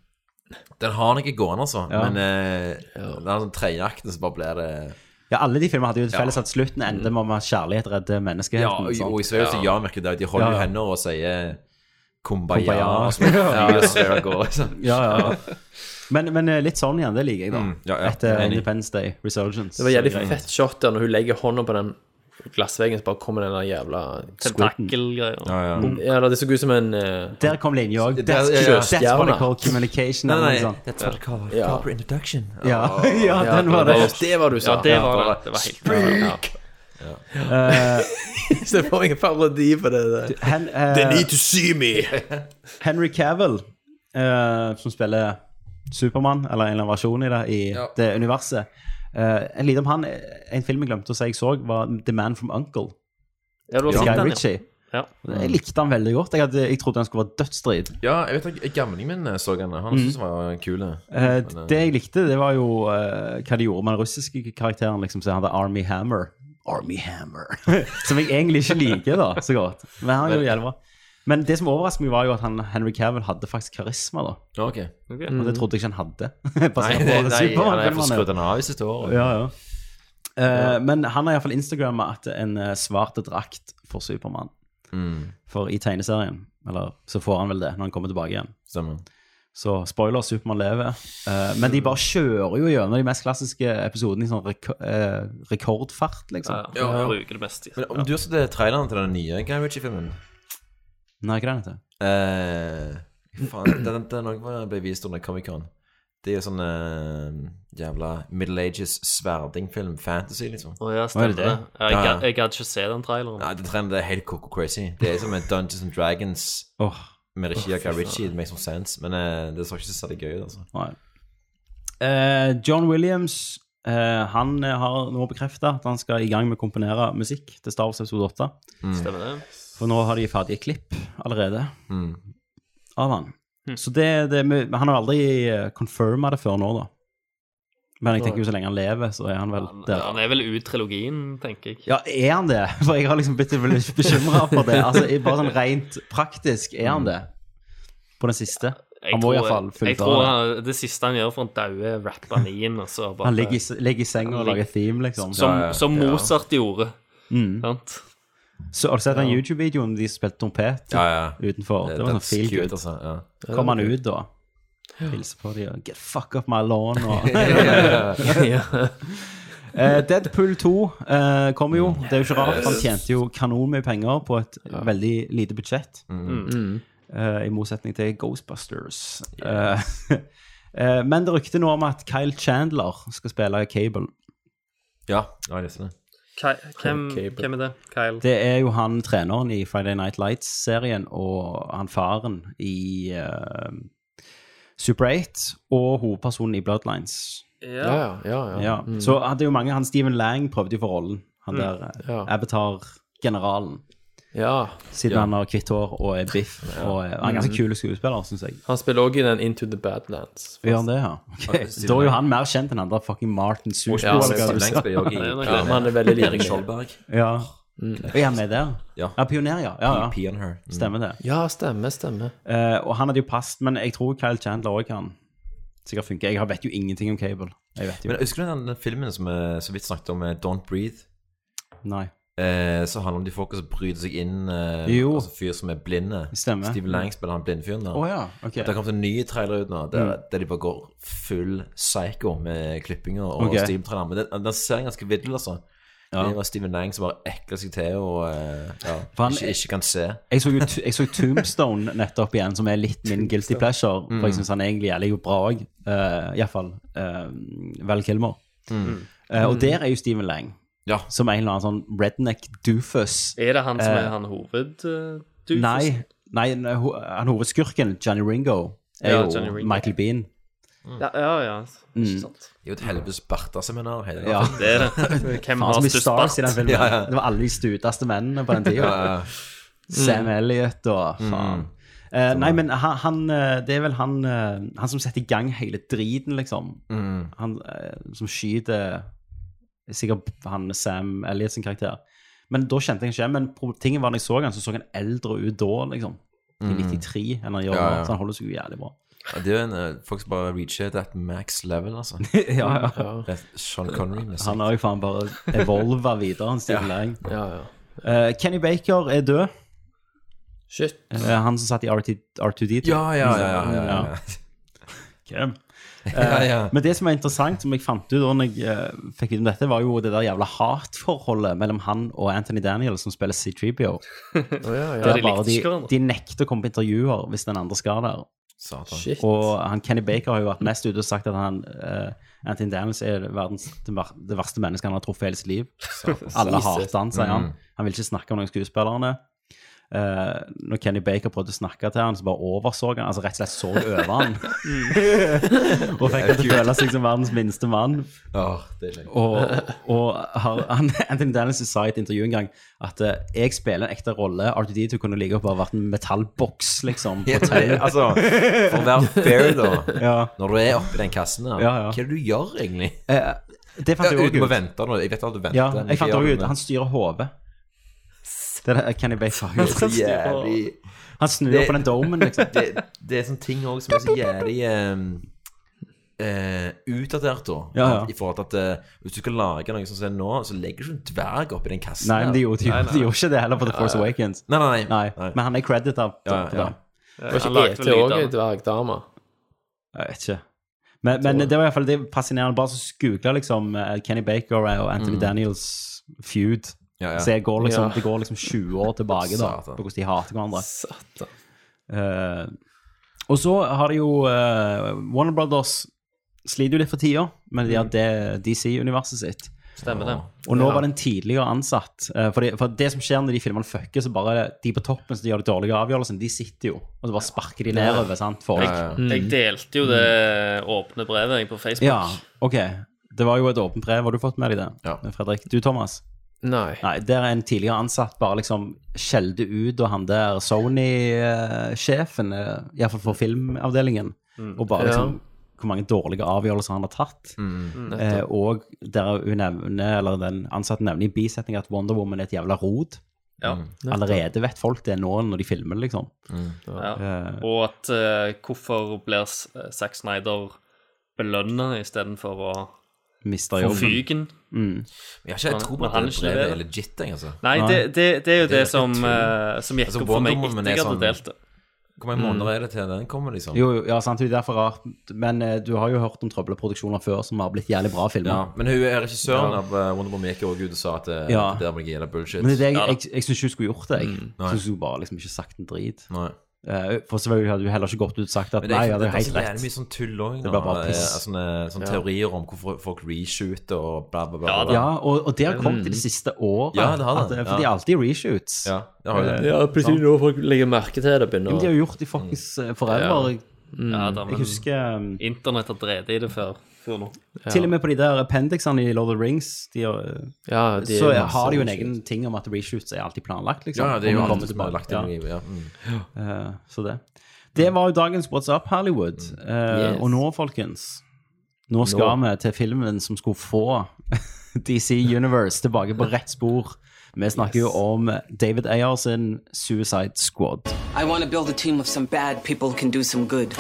H: den har noe gående, altså.
A: Ja.
H: Men eh, den er sånn tredjeakten, så bare blir det
A: Ja, alle de filmene hadde jo et felles at slutten ender med at kjærlighet redder
H: Ja,
A: menneskeheten.
H: og,
A: sant?
H: og i Sphere så ja, merker du det. De holder
A: Ja,
H: jo
A: ja.
H: hender og sier Kumbaya.
A: Kumbaya.
H: og så flyr Sphere av gårde, liksom.
A: ja, ja, ja. Men, men eh, litt sånn igjen, det liker jeg, da.
H: Mm, ja, ja.
A: Etter
H: Enig.
A: Independence Day, Resurgence.
I: Det var jævlig fett shot der når hun legger hånda på den glassveggen, så bare kommer den der jævla
J: Tentakelgreier.
I: Ja, ja. ja, det så ut som en eh,
A: Der kom linja òg. That's,
I: Ja, ja.
A: that's what I call communication. eller noe sånt.
I: Ja.
H: introduction.
A: Ja, ja, Sånn. den var det.
I: Det var du sa.
J: Ja, det var det. Det var helt
I: Freak! Så det var ingen parodi på det der.
A: Eh, Hen, eh,
I: They need to see me!
A: Henry Cavill, eh, som spiller Supermann, eller en eller annen versjon i det, i
H: Ja.
A: det universet. Eh, en lite om han, eh, en film jeg glemte å si jeg så, var The Man from Uncle.
J: Ja, du har
A: Guy
J: sett den,
A: Ritchie.
J: ja. ja.
A: Jeg likte han veldig godt. Jeg, hadde, jeg trodde han skulle være dødsdrit.
H: Ja, jeg vet ikke, gamlingen min eh, så han. Han
I: Mm.
H: syntes han var kul. eh.
A: Eh,
H: Men, eh,
A: det jeg likte, det var jo eh, hva de gjorde med den russiske karakteren. liksom, så Han hadde Army Hammer. Army Hammer. som jeg egentlig ikke liker da, så godt. Men han gjorde jævlig bra. Men det som overrasket meg, var jo at han, Henry Cavill hadde faktisk karisma. da.
H: ja, ok.
A: Og det trodde jeg ikke han hadde. Basert
H: Nei,
A: på alle
H: det, nei, han er
A: Superman-filmene.
H: skrudd han av i siste år.
A: ja, ja. Eh, Men han har iallfall instagramma at en eh, svart drakt for Supermann.
H: Mm.
A: For i tegneserien, eller så får han vel det når han kommer tilbake igjen.
H: Stemmer.
A: Så spoiler, Supermann lever. Eh, men de bare kjører jo gjennom de mest klassiske episodene i sånn reko eh, rekordfart, liksom.
J: Ja, ja. Bruker det beste.
H: Men om du har sett traileren til den nye Guy Ritchie-filmen
A: Nei, hva er det den heter?
H: eh, Faen, den, den, den også ble vist under Comic-Con. Det er jo sånn eh, jævla Middle Ages sverdingfilm. Fantasy, liksom.
J: Å ja,
A: Var det
J: stemmer
A: det?
J: det. Ja, Jeg
H: Ja, ja.
J: gadd- jeg gadd ikke se den traileren.
H: Nei, den traileren det er helt coco crazy. Det er som en Dungeons and Dragons
A: Åh,
H: med regi av Guy Ritchie. Det makes no sense. Men eh, det så ikke særlig gøy ut, altså.
A: nei. Eh, John Williams eh, han eh, har nå bekrefta at han skal i gang med å komponere musikk til Star Wars episode 8.
J: Stemmer det?
A: For nå har de ferdige klipp allerede av han. Så det, det men Han har aldri eh, confirma det før nå, da. Men jeg tenker jo så lenge han lever, så er han vel
J: Han,
A: der.
J: han er vel ut trilogien, tenker jeg.
A: Ja, er han det? For jeg har liksom blitt litt bekymra for det. Altså, Bare sånn rent praktisk, er han det? På den siste? Han må iallfall
J: Jeg tror
A: fullføre.
J: han, det siste han gjør for en daue rappanien, og så bare
A: Han ligger i, s- ligger i senga og
J: Han ligger-
A: lager theme, liksom. Mm.
J: Som,
H: Ja, ja,
J: som
H: ja.
J: Mozart gjorde. Sant?
A: Så Har du sett den YouTube-videoen de spilte trompet
H: Ja, ja.
A: utenfor? Det var sånn
H: That's
A: feel
H: cute,
A: good.
H: altså. Ja.
A: Kom han ut, da? Hilser på de og Get fuck up my lawn og Eh, Deadpool 2 eh, kommer jo. Det er jo ikke rart. Han tjente jo kanon med penger på et veldig lite budsjett. Eh, I motsetning til Ghostbusters. Eh, eh, men det rykter nå om at Kyle Chandler skal spille Cable.
H: ja, ja, jeg leste det.
J: Ki- Hvem, hvem er det? Kyle?
A: Det er jo han treneren i Friday Night Lights-serien og han faren i eh, Super 8 og hovedpersonen i Bloodlines.
I: Ja, ja, ja. ja.
A: Ja. Så hadde jo mange, han Steven Lang prøvde jo for rollen. Han der eh,
I: Ja.
A: Avatar-generalen.
I: ja.
A: Siden han har hvitt hår og er biff. Og er, han er ganske kul skuespiller, syns jeg.
I: Han spiller også i den Into the Badlands.
A: Gjør han det, ja? Ok.
H: Steven
A: Da er jo
H: Lang.
A: han mer kjent enn han der fucking Martin Super.
I: Ja,
A: Ja,
I: men
H: Steven Lang spiller jo også i-
J: Det er nok
H: Ja,
J: det.
I: Men han er veldig
H: Erik
I: lik.
H: Skjoldberg.
A: ja. Og er han med der?
H: Ja.
A: ja pioner, ja. ja, ja.
H: Pee on her. Mm.
A: Stemmer det.
I: Ja, stemmer, stemmer.
A: Eh, og han hadde jo passet, men jeg tror Kyle Chandler òg kan sikkert funke. Jeg vet jo ingenting om Cable. Jeg vet jo.
H: Men husker du den, den filmen som vi så vidt snakket om, eh, Don't Breathe?
A: Nei.
H: Eh, så handler det om de folka som bryter seg inn eh,
A: Jo.
H: Altså fyr som er blinde.
A: Stemmer.
H: Steven Lang spiller han blindfyren der.
A: Å ja, Mm. ok.
H: Det har kommet en ny trailer ut nå der, der de bare går full psycho med klippinger og
A: Ok.
H: steam-traileren. Men den, den ser ganske viddel, altså. Det var Steven Lang som bare ekler seg til og eh, ja,
A: For han-
H: ikke, ikke kan se.
A: Jeg så jo t- jeg så Tombstone nettopp igjen, som er litt min guilty pleasure. For jeg syns han egentlig er jo bra òg. Uh, Iallfall uh, Val Kilmer. Eh, og der er jo Steven Lang,
H: Ja.
A: som er en eller annen sånn redneck doofus.
J: Er det han som er han hoved... eh, du,
A: Nei, nei nei, ho han hovedskurken, Johnny Ringo, er
J: Ja,
A: jo
J: Johnny Ringo.
A: Michael Bean.
J: forresten? Ja, ja. ja.
A: Mm.
J: Ikke sant.
H: Det er jo et helvetes Bartha-seminar. hele
A: Ja.
H: den filmen.
J: Det er det. Hvem
A: Han
J: har
A: som er
J: størst bart?
A: stars i den filmen. Det var alle de stuteste mennene på den tida.
H: Ja, Mm. ja.
J: Mm.
A: Sam Elliot og faen.
H: Sånn
A: Eh, nei, men han, han eh, Det er vel han eh, Han som setter i gang hele driten, liksom.
H: Mm.
A: Han eh, som skyter eh, Sikkert han Sam Elliot sin karakter. Men da kjente jeg ikke igjen. Men pro- tingen var når jeg så han, så så han eldre ut da, liksom. I 93 enn han gjør nå.
H: Mm. Ja, ja.
A: Så han holder seg jo jævlig bra.
H: Ja, det er jo en eh, folk som bare reacher that max level, altså.
A: ja, ja.
H: Det er Sean Connery. med seg.
A: Han har jo faen bare evolva videre, han Steven Lang.
I: Ja, ja.
A: Eh, Kenny Baker er død.
I: Shit.
A: Eh, han som satt i RT R2D2.
H: Ja, ja, ja. ja, ja, ja.
A: Hvem? Eh,
H: Ja, ja.
A: Men det som er interessant, som jeg fant ut da når jeg eh, fikk vite om dette, var jo det der jævla hatforholdet mellom han og Anthony Daniel, som spiller C-3PO.
I: ja.
A: Der bare
I: De likte
A: de,
I: ikke hverandre.
A: de nekter å komme på intervjuer hvis den andre skal der.
I: Shit.
A: sånn. Og han, Kenny Baker har jo vært mest ute og sagt at han, eh, Anthony Daniels er verdens, det ver- det verste mennesket han har truffet i hele sitt liv.
I: Satan.
A: Alle
I: Jesus.
A: hater han, sier han.
I: Mm.
A: Han vil ikke snakke om noen skuespillerne. Eh, når Kenny Baker prøvde å snakke til han, så bare overså han. Altså rett og slett så over han. og fikk han til å føle seg som verdens minste mann. Og, og har, han, Anthony Daniels sa i et intervju en gang at eh, jeg spiller en ekte rolle. R2D2 kunne like godt bare vært en metallboks, liksom.
H: Ja,
A: På tøy.
H: altså, for å være fair, da.
A: Ja.
H: Når du er oppi den kassen der,
A: Ja, ja.
H: hva er det du gjør egentlig?
A: Eh, det fant jeg
H: Ja,
A: også
H: Du må
A: ut.
H: vente nå. Jeg vet at du venter.
A: Ja,
H: men
A: jeg
H: hva
A: fant
H: gjør
A: også
H: du
A: ut.
H: med-
A: Han styrer hodet. Det er det Kenny Baker har
H: Det er
A: gjort.
H: så jævlig
A: Han snur på den domen, liksom.
H: Det, det er sånne ting òg som er så jævlig eh, eh, utdatert, da.
A: Ja, ja.
H: At- I forhold til at eh, hvis du skal lage noe sånn som det er nå, så legger du ikke en dverg oppi den kassen.
A: Nei, men de
H: der.
A: gjorde, de, gjorde- de gjorde ikke det heller på The Force Awakens.
H: Nei, nei, nei.
A: Men han er credited på
H: Ja,
A: på
H: ja.
A: det.
I: Det var ikke ET òg ei dvergdame?
A: Jeg vet ikke. Men, men det var i hvert fall det er fascinerende. Bare så googla liksom eh, Kenny Baker og Anthony
H: Mm.
A: Daniels feud.
H: Ja, ja.
A: Så jeg går liksom,
I: Ja.
A: det går liksom 20 år tilbake da, på
H: Satan.
A: hvordan de hater hverandre.
I: Satan.
A: Eh, og så har de jo eh, Warner Brothers sliter jo litt for tida med
H: Mm.
A: de har det DC-universet sitt.
J: Stemmer det.
A: Og nå var den tidligere ansatt. eh, For det, for det som skjer når de filmene fucker, så bare de på toppen som gjør de dårlige avgjørelsene, de sitter jo, og så bare sparker de nedover, sant, folk.
J: Jeg delte jo det åpne brevet jeg på
A: Mm.
J: Facebook.
A: Ja, ok. Det var jo et åpent brev, har du fått med deg det,
H: Ja.
A: Fredrik? Du, Thomas?
I: Nei.
A: Nei, der er en tidligere ansatt bare liksom skjelte ut, og han der Sony-sjefen, iallfall for filmavdelingen,
H: Mm.
A: og bare liksom hvor mange dårlige avgjørelser han har tatt.
H: Mm.
A: eh, og der hun nevner, eller den ansatte nevner i bisetning at Wonder Woman er et jævla rot.
J: Ja.
H: Mm.
A: Allerede vet folk det nå når de filmer, liksom.
J: Ja. Og at eh, hvorfor blir S- Zack Snyder belønna istedenfor å
A: Mister
J: få
A: jobben. Mm.
J: fyken?
H: Jeg har ikke jeg tror på
J: Men
H: at
J: han er
H: det
J: ikke
H: brevet er
J: det.
H: legit, jeg, altså.
J: Nei,
A: Nei.
J: det, det, det er jo det,
H: Det er
J: som,
H: et tull.
J: eh, som gikk
H: Altså,
J: opp for meg
H: Wonder Woman
J: etter
H: er
J: jeg hadde
H: sånn-
J: delt det.
H: Hvor mange måneder er det til den kommer, liksom?
A: Mm. Jo, jo, ja, sant, det er derfor rart. Men eh, du har jo hørt om trøbleproduksjoner før som har blitt jævlig bra filmer.
H: Ja, Mm. men hun er regissøren av eh, Wonder Woman gikk jo også ut og sa at eh,
A: Ja.
H: det der må ikke gjelde bullshit.
A: Men det er det jeg,
J: Ja da.
A: jeg, jeg syns ikke hun skulle gjort det. Jeg
H: Mm, Nei.
A: synes hun bare liksom ikke sagt en drit.
H: Nei.
A: Eh, for selvfølgelig hadde hun heller ikke gått ut og sagt at
H: Men
A: nei,
H: det
A: ja,
H: er,
A: det
H: det
A: er
H: er
A: helt
H: så
A: rett.
H: jævlig mye sånn tull òg.
A: Det er bare- bare piss.
H: Sånne, altså, eh, sånne teorier om hvorfor folk reshooter og bla, bla, bla.
J: Ja,
H: bla.
A: Ja, og, og det har kommet til det siste året.
H: Mm. Ja, det har
A: At,
H: det.
A: eh, for de
H: Ja.
A: er alltid reshoots. Eh,
H: Ja, det har jo det.
I: Ja, plutselig nå folk legger merke til det.
A: Men de
I: begynner
A: har jo gjort
H: Mm.
A: det fuckings eh, forever. Jeg,
I: Mm.
J: Ja, da,
A: jeg
J: men
A: husker um,
J: internett har drevet i det før. før nå.
A: Til og med på de der appendixene i Lord of the Rings de, har, eh,
I: Ja, de
A: Så
I: er masse
A: har de jo en
I: overskudd.
A: egen ting om at reshoots er alltid planlagt, liksom.
H: Ja, det er jo
A: Og kommer
H: alt som
A: tilbake.
H: er lagt
A: Ja.
H: inn i ja. mm.
A: Eh, så det. Det var jo dagens What's Up Hollywood. Eh,
I: Mm. Yes.
A: Og nå, folkens, nå skal vi til filmen som skulle få DC Universe tilbake på rett spor. Vi snakker jo om David Ayer sin Suicide Squad.
L: I want to build a team of some bad people who can do some good.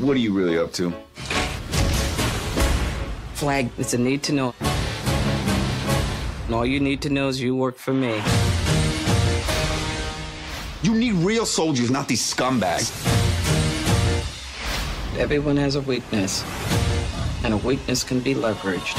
D: What are you really up to?
L: Flag is a need to know. And all you need to know is you work for me.
D: You need real soldiers, not these scumbags.
L: Everyone has a weakness, and a weakness can be leveraged.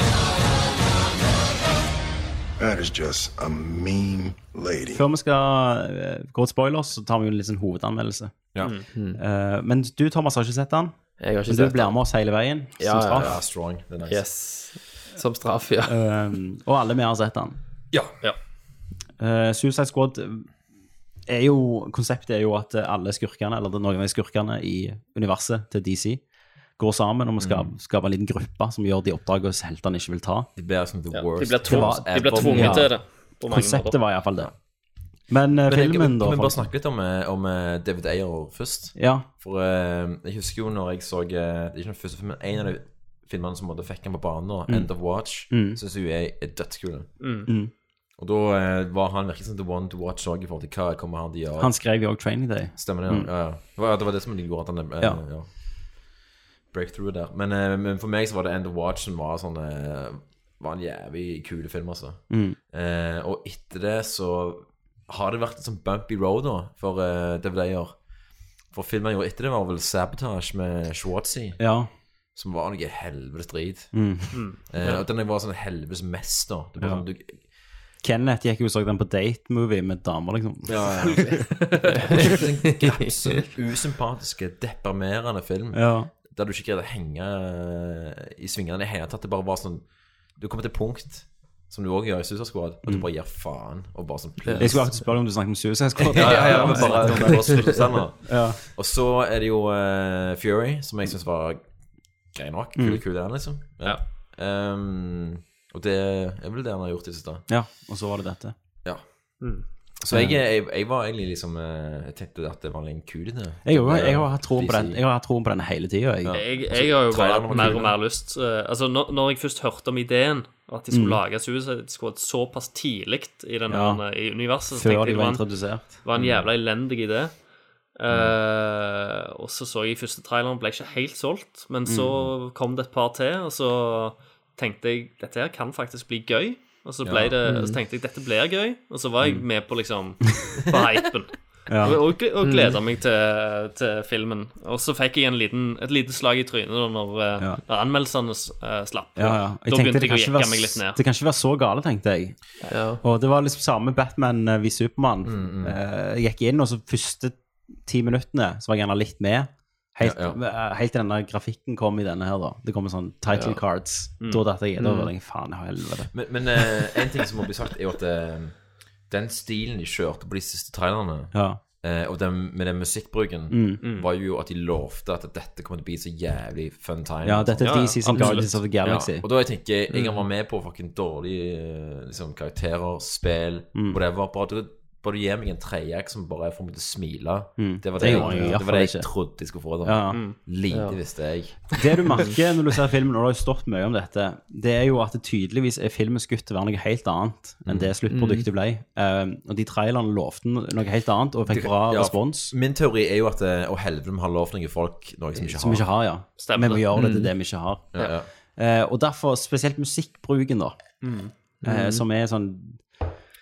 G: That is just a mean lady.
A: Før vi skal eh, gå til spoilers, så tar vi jo en litt sånn hovedanmeldelse.
H: ja.
A: Eh, men du, Thomas, har ikke sett den.
I: Jeg har Mm. ikke
A: Men du
I: sett
A: blir med oss hele veien, som
I: Ja, ja,
A: straff.
H: ja, strong. Det er nice.
I: Yes. Som straff, ja.
A: Eh, og alle vi har sett den.
H: Ja.
A: Eh, Suicide Squad er jo, konseptet er jo at alle skurkene, eller noen av de skurkene i universet til DC, går sammen om å
H: Mm.
A: skape, skape en liten gruppe som gjør de oppdragene som heltene ikke vil ta.
H: De blir som the
J: De
H: worst.
J: blir
A: Det var-
J: tvunget, de blir
H: ever.
J: tvunget
A: Ja.
J: til det. på mange
A: Konseptet
J: måter.
A: var iallfall det. Men eh,
H: Men jeg-
A: filmen, da,
H: Kan vi bare
A: folk
H: snakke litt om, eh, om eh, David Ayer først?
A: Ja.
H: For eh, jeg husker jo når jeg så eh, Det er ikke den første filmen, en av de filmene som måtte fikk han på banen, nå, End of Watch,
A: Mm.
H: syns jeg er, er dødskul.
A: Mm.
H: Og da eh, var han virkelig sånn the one to watch òg, i forhold til hva kommer han til å gjøre.
A: Han skrev jo òg 'Training Day'.
H: Stemmer det, ja. ja, ja. Det, var, det var det som gjorde at han eh,
A: Mm. Ja.
H: ja. Breakthrough der. Men, eh, men for meg så var det End of Watch som var sånn eh, Var en jævlig kul film, altså.
A: Mm.
H: Eh, og etter det så har det vært en sånn bumpy road, da, for eh, David Ayer. For filmen jeg gjorde etter det, var vel 'Sabotage' med Schwartzy.
A: Ja.
H: Som var noe helvetes drit.
A: Mm. Mm.
H: Eh, og den var sånn helvetes mester. Det var sånn, du,
A: Kenneth gikk jo og så den på date-movie med damer, liksom.
H: Ja, ja. ja. Absolutt usympatiske, deprimerende film
A: Ja.
H: der du ikke greide å henge eh, i svingene i det hele tatt. Det bare var sånn Du kommer til et punkt, som du òg gjør i Suicide Squad, at du bare gir faen og bare sånn
A: Mm. Jeg skulle akkurat spørre om du snakket om Suicide Squad.
H: ja, ja, ja, men bare, bare slutt sånn, da.
A: Ja.
H: Og så er det jo eh, Fury, som jeg syns var grei nok.
A: Mm.
H: Kul, kul den, liksom. Ja. Ehm, og det er vel det han har gjort i det siste.
A: Ja, og så var det dette.
H: Ja. Så jeg, jeg, jeg var egentlig liksom eh, Jeg tenkte at det var en kul idé.
A: Jeg, har- jeg har hatt troen på den Jeg har hatt troen på den hele tida. Jeg.
J: Jeg, jeg har jo bare
H: traileren
J: hatt
H: var
J: mer
H: kul,
J: og mer lyst eh, Altså, når, når jeg først hørte om ideen, at de skulle
A: Mm.
J: lage Suicide Squad såpass tidlig i, den
A: Ja.
J: her, i universet, så
A: Før
J: tenkte
A: de
J: jeg det
A: var
J: var en,
A: introdusert.
J: var en jævla elendig idé. Eh, og så så jeg første traileren, ble ikke helt solgt, men så
A: Mm.
J: kom det et par til, og så tenkte jeg dette her kan faktisk bli gøy. Og så, ble
H: Ja.
J: det, og så
H: Mm.
J: tenkte jeg dette blir gøy, og så var jeg med på liksom på hypen.
A: Mm. Ja. Mm.
J: Og, og, og gleda meg til, til filmen. Og så fikk jeg en liten, et lite slag i trynet da når, eh,
A: Ja.
J: når anmeldelsene eh, slapp.
A: Ja, ja. Jeg
J: Da
A: tenkte
J: begynte
A: det kan,
J: jeg å
A: ikke
J: jekke meg litt
A: være,
J: ned.
A: det kan ikke være så gale, tenkte jeg. Og det var liksom samme Batman eh, vi Supermann.
H: Mm,
A: Eh, Jeg gikk inn, og så første ti minuttene så var jeg gjerne litt med. Helt,
H: Ja,
A: eh, helt til denne grafikken kom i denne her, da. Det kommer sånn title
H: Ja.
A: cards.
H: Mm.
A: Da datt jeg i. Da var
H: Mm.
A: jeg faen i helvete.
H: Men, men eh, en ting som må bli sagt, er jo at eh, den stilen de kjørte på de siste trailerne,
A: Ja.
H: eh, og den, med den musikkbruken,
A: Mm.
H: var jo at de lovte at dette kommer til å bli så jævlig fun time.
A: Ja, dette er
H: Sånn.
A: DC sin Guardians of the Galaxy.
H: og da jeg tenker jeg kan
A: Mm.
H: være med på fucking dårlige eh, liksom, karakterer, spill,
A: Mm.
H: whatever. Bare du, bare du gir meg en treier som bare får meg til å smile.
A: Mm.
H: Det var
A: Det
H: det,
A: gjorde jeg i
H: jeg,
A: hvert
H: det, var det
A: fall
H: jeg
A: ikke.
H: trodde jeg skulle få. Da.
A: Ja.
H: Mm.
A: Ja.
H: Lite visste jeg.
A: Det du merker når du ser filmen, og det har jo stått mye om dette, det er jo at det tydeligvis er filmens gutt til å være noe helt annet
H: Mm.
A: enn det sluttproduktet ble. Um, og de trailerne lovte noe helt annet og fikk bra
H: Ja,
A: respons. Eh,
H: Min teori er jo at eh, Å helvete, vi har lovt noen folk noe som vi ikke har.
A: Som vi ikke har, ja.
H: Stemmer
A: vi må
H: det.
A: gjøre det til
H: Mm.
A: det vi ikke har.
H: Ja, ja.
A: Eh, og derfor spesielt musikkbruken, da.
H: Mm.
A: Eh,
H: Mm.
A: som er sånn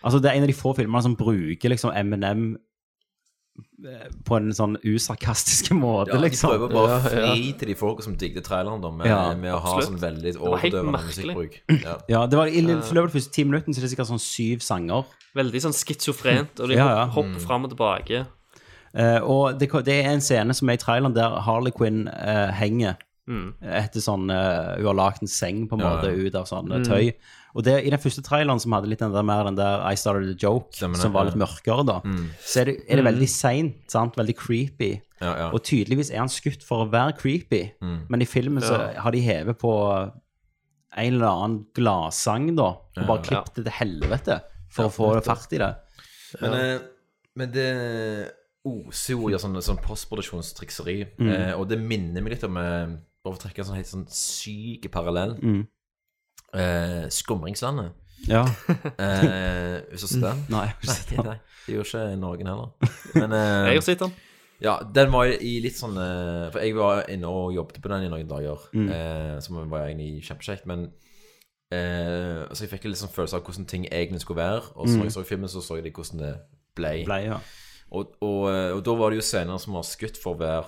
A: Altså, det er en av de få filmene som bruker liksom M&M på en sånn usarkastisk måte,
H: Ja, de
A: liksom.
H: prøver bare å
A: Ja, ja.
H: fri til de folka som digger traileren, da, med,
A: Ja,
H: med å ha
A: absolutt.
H: sånn veldig
J: Det var helt
H: overdøvende
J: merkelig.
H: musikkbruk. Ja.
A: Ja, det var i
J: Ja.
H: Eh.
A: løpet av de første ti minuttene så er det sikkert sånn syv sanger.
J: Veldig sånn schizofrent, og de
A: Ja, ja. Mm.
J: hopp- hopper fram og tilbake.
A: Eh, og det, det er en scene som er i traileren der Harley Quinn eh, henger
J: Mm.
A: etter sånn eh, Hun har lagd en seng på en
H: Ja,
A: måte
H: ja.
A: ut av sånn eh,
H: Mm.
A: tøy. Og det, i den første traileren som hadde litt den der, mer den der I Started a Joke,
H: Stemmer det,
A: som var
H: ja.
A: litt mørkere, da,
H: Mm.
A: så er det, er det
H: Mm.
A: veldig seint, sant? Veldig creepy.
H: Ja, ja.
A: Og tydeligvis er han skutt for å være creepy,
H: Mm.
A: men i filmen
H: Ja.
A: så har de hevet på en eller annen gladsang, da, og bare
H: Ja.
A: klippet det til helvete for å få fart i det.
H: Men, eh, men det oser jo i sånn, sånn postproduksjonstrikseri,
A: Mm.
H: eh, og det minner meg litt om eh, Bare for å trekke en sånn helt sånn syk parallell.
A: Mm.
H: Eh, Skumringslandet.
A: Ja.
H: eh, hvis du har sett den?
A: Nei, jeg har ikke sett den.
H: Nei, det gjør ikke Norge heller. Men, eh,
J: Jeg har sett den.
H: Ja, den var i litt sånn eh, For jeg var inne og jobbet på den i noen dager,
A: Mm.
H: eh, som var egentlig kjempekjekt. Men eh, Så jeg fikk en litt sånn følelse av hvordan ting egentlig skulle være. Og så
A: Mm.
H: når jeg så filmen, så så jeg det hvordan det ble.
A: Ble, ja.
H: og, og, eh, og da var det jo scener som var skutt for å være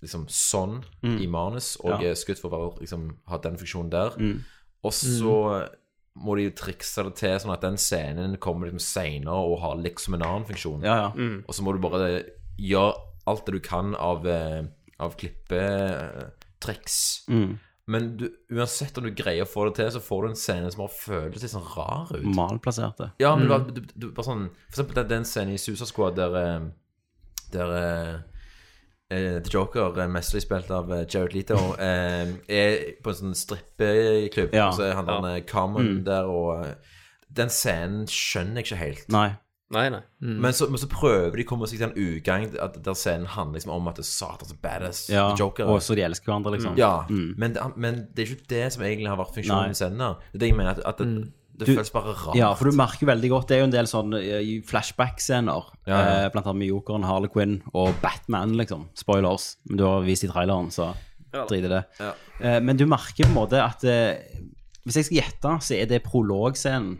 H: liksom sånn
A: Mm.
H: i manus, og
A: Ja.
H: er skutt for å være, liksom, ha den funksjonen der.
A: Mm.
H: Og så må de jo trikse det til sånn at den scenen kommer liksom seinere og har liksom en annen funksjon.
A: Ja, ja.
J: Mm.
H: Og så må du bare gjøre alt det du kan av, eh, av klippetriks.
A: Mm.
H: Men du, uansett om du greier å få det til, så får du en scene som bare føles litt sånn rar ut.
A: Malplasserte.
H: Ja, men du, du, du, bare sånn For eksempel den, den scenen i Susa Squad der eh, Der eh, eh, The Joker, eh, mesterlig spilt av eh, Jared Leto, eh, er på en sånn strippeklubb,
A: Ja,
H: og så er han
A: ja.
H: der eh, Carmen
A: Mm.
H: der, og eh, Den scenen skjønner jeg ikke helt.
A: Nei.
J: Nei, nei. Mm.
H: Men, så, men så prøver de å komme seg til en utgang at der scenen handler liksom om at det er satans badass
A: Ja,
H: Joker.
A: og så de elsker hverandre, liksom.
H: Ja,
A: Mm.
H: men, det, men det er ikke det som egentlig har
A: Nei.
H: vært
A: Mm.
H: funksjonen i scenen. her. Det er det jeg mener, at, at det, det
A: Du-
H: føles bare rart.
A: Ja, for du merker jo veldig godt Det er jo en del sånn eh, flashback-scener.
H: Ja, ja.
A: eh, Blant annet med Jokeren, Harley Quinn og Batman, liksom. Spoilers. Men du har vist i traileren, så
H: Ja.
A: drit i det.
H: Ja.
A: Eh, Men du merker på en måte at eh, Hvis jeg skal gjette, så er det prologscenen.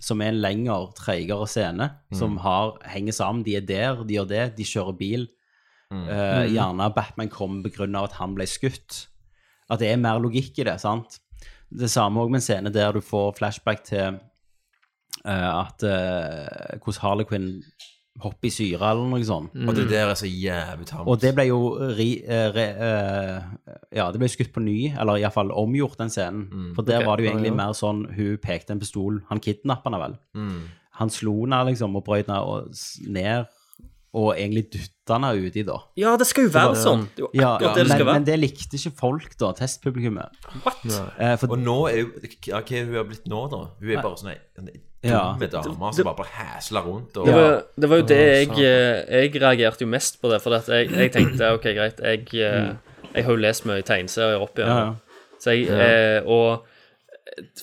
A: Som er en lengre,
H: Mm.
A: treigere scene. Som har, henger sammen. De er der, de gjør det, de kjører bil. Eh,
H: Mm.
J: Mhm.
A: gjerne Batman kom begrunna av at han ble skutt. At det er mer logikk i det. sant? Det samme òg med en scene der du får flashback til eh, at eh, hvordan Harley Quinn hopper i syre, eller noe sånt.
H: Og det der er så jævlig tamt.
A: Mm. Og det ble jo ri, eh, re, eh, Ja, det ble skutt på ny, eller iallfall omgjort, den scenen.
H: Mm.
A: For der
H: Ok.
A: var det jo
H: Ja,
A: egentlig
H: ja.
A: mer sånn hun pekte en pistol Han kidnappa henne vel.
H: Mm.
A: Han slo henne liksom og brøt henne og s- ned, og egentlig dytta henne uti, da.
J: Ja, det skal jo være
A: var-
J: sånn. Det er jo akkurat det det
A: men,
J: skal være.
A: Men det likte ikke folk, da. Testpublikummet. Eh, for-
H: Og nå er jo ja, Hva er hun har blitt nå, da? Hun er bare sånn ei en
A: Ja.
H: dumme dame som bare bare hæsler rundt og
J: Det var, det var jo det jeg eh, Jeg reagerte jo mest på det, for at jeg, jeg tenkte OK, greit, jeg, eh, jeg har jo lest mye tegneserier opp
A: Mm. Ja, ja.
J: igjen. Så jeg,
A: Ja.
J: eh, og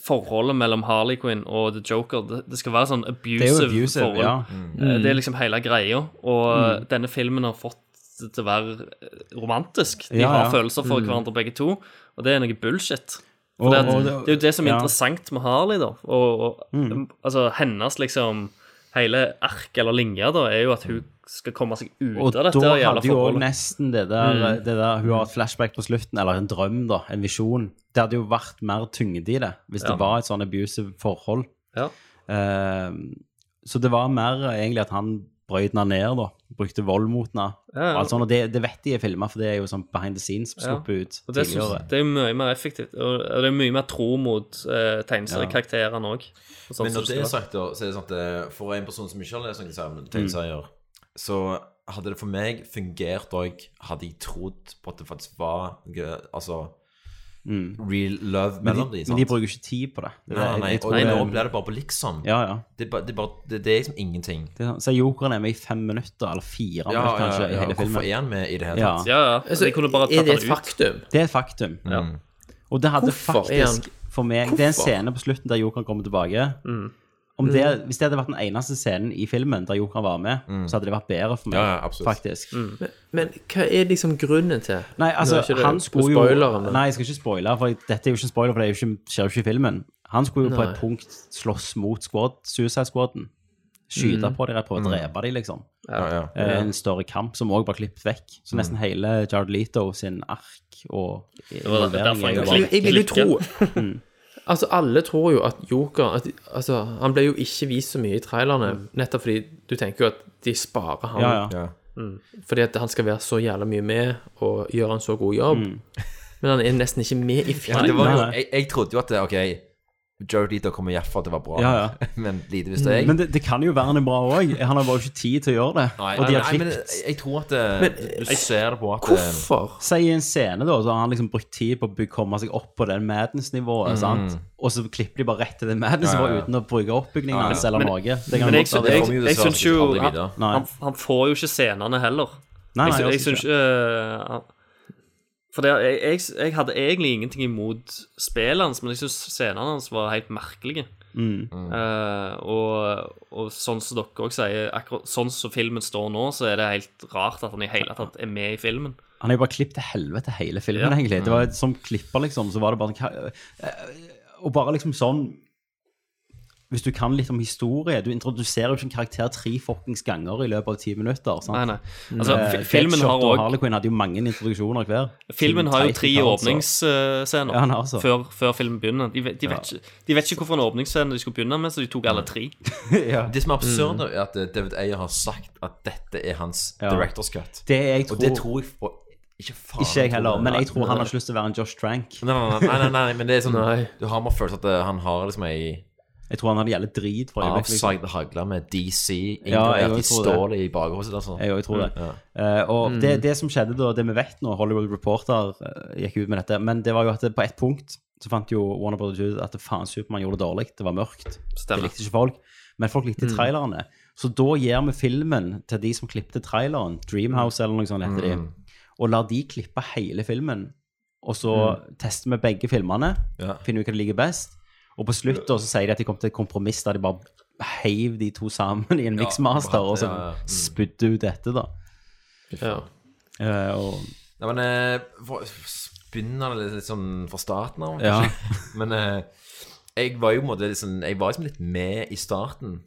J: forholdet mellom Harley Quinn og The Joker Det, det skal være sånn abusive,
A: Det er jo abusive,
J: forhold.
A: ja. Mm.
J: Eh, Det er liksom hele greia. Og eh,
A: Mm.
J: denne filmen har fått det til å være eh, romantisk. De
A: Ja,
J: har
A: ja.
J: følelser for
A: Mm.
J: hverandre begge to, og det er noe bullshit. For
A: Og-
J: det, at,
A: og
J: det,
A: det-
J: er jo det som er
A: ja.
J: interessant med Harley, da. Og, og
A: Mm.
J: altså, hennes liksom Hele ark eller linja da er jo at hun skal komme seg ut
A: Og
J: av
A: da
J: dette jævla
A: hadde jo også
J: forholdet.
A: nesten det der,
J: Mm.
A: det der Hun har et flashback på slutten, eller en drøm, da, en visjon. Det hadde jo vært mer tyngde i det hvis
J: Ja.
A: det var et sånn abusive forhold.
J: Ja.
A: Eh, så det var mer egentlig at han brøyt henne ned, da. Brukte vold mot henne.
J: Ja, ja.
A: Og alt sånt, og det, det vet de er filma, for det er jo sånn behind the scenes som sluppet ut
J: og det, synes-
A: tidligere.
J: det er jo mye mer effektivt, og og det er mye mer tro mot eh, tegneseriekarakterene òg.
H: Men når det er sagt, da, så er det sånn at eh, for en person som ikke har lest noen
A: Mm.
H: sam- tegneserier, så hadde det for meg fungert òg, hadde jeg trodd på at det faktisk var gø- Altså real love
A: Mm. Men de-
H: mellom de,
A: men de bruker ikke tid på det. Det er-
H: Nei, nei,
A: jeg tror
H: og
A: det er-
H: nå blir det bare på liksom.
A: Ja, ja.
H: Det, er ba- det, er bare, det, det er liksom ingenting.
A: Det er sånn- Så jokeren er med i fem minutter, eller fire
H: Ja,
A: minutter,
H: ja,
A: kanskje,
H: ja,
A: i hele filmen.
H: hvorfor er han med i det hele
A: Ja.
H: tatt?
J: Ja, ja.
I: Altså,
J: de kunne bare
I: er
J: tatt
I: det
J: den
I: et
J: ut.
I: faktum?
A: Det er et faktum.
J: Ja.
H: Mm.
A: Og det hadde
I: Hvorfor er han-
A: faktisk for meg Det er en
I: Hvorfor?
A: scene på slutten der jokeren kommer tilbake.
H: Mm.
A: Om det, hvis det hadde vært den eneste scenen i filmen der jokeren var med, så hadde det vært bedre for meg.
H: Mm. Ja, ja, absolutt. Mm.
A: faktisk.
I: Men, men hva er liksom grunnen til
A: Nei, altså,
I: Nå er ikke det
A: han
I: på
A: skulle jo
I: spoileren, men-
A: Nei, jeg skal ikke spoile, for dette er jo ikke en spoiler, for det er jo ikke, skjer jo ikke i filmen. Han skulle jo på
I: Nei.
A: et punkt slåss mot squad, Suicide Squaden. Skyte
I: Mm.
A: på dem, prøve å
I: Mm.
A: drepe dem, liksom.
H: Ja, ja.
A: Eh, En større kamp som òg var klippet vekk. Så nesten hele Jared Leto sin ark og
J: var derfor
A: involvering er jo
J: jeg
A: bare-
I: Jeg, jeg vil jo tro
A: Mm.
I: Altså, alle tror jo at Joker at, altså, Han ble jo ikke vist så mye i trailerne, nettopp fordi du tenker jo at de sparer han.
A: Mm. Ja, ja.
I: Mm. Fordi at han skal være så jævla mye med og gjøre en så god jobb. Men han er nesten ikke med i
H: Ja,
I: filmen.
H: det var jo, jeg, jeg trodde jo at det, OK, Jared Leto kommer i hvert fall til å være bra,
A: Ja, ja.
H: men lite visste jeg.
A: Men det, det kan jo være han er bra òg. Han har bare ikke tid til å gjøre det.
H: Nei,
A: og de
H: nei,
A: har
H: nei, men
A: klippet
H: jeg, jeg tror at det,
A: Men,
H: du ser det på at eh,
A: Si i en scene, da, så har han liksom brukt tid på å by- komme seg opp på den Madness-nivået,
H: Mm.
A: sant? Og så klipper de bare rett til det Madness-nivået
H: Ja, ja, ja.
A: uten å bruke oppbygningen
H: Ja, ja.
A: hans eller
H: Men-
A: noe. Det kan
J: Men
A: godt være
J: jeg, syns-
A: det
J: jeg,
A: kommer
J: jeg,
A: jo dessverre
J: syns jo
A: aldri
J: han,
A: videre. Nei.
J: han, han får jo ikke scenene heller.
A: Nei, nei,
J: jeg,
A: han
J: syns- jeg
A: gjør
J: syns ikke øh, For det, jeg, jeg, jeg hadde egentlig ingenting imot spillet hans, men jeg syns scenene hans var helt merkelige.
A: Mm.
J: Eh, og, og sånn som dere også sier, akkurat sånn som filmen står nå, så er det helt rart at han i hele tatt er med i filmen.
A: Han er jo bare klippet til helvete hele filmen,
J: Ja.
A: egentlig. Det var et- Som klipper, liksom, så var det bare hva- eh, Og bare liksom sånn Hvis du kan litt om historie Du introduserer jo ikke en karakter tre fuckings ganger i løpet av ti minutter. Sant?
J: Nei, nei. Altså,
A: Eh,
J: fi- filmen
A: Deadshot
J: har
A: og
J: også-
A: Harley Quinn hadde jo mange introduksjoner hver.
J: Filmen har
A: Tight
J: jo tre
A: i karakter.
J: åpningsscener
A: Ja, han har altså.
J: før, før filmen begynner. De, vet- de, vet ikke, de vet ikke hvorfor en åpningsscene de skulle begynne med, så de tok alle tre.
H: Det som er absurd, er at eh, David Ayer har sagt at dette er hans
A: Mm. Ja.
H: director's cut.
A: Det jeg tror-
H: Og det tror jeg og, Ikke faen.
A: Ikke jeg heller,
H: det.
A: men jeg tror han har ikke lyst til å være en Josh Trank.
H: Nei, nei, nei, nei, nei, men det er sånn
A: Nei.
H: Du har med følelsen at eh, han har liksom ei
A: Jeg tror han hadde gjeldt drit for øyeblikket, liksom.
H: avsagd hagle med DC
A: Ja, jeg
H: inkludert
A: tror
H: i
A: det.
H: stålet i bakhodet. Altså.
A: Jeg òg tror det.
H: Ja.
A: Eh, og
H: Mm.
A: det, det som skjedde da, det vi vet nå, Hollywood Reporter eh, gikk ut med dette, men det var jo at det, på ett punkt så fant jo Warner Brothers ut at faen, Supermann gjorde det dårlig, det var mørkt.
J: Stemmer.
A: Det likte ikke folk. Men folk likte
J: Mm.
A: trailerne. Så da gir vi filmen til de som klippte traileren, Dreamhouse eller noe sånt heter
H: Mm.
A: de, og lar de klippe hele filmen. Og så tester vi begge filmene,
H: Ja.
A: finner ut hva det liker best. Og på slutt da, så sier de at de kom til et kompromiss der de bare heiv de to sammen i en
H: Ja,
A: mixmaster, og så
H: ja, ja. Mm.
A: spydde ut dette, da.
I: Ja.
A: Eh, og
H: Nei, men eh, for, Begynner det litt, litt sånn fra starten av,
A: Ja.
H: kanskje? men eh, jeg var jo på en måte litt sånn Jeg var liksom litt med i starten.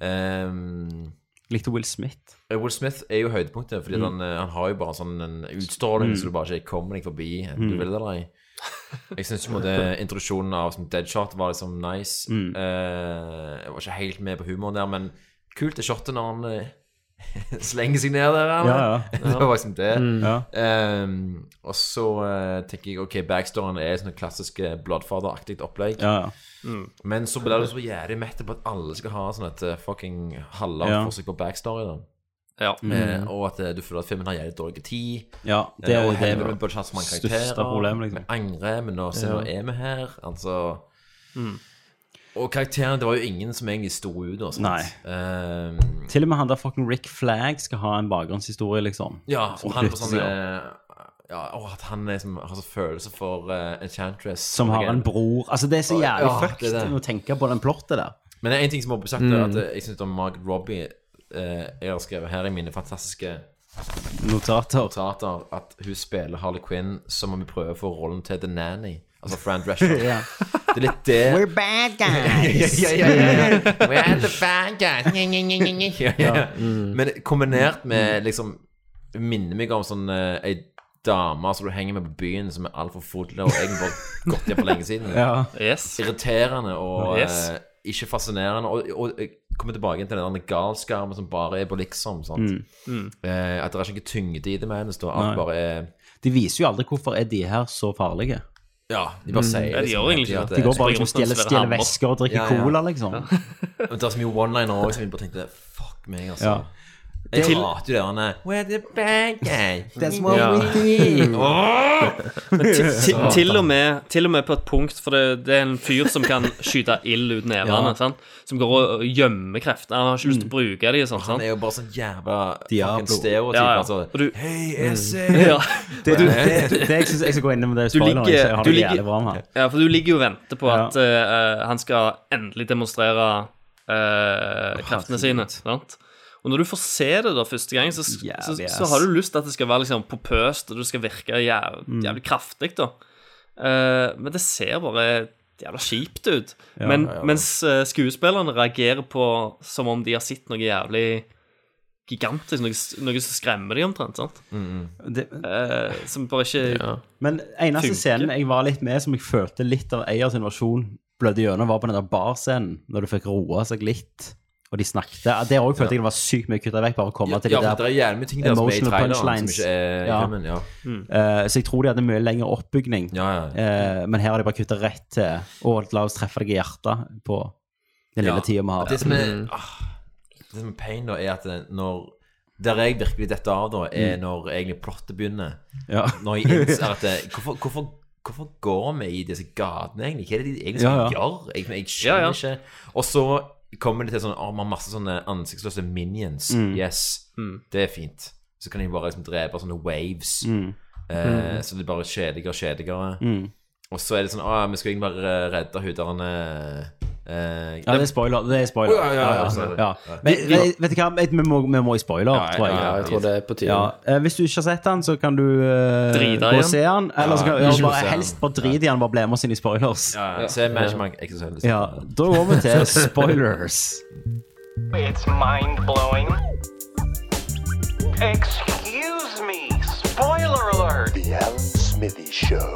H: Ehm,
A: Likte Will Smith.
H: Eh, Will Smith er jo høydepunktet, fordi
A: Mm.
H: han, eh, han har jo bare sånn en utstråling
A: Mm.
H: så du bare ikke kommer deg forbi, enten du
A: Mm.
H: vil det eller ei. Jeg syns introduksjonen av som Deadshot var liksom nice.
A: Mm.
H: Eh, jeg var ikke helt med på humoren der, men kult det shotet når han eh, slenger seg ned der. eller?
A: Ja, ja.
H: det var liksom det.
A: Mm. Ja.
H: Eh, og så eh, tenker jeg ok, backstoryen er sånn klassisk eh, Bloodfather-aktig opplegg.
A: Ja, ja.
H: Mm. Men så blir det så jævlig mett på at alle skal ha sånn et eh, fucking halvlangt
A: Ja.
H: forsøk på backstory. da Eh,
A: Mm.
H: og at eh, du føler at filmen har jævlig dårlig tid.
A: Ja, det er
H: Eh, og
A: jo
H: helvete,
A: det
H: vi burde hatt så mange
A: største
H: karakterer.
A: problem, liksom.
H: Vi angrer, men nå, se,
A: Ja.
H: nå er vi her. Altså
A: Mm.
H: Og karakterene Det var jo ingen som egentlig sto ut. Og sånt.
A: Nei.
H: Eh,
A: Til og med han der fucking Rick Flagg skal ha en bakgrunnshistorie, liksom.
H: ja, som
A: Og
H: han på sånn
A: plutselig-
H: eh, ja, og at han liksom har sånn følelse for eh, Enchantress.
A: Som har en bror Altså, det er så jævlig
H: Ja, det
A: fucked
H: er det.
A: å tenke på den plottet der.
H: Men det er en ting som må bli sagt, er at
A: Mm.
H: eh, jeg syns om Margaret Robbie eh, Jeg har skrevet her i mine fantastiske
A: Notater.
H: at hun spiller Harley Quinn som om hun prøver å få rollen til The Nanny. Altså Fran Drescher.
A: Ja.
H: Det er litt det
A: We're bad guys.
H: ja, ja, ja, ja. We're the bad guys. Nye, nye, nye, nye. Ja, ja.
A: Ja. Mm.
H: Men kombinert med liksom Minner meg om sånn eh, ei dame som du henger med på byen, som er altfor full og egentlig bare gått hjem for lenge siden.
A: Ja.
H: Irriterende og
J: Yes.
H: eh, ikke fascinerende. Og, og jeg kommer tilbake til den der galskapen som bare er på liksom. Sant?
A: Mm. Mm.
H: Eh, at det er ikke tyngde i det med hennes. da.
A: Nei.
H: Alt bare er
A: De viser jo aldri hvorfor er de her så farlige.
H: Ja, de bare
J: Ja,
H: sier liksom
J: de gjør egentlig ikke det.
A: Mm. De går bare liksom og
J: Springer rundt med en
A: stjeler,
J: svær
A: stjeler
J: hammer.
A: væsker og drikker
H: Ja, ja.
A: cola, liksom.
H: Men det er så mye one-liner også, som vi bare tenkte Fuck meg, altså.
A: Ja.
H: Jeg
A: Til-
H: hater jo derne We're the bad guy.
A: That's what
J: Ja.
A: we do.
J: Men til, til,
H: Satan.
J: til, og med, til og med på et punkt, for det, det er en fyr som kan skyte ild ut nevene.
H: Ja.
J: sant? Som går og og gjemmer kreftene. Han har ikke lyst til å bruke dem. Sånn,
H: Han
J: sant?
H: er jo bare sånn jævla
A: Diablo.
H: fucking stereotyp.
J: Ja, ja.
H: Altså.
J: Og du-
H: Hei,
J: Mm.
H: jeg ser
J: Ja.
A: Det,
J: Og du-
A: det, det, det jeg synes jeg skal gå innom det
J: Du
A: spoileren,
J: ligger-
A: så jeg har
J: du
A: det
J: ligger-
A: jævlig bra med han.
J: Ja, for du ligger jo og venter på at eh, eh, han skal endelig demonstrere eh, kreftene sine. Sant? Og når du får se det da første gang, så, så,
A: Jævlig ass.
J: så har du lyst til at det skal være liksom popøst, og det skal virke jæv,
A: Mm.
J: jævlig kraftig, da. Eh, men det ser bare jævla kjipt ut.
A: Ja,
J: men,
A: ja, ja.
J: Mens eh, skuespillerne reagerer på som om de har sett noe jævlig gigantisk, noe, noe som skremmer dem omtrent, sant?
A: Det,
J: Eh, som bare ikke
A: Men eneste
J: Funker.
A: scenen jeg var litt med, som jeg følte litt av Eyers invasjon blødde gjennom, var på den der barscenen, når du fikk roa seg litt, og de snakket. Ja, Der òg følte jeg det var sykt mye kutta vekk, bare å komme
H: Ja,
A: til de
H: ja, for
A: der
H: det er jævlig mye ting der som er i
A: emotional
H: traileren som
A: punchlines.
H: ikke er i filmen, ja.
A: Eh, så jeg tror de hadde mye lengre oppbygning,
H: Ja,
A: Eh, men her har de bare kutta rett til Å, la oss treffe deg i hjertet på den lille tida vi har.
H: Det som er
J: Mm.
H: ah, Det som er pain, da, er at det- når Der jeg virkelig detter av, da, er
A: Mm.
H: når egentlig plottet begynner.
A: Ja.
H: Når jeg innser at det- hvorfor, hvorfor, hvorfor går vi i disse gatene, egentlig? Hva er det de egentlig skal
A: Ja, ja.
H: gjøre? Jeg, jeg
J: Ja,
H: skjønner
J: ja.
H: ikke. Og så kommer det til sånn Å, vi har masse sånne ansiktsløse minions.
A: Mm.
H: Yes,
J: Mm.
H: det er fint. Så kan de bare liksom drepe sånne waves.
A: Mm.
H: Eh,
A: Mm.
H: Så det er bare kjedeligere og kjedeligere.
A: Mm.
H: Og så er det sånn Å, vi skal egentlig bare eh, redde huderne eh,
A: Ja, det er spoiler. Det er spoiler.
H: Å, ja, ja, ja, sorry.
A: Ja. Men, men, vet du hva, vi må, vi må i spoiler, tror jeg.
I: ja, jeg tror det er på tide.
A: Ja, eh, hvis du ikke har sett den, så kan du eh,
J: Drite i
A: gå
J: den.
A: og se den. Eller så kan,
H: Ja,
A: ja,
H: ikke
A: bare,
H: se den.
A: helst bare drit i den, bare bli med oss inn i spoilers.
H: ja, ja. Så er management eksosell.
A: Ja, da går vi til spoilers.
K: It's mind blowing. Excuse me. Spoiler alert.
G: The Alan Smithy Show.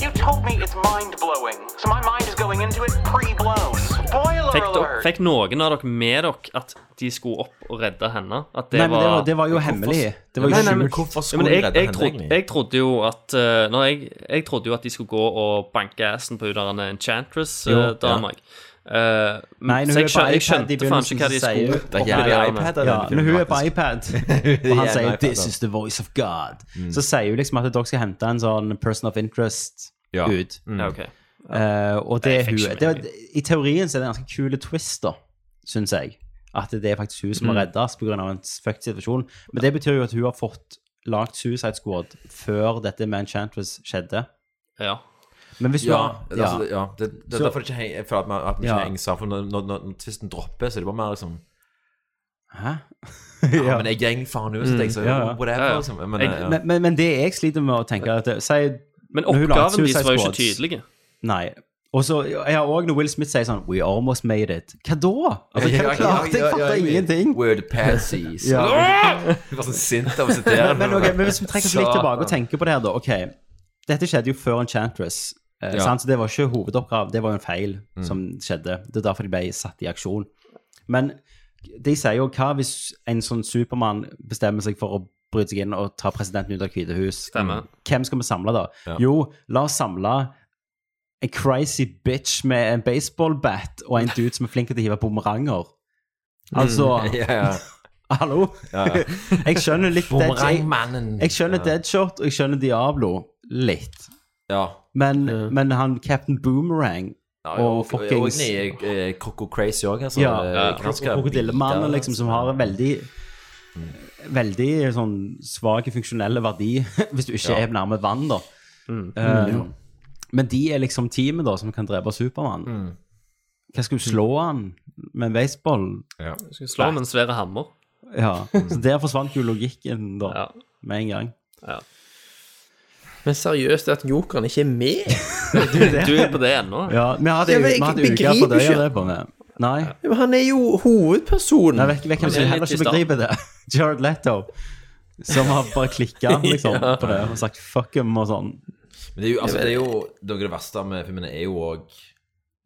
K: You told me it's mind blowing, so my mind is going into it pre blown. Spoiler
J: Fikk, dere-
K: alert.
J: fikk noen av dere med dere at de skulle opp og redde henne? At det
A: Nei, men det var,
J: var
A: det var jo hemmelig. Det var jo
J: Nei, nei, men
A: skjult.
H: Hvorfor
J: Ja, men
H: skulle
J: jeg,
H: de redde
J: jeg,
H: henne?
J: trodde,
H: egentlig?
J: jeg trodde jo at eh, når jeg, jeg trodde jo at de skulle gå og banke assen på hun der eh,
A: Jo,
J: Enchantress-dama.
A: Nei, når
J: Eh, så
A: hun
J: jeg,
A: er på
J: skjø- jeg
A: iPad i
J: skjønte faen ikke hva de
A: begynnelsen, så sier
J: skulle
A: hun-
H: Det er jævlig
J: operere med.
H: iPad. er det
A: Ja,
H: egentlig,
A: når hun er på
H: faktisk.
A: iPad, og
H: Jævlig
A: han sier
H: iPad, altså." Mm.
A: 'This
H: da.
A: is the voice of God', så sier hun liksom at dere skal hente en sånn person of interest
H: Ja.
A: ut.
H: Mm.
J: Ja, ok.
A: Eh, og det er
J: Nei,
A: hun.
J: fiction,
A: Det, er- I teorien så er det en ganske kule twist, da, syns jeg. At det er faktisk hun som må
J: Mm.
A: reddes pga. en fucked situasjon. Men det betyr jo at hun har fått lagd Suicide Squad før dette med Enchantress skjedde.
J: Ja.
A: Men hvis
H: Ja,
A: du har ja.
H: altså, ja. Det, det,
A: Så-
H: er derfor det ikke heng, jeg føler at man, at man ikke
A: Ja.
H: henger sammen. For når, når, når, når tvisten dropper, så er det bare mer liksom
A: Hæ?
H: Ja, men jeg gjeng faen ut, så jeg, så
A: Mm, ja, ja.
H: whatever,
J: Ja, ja.
H: liksom. Men,
J: Jeg-
H: eh, ja.
A: men, men, men det jeg sliter med å tenke at, Si
J: Men
A: når hun lagde
J: oppgaven deres
A: Suicide
J: var jo ikke
A: Squads-
J: tydelige.
A: Nei. Og så, ja, og når Will Smith sier sånn We almost made it. Hva da? Altså,
H: Ja, ja,
A: hva
H: ja,
A: klarte jeg?
H: ja, ja,
A: Fatter
H: ja, ja.
A: ingenting.
H: Word passies.
A: Ja.
H: Jeg var sånn sint av å sitere.
A: Men, ok, men hvis vi trekker oss litt tilbake og tenker på det her, da. Ok, dette skjedde jo før Enchantress. eh,
H: Ja. Mm.
A: sant? Så det var ikke hovedoppgave, det var jo en feil som skjedde. Det er derfor de ble satt i aksjon. Men de sier jo hva hvis en sånn Supermann bestemmer seg for å bryte seg inn og ta presidenten ut av Hvite hus?
J: Stemmer.
A: Hvem skal vi samle da?
J: Ja.
A: Jo, la oss samle en crazy bitch med en baseballbat og en dude som er flink til å hive bumeranger. Altså
H: Mm, ja, ja.
A: Hallo?
H: Ja, ja.
A: Jeg skjønner litt Dead-
H: Bumerangmannen.
A: Jeg skjønner
H: Ja.
A: Deadshot, og jeg skjønner Diablo litt.
H: Ja.
A: Men, men han Captain Boomerang og fuckings
H: Og nei, Coco Crazy òg, altså.
A: Ja,
H: Eh, ganske
A: Krokodillemannen,
H: biter.
A: liksom, som har en veldig
I: Mm.
A: Veldig sånn svak funksjonell verdi, hvis du ikke
H: Ja.
A: er nærme vann, da. Eh,
H: Mm,
A: Men de er liksom teamet da som kan drepe Supermann.
I: Mm.
A: Hva skal du slå han med en baseball?
H: Ja.
J: Skal slå med en svær hammer.
A: Ja,
I: Mm.
A: så der forsvant jo logikken da, med en gang.
I: Men seriøst, at jokeren ikke er med?
J: Du er på det ennå?
A: Ja, vi hadde,
I: Ja,
A: vi
I: men jeg
A: hadde uker
I: begriper
A: på det å
I: ikke.
A: gjøre det på med. Nei,
I: Ja, men han er jo hovedpersonen.
A: Nei vet, vet hvem
I: Han
A: som
I: er
A: heller
I: litt i
A: ikke
I: stand.
A: begriper det. Jared Leto. Som har bare klikka liksom,
H: Ja.
A: på det og sagt fuck him og sånn.
H: Men det er jo, altså, det er jo noe av det verste med filmene er jo òg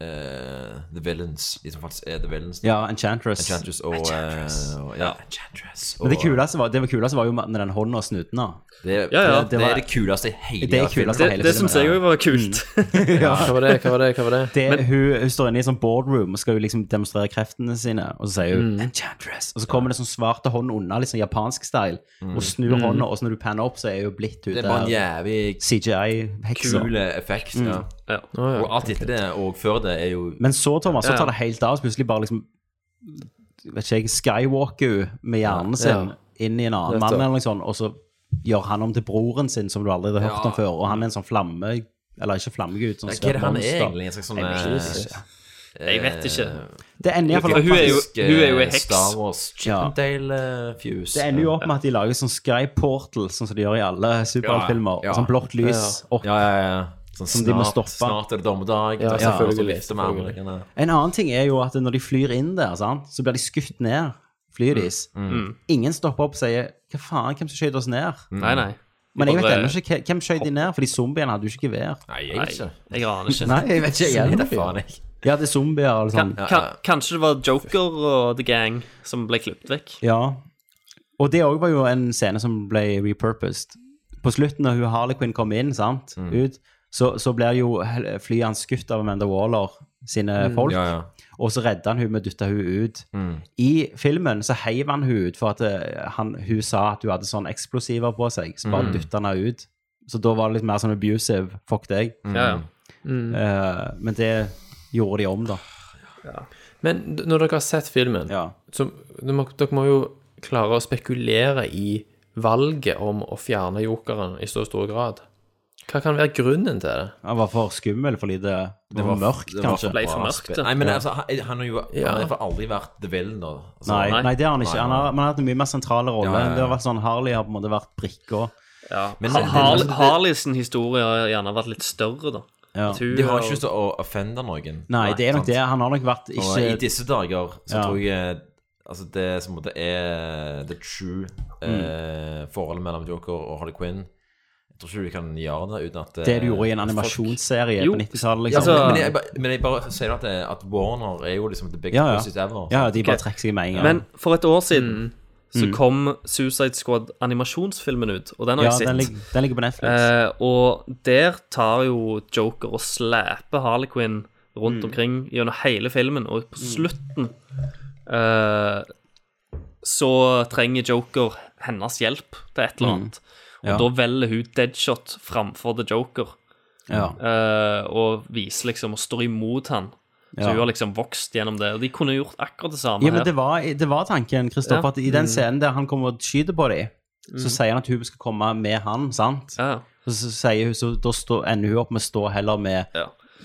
H: The Villains. De som faktisk er The Villains.
A: Ja, Enchantress.
H: Enchantress og,
A: Enchantress.
H: eh, og ja, Enchantress.
A: Men det
H: og-
A: kuleste var, det kuleste var jo med den hånda og snuten. da.
H: Det, er-
A: Ja, ja.
H: det, det er det kuleste i hele
A: Det er kuleste i hele Det- det filmen, synes jeg ja. også
J: var kult.
A: Mm. Ja.
I: Hva var det, hva var det, hva var det?
A: Det, hun, hun står inne i en sånn boardroom og skal jo liksom demonstrere kreftene sine. Og så sier hun
I: Mm.
A: Enchantress. Og så kommer det sånn svarte hånd unna, litt sånn japansk style,
H: Mm.
A: og snur
H: Mm.
A: hånda, og så når du panner opp, så er hun blitt hun
H: Det er bare en jævlig
A: CGI-heksa.
H: Kule effekt, ja.
A: Mm.
H: Og alt etter det og før det er jo
A: Men så, Thomas, så
H: Ja, ja.
A: tar det helt av. Så plutselig bare liksom Vet ikke jeg, skywalker hun med hjernen sin
H: Ja.
A: inn i en annen
H: Nettopp.
A: mann, eller noe sånt, og så gjør han om til broren sin, som du aldri har hørt
H: Ja.
A: om før, og han er en sånn flamme Eller ikke flammegud, sånn
H: Ja,
A: svært
H: hva er det han er
A: monster.
H: egentlig? En slags sånn,
A: Jeg vet
H: eh,
A: ikke.
J: Jeg vet ikke.
A: Det ender i hvert fall
J: For
A: opp
J: hun er jo-
A: med-
J: hun er jo en heks.
H: eh, Star Wars eh, Chippendale-fuse.
A: Det ender jo opp med at de lager sånn Sky Portal, sånn som de gjør i alle superheltfilmer.
H: Ja, ja.
A: Sånn blått lys opp.
H: Ja, ja, ja. Sånn
A: Som de må
H: snart-
A: stoppe.
H: Snart er det dommedag.
A: Ja,
H: og så-
A: selvfølgelig,
H: og så vifter med
A: selvfølgelig.
H: armene.
A: En annen ting er jo at når de flyr inn der, sant? så blir de skutt ned. Flyet deres.
H: Mm.
A: Ingen stopper opp og sier 'hva faen, hvem som skjøt oss ned'?
J: Nei, nei.
A: Men jeg vet
J: Bare-
A: ennå ikke hva- hvem skjøt de ned, fordi zombiene hadde jo ikke gevær.
H: Nei, jeg vet ikke.
J: Jeg aner ikke.
A: Nei, jeg vet ikke, jeg
H: Det
A: heller.
H: er faen jeg.
A: Ja, det er zombier eller sånn.
J: Ka- Kanskje det var Joker og The Gang som ble klippet vekk.
A: Ja. Og det òg var jo en scene som ble repurposed. På slutten, når hun Harley Quinn kom inn, sant,
H: Mm.
A: ut, så, så blir jo hel- flyet hans skutt av Amanda Waller sine
H: Mm.
A: folk.
H: Ja, ja.
A: Og så redda han hun med å dytte hun ut.
H: Mm.
A: I filmen så heiv han hun ut for at eh, han, hun sa at hun hadde sånne eksplosiver på seg. Så bare
H: Mm.
A: dytta han henne ut. Så da var det litt mer sånn abusive. Fuck deg.
J: Ja, ja.
I: Mm.
A: Eh, men det gjorde de om, da.
I: Men d- når dere har sett filmen, så dere må, dere må jo klare å spekulere i valget om å fjerne jokeren i så stor grad. Hva kan være grunnen til det?
A: Han var for skummel, fordi det, det, var, mørkt,
H: det var
A: kanskje.
H: bra spill. Nei, men altså, han, han har jo
A: Ja.
H: han har for aldri vært The Villain. da. Altså,
A: Nei, nei, det har han ikke.
H: Nei,
A: Han har, man har hatt en mye mer sentrale rolle.
H: Ja, ja, ja.
A: Det har vært sånn, Harley har på en måte vært brikka.
H: Men-
J: Ha-
H: men-
J: Harley,
H: men-
J: Harley sin historie har gjerne vært litt større, da.
A: Ja.
J: At hun
H: De har
J: og-
H: ikke lyst til å offende noen.
A: Nei, det er nok
H: sant?
A: det. Han har nok vært
H: Og i
A: ikke
H: disse dager så
A: Ja.
H: tror jeg Altså det som på en måte er the true eh,
A: Mm.
H: forholdet mellom Joker og Harley Quinn Jeg tror ikke du kan gjøre det uten at eh,
A: Det du gjorde i en
H: folk-
A: animasjonsserie
H: Jo.
A: på 90-tallet,
H: Ja,
A: liksom.
H: men, Altså, men, jeg, bare- men jeg bare sier at, det- at Warner er jo liksom the biggest
A: Ja, ja.
H: pussies ever.
A: Ja, de bare trekker seg med en gang.
J: Men for et år siden så
A: Mm.
J: kom Suicide Squad-animasjonsfilmen ut, og den har
A: Ja,
J: jeg sett.
A: den ligger- den ligger på Netflix.
J: Eh, og der tar jo Joker og slæper Harley Quinn rundt omkring gjennom hele filmen, og på slutten eh, så trenger Joker hennes hjelp til et eller
A: Mm.
J: annet. Og
A: Ja.
J: da velger hun Deadshot framfor The Joker.
A: Ja.
J: Eh, og viser liksom og står imot han. Så
A: Ja.
J: hun har liksom vokst gjennom det. Og de kunne gjort akkurat det samme
A: Ja, men
J: her.
A: det var, det var tanken, Kristoffer,
J: Ja.
A: at i den
J: Mm.
A: scenen der han kommer og skyter på dem, så
J: Mm.
A: sier han at hun skal komme med han, sant? Og så, sier hun, så da står- ender hun opp med å stå heller med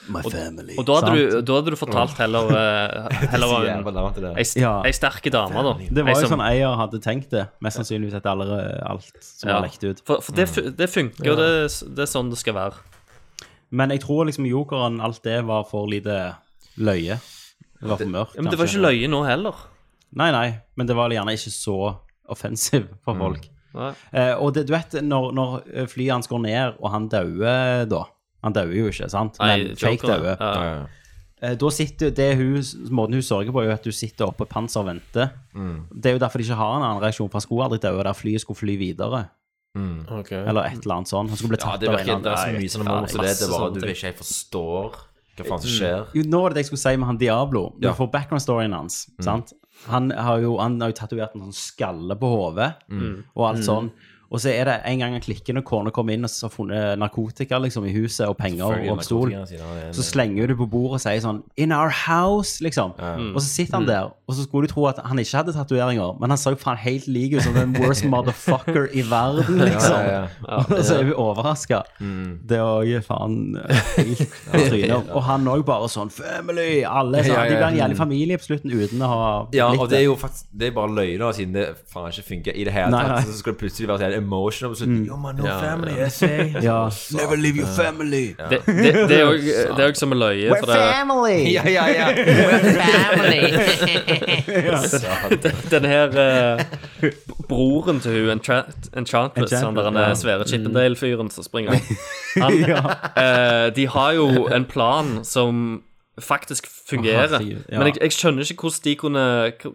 A: My
J: Og-
A: family.
J: Og da hadde, du,
A: sant?
J: da hadde du fortalt heller, eh, heller
A: Det er så
J: en-
A: jævla lavt, det der.
J: ei st-
A: Ja.
J: ei sterke dame, da.
A: Det var
J: Ei
A: jo
J: som-
A: sånn Eier hadde tenkt det. Mest sannsynligvis etter alle- alt som
J: ja.
A: var lekt ut.
J: For, for det, fu- det funker,
A: Mm. Ja.
J: og det, er s- det er sånn det skal være.
A: Men jeg tror liksom jokeren, alt det var for lite løye. Det var for mørkt.
J: Ja, men det var
A: kanskje.
J: ikke løye nå heller.
A: Nei, nei, men det var gjerne ikke så offensiv for
J: Mm.
A: folk.
J: Nei.
A: Eh, og det, du vet, når, når eh, flyet hans går ned, og han dauer da Han dauer jo ikke, sant? Men
J: Nei,
A: fake
J: Joker,
A: dauer.
J: ja.
A: Eh, Da sitter det hun, Måten hun sørger på, er jo at du sitter oppe på et panser og venter.
J: Mm.
A: Det er jo derfor de ikke har en annen reaksjon, for han skulle aldri daue der flyet skulle fly videre. Eller et eller annet sånn. Han skulle bli
H: Ja,
A: tatt
H: det
A: av en
H: virker
A: eller
H: det er så
A: annen-
H: mye sånne
A: Nei,
H: moments i det.
A: masse
H: Det er bare
A: sånne
H: at du
A: ting.
H: ikke helt forstår hva faen som skjer.
A: Jo, nå var det det jeg skulle si med han Diablo. Du
H: Ja. Mm.
A: får background-storyen hans. sant? Han har jo, han har jo tatovert en sånn skalle på hodet
H: Mm.
A: og alt
H: Mm.
A: sånn. Og så er det en gang han klikker når kona kommer inn og så har funnet narkotika liksom i huset og penger
H: Selvfølgelig
A: og stol.
H: narkotika siden han er en-
A: Så slenger hun det på bordet og sier sånn In our house, liksom. Og så sitter
H: Mm.
A: han der, og så skulle du tro at han ikke hadde tatoveringer, men han så jo faen helt lik ut som den worst motherfucker i verden, liksom.
H: Ja, ja, ja. Mm.
A: Og så er vi overraska. Det òg er faen eh, helt på trynet. Og han òg bare sånn Family! Alle sånn.
H: Ja, ja,
A: De blir en
H: ja.
A: jævlig familie på slutten uten å ha
H: Ja, og
A: likt
H: det er jo faktisk Det er bare løgn, da, siden det faen ikke funker i det hele
A: Nei,
H: tatt.
A: nei.
H: Så skal det plutselig være sånn emotional på slutten.
A: Mm.
H: Yo, man, no
A: Ja,
H: family,
A: ja.
H: I say.
A: Ja.
H: Så-
A: Never leave your family.
H: Ja.
J: Det, det, det er jo det er jo ikke som en løye.
H: We're
J: for det-
H: family. Ja, ja, ja. We're family. Ja.
J: Den, den her eh, broren til hun, Enchant- Enchantress, han der han er
I: ja.
A: Mm.
J: svære Chippendale-fyren som springer opp han, eh, De har jo en plan som faktisk fungerer.
I: Herregud, ja.
J: Men jeg, jeg skjønner ikke hvordan de kunne,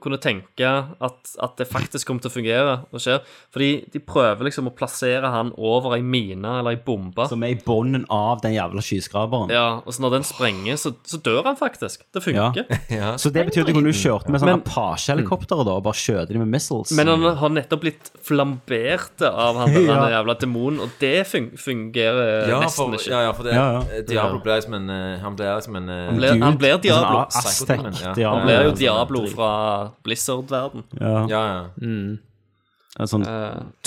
J: kunne tenke at, at det faktisk kommer til å fungere og skjer. Fordi de prøver liksom å plassere han over ei mine eller ei bombe.
A: Som er i bunnen av den jævla skyskraperen.
J: Ja, og så når den sprenger, så, så dør han faktisk. Det funker.
A: Så det betyr at de kunne kjørt med sånne
J: Men-
A: Apache-helikoptere da, og bare skjøte de med missiles.
J: Men han har nettopp blitt flambert av han der
A: Ja.
J: han jævla demonen, og det fun fungerer
H: Ja,
J: nesten
H: for,
J: ikke.
H: ja, ja, for det,
J: Ja, ja.
H: Diablo ble liksom en eh, Han ble liksom en eh,
J: Han blir, han blir
A: sånn
J: Diablo.
H: Psycho Demon, ja.
J: Han blir jo Diablo fra Blizzard-verden.
A: Ja.
H: Ja, ja.
A: Mm, En sånn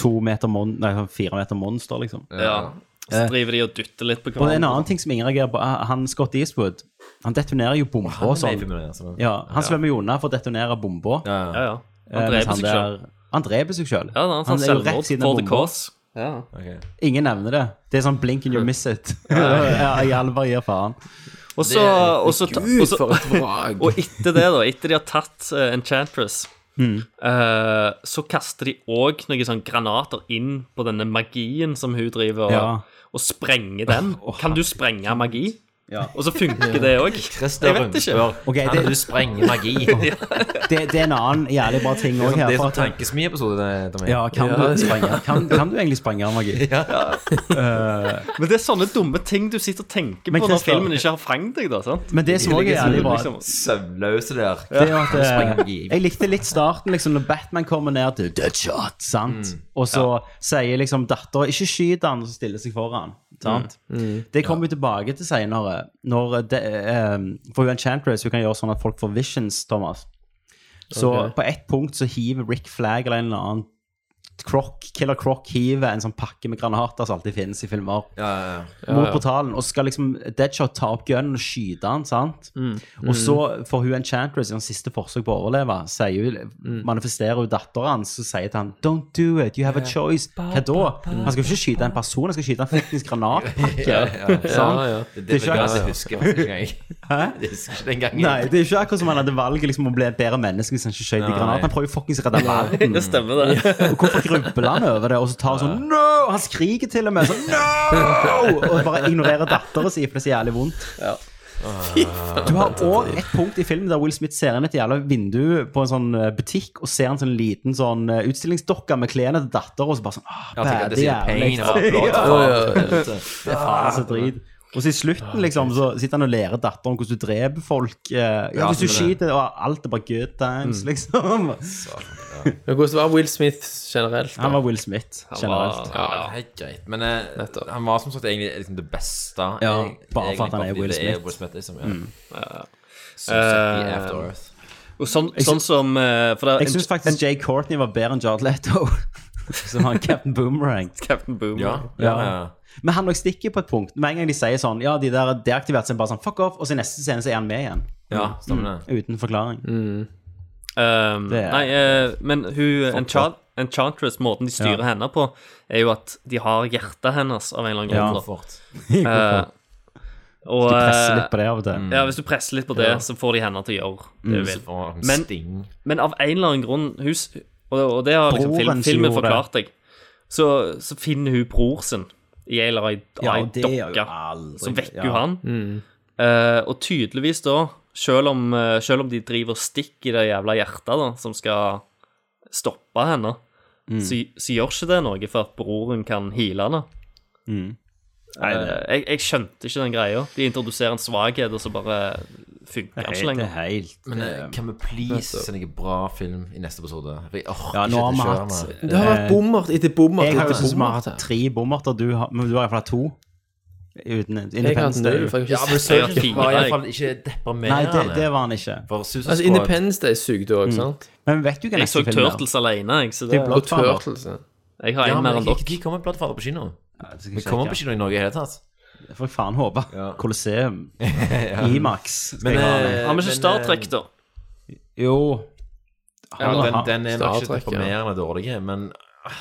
A: to meter mon nei, sånn fire meter monster, liksom.
J: Eh. Ja. Og Så driver de og dytter litt på
A: Og det er en
J: hverandre.
A: annen ting som ingen reagerer på. eh, Han Scott Eastwood han detonerer jo bomber og
J: Han er med i
A: sånn.
J: filmen, altså.
A: Ja, han
J: Ja.
A: svømmer jo unna for å detonere bomber.
J: Ja, ja. Han
A: Eh, mens
J: dreper seg
A: der-
J: selv.
A: Han dreper seg sjøl.
J: Ja, han
A: er sånn jo
J: selvmord
A: rett siden
J: for
A: av
J: the
A: bomba.
J: cause. Ja.
A: Ingen nevner det. Det er sånn blink and you miss it. ja, I alvor gir faen.
J: Og så, og, så, ta- og, så og etter det, da, etter de har tatt eh, Enchantress,
A: Mm.
J: eh, så kaster de òg noen sånn granater inn på denne magien som hun driver og,
A: Ja.
J: og sprenger den. Kan du sprenge magi?
A: Ja.
J: Og så funker det òg. Jeg vet ikke.
A: Ok, det- Kan du sprenge magi? Det, det er en annen jævlig bra ting
H: Det er
A: òg
H: sånn-
A: her.
H: det er
A: for
H: sånn
A: at-
H: tankesmieepisode. det- Tommy.
A: Ja, kan du sprenge kan, kan du egentlig sprenge magi? Eh,
J: Men det er sånne dumme ting du sitter og tenker
A: Men
J: på når
A: Christian-
J: filmen ikke har fanget deg, da. sant?
A: Men det som også er
J: liksom
A: jævlig bra-
H: Søvnløse der.
A: Det er jo at
H: Sprenger
A: eh,
H: magi.
A: Jeg likte litt starten, liksom, når Batman kommer ned til Deadshot, sant? Og så sier liksom dattera 'ikke skyt han', og så stiller seg foran. Sant? Det kommer vi tilbake til senere. Når de, eh, for hun Enchantress hun kan gjøre sånn at folk får visions, Thomas. Så
I: Ok.
A: på ett punkt så hiver Rick Flag eller en eller annen Croc, Killer Croc hiver en sånn pakke med granater som alltid finnes i filmer,
I: Ja,
A: mot
I: ja.
A: portalen, og skal liksom Deadshot ta opp gunnen og skyte han, sant?
I: Mm.
A: Og så får hun Enchantress i hans siste forsøk på å overleve, sier hun,
I: Mm.
A: manifesterer hun datteren hans og sier til han Don't do it, you have a choice. Hva da? Han skal jo ikke skyte en person, han skal skyte en fuckings granatpakke.
H: Ja, ja, ja.
A: Sant?
H: Ja, ja. Det- det
A: er ikke
H: vet jeg
A: akkurat-
H: at jeg husker faktisk ikke engang.
A: Hæ?
H: Jeg husker ikke den gangen.
A: Nei, det er ikke akkurat som han hadde valget liksom, å bli et bedre menneske hvis han ikke skjøt i
H: Nei.
A: granaten. Han prøver jo fuckings å redde verden.
J: Det stemmer, det.
A: Og hvorfor grubler han over det, og så tar han sånn No! Han skriker til og med sånn No! Og bare ignorerer dattera si, for det er så jævlig vondt. Du har òg et punkt i filmen der Will Smith ser inn et jævla vindu på en sånn eh, butikk og ser en sånn liten sånn eh, utstillingsdokke med klærne til dattera, og så bare sånn ah,
H: Ja, tenker jeg,
A: bad,
H: det sier
A: jævlig.
H: pain, og bare blått,
A: Ja.
H: og alt.
A: Det er faen så drit. Og så i slutten liksom, så sitter han og lærer datteren hvordan du dreper folk. eh, Ja,
I: Ja,
A: hvis du
I: stemmer det.
A: skyter, og alt er bare good times,
I: Mm.
A: liksom.
I: Men hvordan var Will Smith generelt?
A: Han var Will Smith
H: Han
A: generelt.
H: Var, ja, helt greit. Men eh, han var som sagt egentlig liksom det beste.
A: Ja,
H: egentlig,
A: bare for at han er
H: fordi
A: Will
H: det
A: Smith.
H: liksom, ja.
A: Mm.
H: Så sett i After Earth.
J: Og sånn,
A: Jeg
J: sånn
A: syns-
J: som eh, for det,
A: Jeg syns faktisk Jay Courtney var bedre enn Jared Leto. Som han Captain Boomerang.
J: Captain Boomerang.
A: Ja, ja, ja. Men han nok stikker på et punkt. Med en gang de sier sånn Ja, de der er deaktivert, så er han bare sånn Fuck off. Og så i neste scene så er han med igjen.
J: Ja, stemmer
A: Mm, Uten forklaring.
J: Um,
A: Det er-
J: nei, eh, men hun
A: Fuck
J: Enchant Enchantress, måten de styrer
A: Ja.
J: henne på, er jo at de har hjertet hennes av en eller annen
A: Ja,
J: grunn. da.
A: Hvorfor?
J: Eh, Og,
A: Hvis du presser litt på det av og til.
J: eh, Ja, hvis du presser litt på det,
A: Ja.
J: så får de henne til å gjøre det
A: Mm.
J: hun
A: Så får
J: vil.
A: hun
J: Men,
A: sting.
J: men av en eller annen grunn hus, og, det- og det har liksom
A: Broren
J: film,
A: som
J: filmen
A: gjorde
J: forklart deg, så, så finner hun bror sin i ei eller ei
A: Ja,
J: ei
A: det gjør jo
J: dokke.
A: aldri-
J: Så vekker
A: ja.
J: hun han.
A: Mm.
J: Eh, og tydeligvis da, selv om, eh, selv om de driver stikk i det jævla hjertet da, som skal stoppe henne,
A: Mm.
J: så, så gjør ikke det noe for at broren kan heale henne.
A: Mm.
J: Eh, jeg, jeg skjønte ikke den greia. De introduserer en svakhet, og så bare funker den ikke lenger.
H: Men eh, kan vi please se noe bra film i neste episode? For jeg orker
A: Ja, nå har vi
H: ikke
A: hatt
H: dette kjøret
A: eh,
H: mer.
A: Jeg har jo synes vi har hatt tre bommerter, du har, men du har i hvert fall hatt to. Uten Independence Day.
H: Ja, men Søren var iallfall ikke
A: Nei,
H: deprimerende.
A: det, det var han ikke.
H: For Suicide
I: Altså,
H: Squad-
I: Independence Day sugde òg,
A: Mm.
I: sant?
A: Men vet du hva
J: Jeg så
A: neste film er?
J: Turtles alene, jeg. Så
A: Det
J: det,
A: er Bloodfather.
J: Og Turtles, ja. Jeg har en
H: Ja, men
J: mer enn
H: ikke-
J: dere.
H: De kommer Bloodfather på kino.
A: det skal jeg
H: Vi
A: sjekke.
H: kommer på kino i Norge i det hele tatt.
A: Det får jeg faen håpe. Colosseum.
H: Ja.
A: Imax. skal
H: Men,
A: jeg ha med.
H: eh,
J: Har vi ikke Star Trek, da?
A: Jo.
H: Ja,
A: Han-
H: den,
A: han-
H: den er
A: Star
H: nok ikke
A: Trek, ja.
H: deprimerende dårlig, men ah,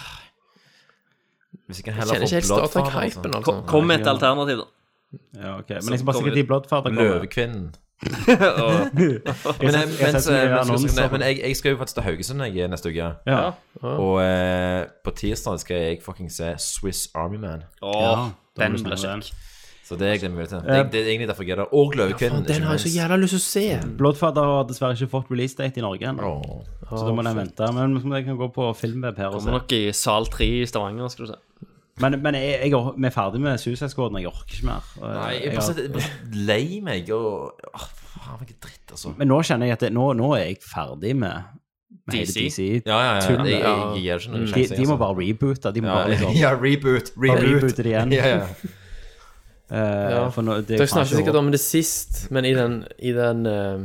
H: Hvis jeg kan heller
I: Jeg kjenner ikke helt Star Trek-hypen, altså.
J: Ko- Kom med et alternativ, da.
A: Ja, ok. Men
J: Som
A: jeg skal bare
J: kommer
A: sjekke de
J: ut.
A: Bloodfather kommer.
H: Løvekvinnen.
A: Jeg
H: men,
A: har
H: eh,
A: sett- jeg har
H: mens,
A: sett mye
H: eh, men, så-
A: annonser.
H: nei, men jeg, jeg skal jo faktisk til Haugesund jeg, neste uke.
A: Ja.
H: Og eh, på tirsdag skal jeg fucking se Swiss Army Man.
J: Åh, Ja, den den blir blir kjekk.
H: Så det gleder jeg meg til. Det,
A: Eh,
H: det er egentlig derfor jeg er der. Og Løvekvinnen.
I: Den har jeg så jævla lyst til å se.
A: Bloodfather har dessverre ikke fått releasedate i Norge ennå. Så da må den vente. Men jeg kan gå på filmweb her og se.
J: Kommer nok i sal 3 i Stavanger, skal du se.
A: Men, men jeg, jeg, or- vi er ferdig med Suicide Squad, og jeg orker ikke mer. Og
H: Nei, jeg er
A: har-
H: bare så- jeg er bare så lei meg og ah, Faen, hvilken dritt, altså.
A: Men nå kjenner jeg at det, nå, nå er jeg ferdig med, med hele
H: DC.
A: DC.
H: Ja, ja, ja.
A: tullet.
H: Jeg- jeg- jeg gir ikke noe
A: Mm.
H: sjanse,
A: De, de må
H: altså.
A: bare reboote. De må
H: Ja,
A: bare liksom
H: ja, reboot,
A: bare
H: reboot.
A: reboote det igjen.
H: Ja, ja.
A: Eh,
I: Ja.
A: for nå, det
I: Dere snakket sikkert
A: om
I: om det sist, men i den, i den eh,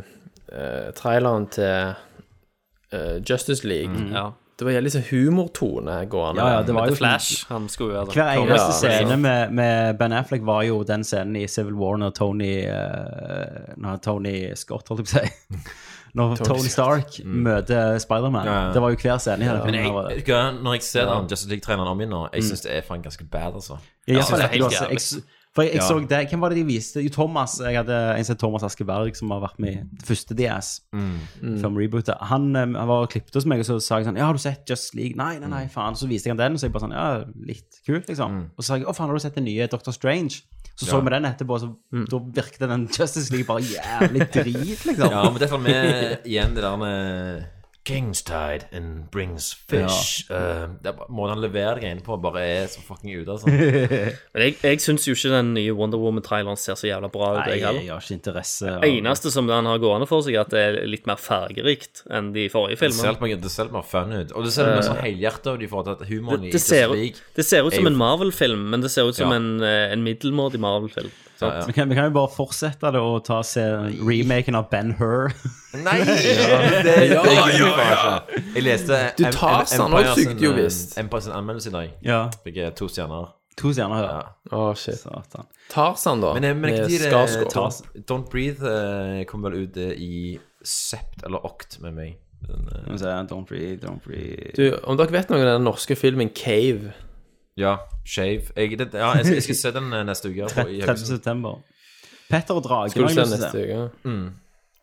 I: eh, traileren til eh, Justice League
J: Mm. Ja.
I: Det var jævlig sånn humortone gående.
A: Ja, ja, det var jo
I: Men The
J: Flash, han skulle jo være
A: Hver eneste
I: Ja,
A: scene
I: sant.
A: med, med Ben Affleck var jo den scenen i Civil War når Tony eh, Når Tony Scott, holdt jeg på å si. Når
H: Tony
A: Tony,
H: Scott. Mm.
A: Stark møter Spiderman.
H: Ja, ja.
A: Det var jo hver scene i hele
H: Men jeg,
A: filmen. var det.
H: vet du hva, når jeg ser
A: Ja.
H: den Justin League-treneren om igjen nå, jeg
A: Mm.
H: syns det er faen ganske bad, altså.
A: Ja,
H: Jeg synes
A: iallfall
H: det er
A: etter
H: helt
A: du har
H: jævlig.
A: jeg, For jeg, jeg
H: Ja.
A: så det, Hvem var det de viste? Jo, Thomas. Jeg hadde en som het Thomas Askeberg, som har vært med i det første DS.
H: Mm.
A: Før vi rebootet. Han, eh, han var og klippet hos meg, og så sa jeg sånn Ja, har du sett Just League? Nei, nei, nei,
H: Mm.
A: faen. Så viste jeg han den, og så jeg bare sånn Ja, litt kult, liksom. Og så sa jeg Å, faen, har du sett den nye Doctor Strange? Så så
H: Ja.
A: vi den etterpå, så
H: Mm.
A: da virket den Justice League bare jævlig drit, liksom.
H: Ja, men derfor med igjen det der med Kings tide and brings fish. Eh, det er bare- Måten han leverer det greiene på, bare er så fucking ute, altså.
J: Men jeg, jeg syns jo ikke den nye Wonder Woman-traileren ser så jævla bra ut.
A: Nei,
J: jeg
A: jeg
J: heller.
A: har ikke interesse. av-
J: eneste som den har gående for seg, er at det er litt mer fargerikt enn de forrige
H: Det ser
J: filmene.
H: helt bare- det ser helt bare fun ut. Og det ser bare sånn
J: Eh,
H: helhjertet ut i forhold til at humoren i
J: Det, det, ser,
H: Justice League
J: det ser ut
H: er
J: som
H: jo-
J: en Marvel-film, men det ser ut som
H: Ja.
J: en, eh, en middelmådig Marvel-film. sant?
A: Vi kan, vi kan jo bare fortsette det og ta se remaken av Ben Hur.
H: Nei! Det- det- det- Jeg leste
I: Du,
H: Em- Em-
I: Tarzan
H: Empire
I: også sugde
H: sin,
I: jo
H: eh,
I: visst.
H: Empire sin anmeldelse i dag.
A: Ja.
H: Fikk jeg to stjerner.
A: To stjerner, ja.
I: Å, shit.
A: Satan.
I: Tarzan, da.
H: Men jeg merker de det
I: Skarsgård.
H: Don't, Don't Breathe eh, kom vel ut eh, i sept eller okt med meg. Den, eh,
A: Så, jeg, don't breathe, don't breathe.
I: Du, om dere vet noe om den norske filmen Cave
H: ja, Shave. Jeg, det, ja, jeg, skal, jeg skal se den eh, neste uke. på- i
A: 30.
H: Haugesund.
A: september. Petter og dragen.
I: Skal du
A: har
I: se
A: jeg lyst til å
I: neste uke?
H: Mm.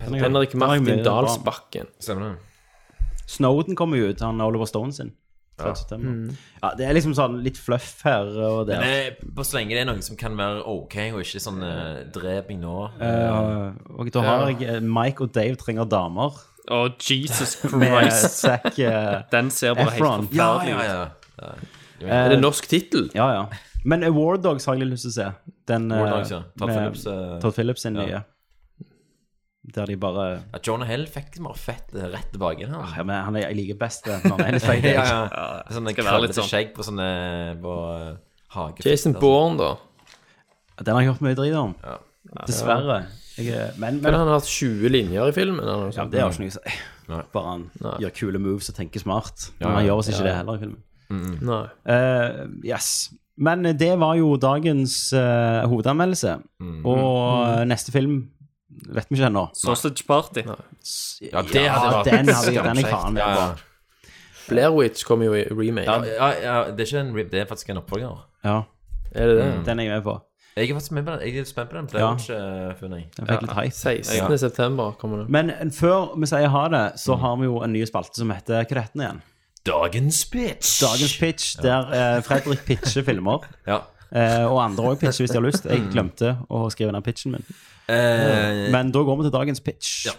A: Den er-
I: Henrik
A: den er mye
I: Martin
A: bra.
I: Dalsbakken.
H: Stemmer det.
A: Snowden kommer jo ut, han Oliver Stone sin. 3.
H: Ja.
A: september.
H: Mm.
A: Ja, det er liksom sånn litt fluff her og der.
H: Men eh, på så lenge det er noe som kan være ok, og ikke sånn eh, drep meg nå.
A: Eh, og da har jeg eh, Mike og Dave trenger damer.
J: Å, Jesus
A: Med
J: Christ.
A: Zac eh,
J: den ser bare
A: Efron. Eh,
J: helt forferdelig ut.
I: Er det norsk tittel?
A: Ja, ja. Men eh, War Dogs har jeg litt lyst til å se. Den, eh,
H: War Dogs, ja. Todd
A: med
H: Phillips, eh,
A: Todd Phillips sin
H: ja.
A: nye. Der de bare
H: Ja, Jonah Hill fikk liksom bare fett eh, rett tilbake. Han.
A: Ah, ja, men han er, Jeg liker best det. når han er litt feig.
H: ja, ja. Sånne
J: Skal være litt
H: krøllete
J: sånn.
H: skjegg på sånne på, eh, hage.
I: Jason Bourne, da.
A: Den har jeg hørt mye drit om. Dessverre. Jeg, er- men, men
I: Men han har hatt 20 linjer i filmen. Eller noe
A: Ja,
I: sånt.
A: det har ikke noe å si. Bare han gjør kule moves og tenker smart. Men
I: Ja,
A: han
I: ja.
A: gjør oss ikke
I: Ja,
A: det
I: ja.
A: heller i filmen.
I: Nei.
A: Eh, yes. Men det var jo dagens eh, hovedanmeldelse.
H: Mm.
A: Og neste film vet vi ikke ennå.
J: Sausage Party.
H: Ja, det hadde vært
A: den har vi den er
H: skamskjekt.
A: faen
H: Ja,
A: meg
H: ja.
A: bra.
I: Blairwitch kommer jo i remake.
H: Ja, Mm. ja, det er ikke en rip, det er faktisk en oppfølger.
A: Ja. Mm.
I: Er det det?
A: Den er jeg med på.
H: Jeg er faktisk med på den. Jeg er spent på den. Det
A: Ja.
H: har ikke eh, funnet.
A: Jeg fikk litt hype.
I: 16. september kommer det.
A: Men før vi sier ha det,
H: Mm.
A: så har vi jo en ny spalte som heter Hva heter den igjen?
H: Dagens bitch.
A: Dagens pitch, der eh, Fredrik pitcher filmer.
H: Ja.
A: Eh, og andre òg pitcher hvis de har lyst.
H: Mm.
A: Jeg glemte å skrive ned pitchen min.
H: Eh,
A: Men da går vi til dagens pitch.
H: Ja.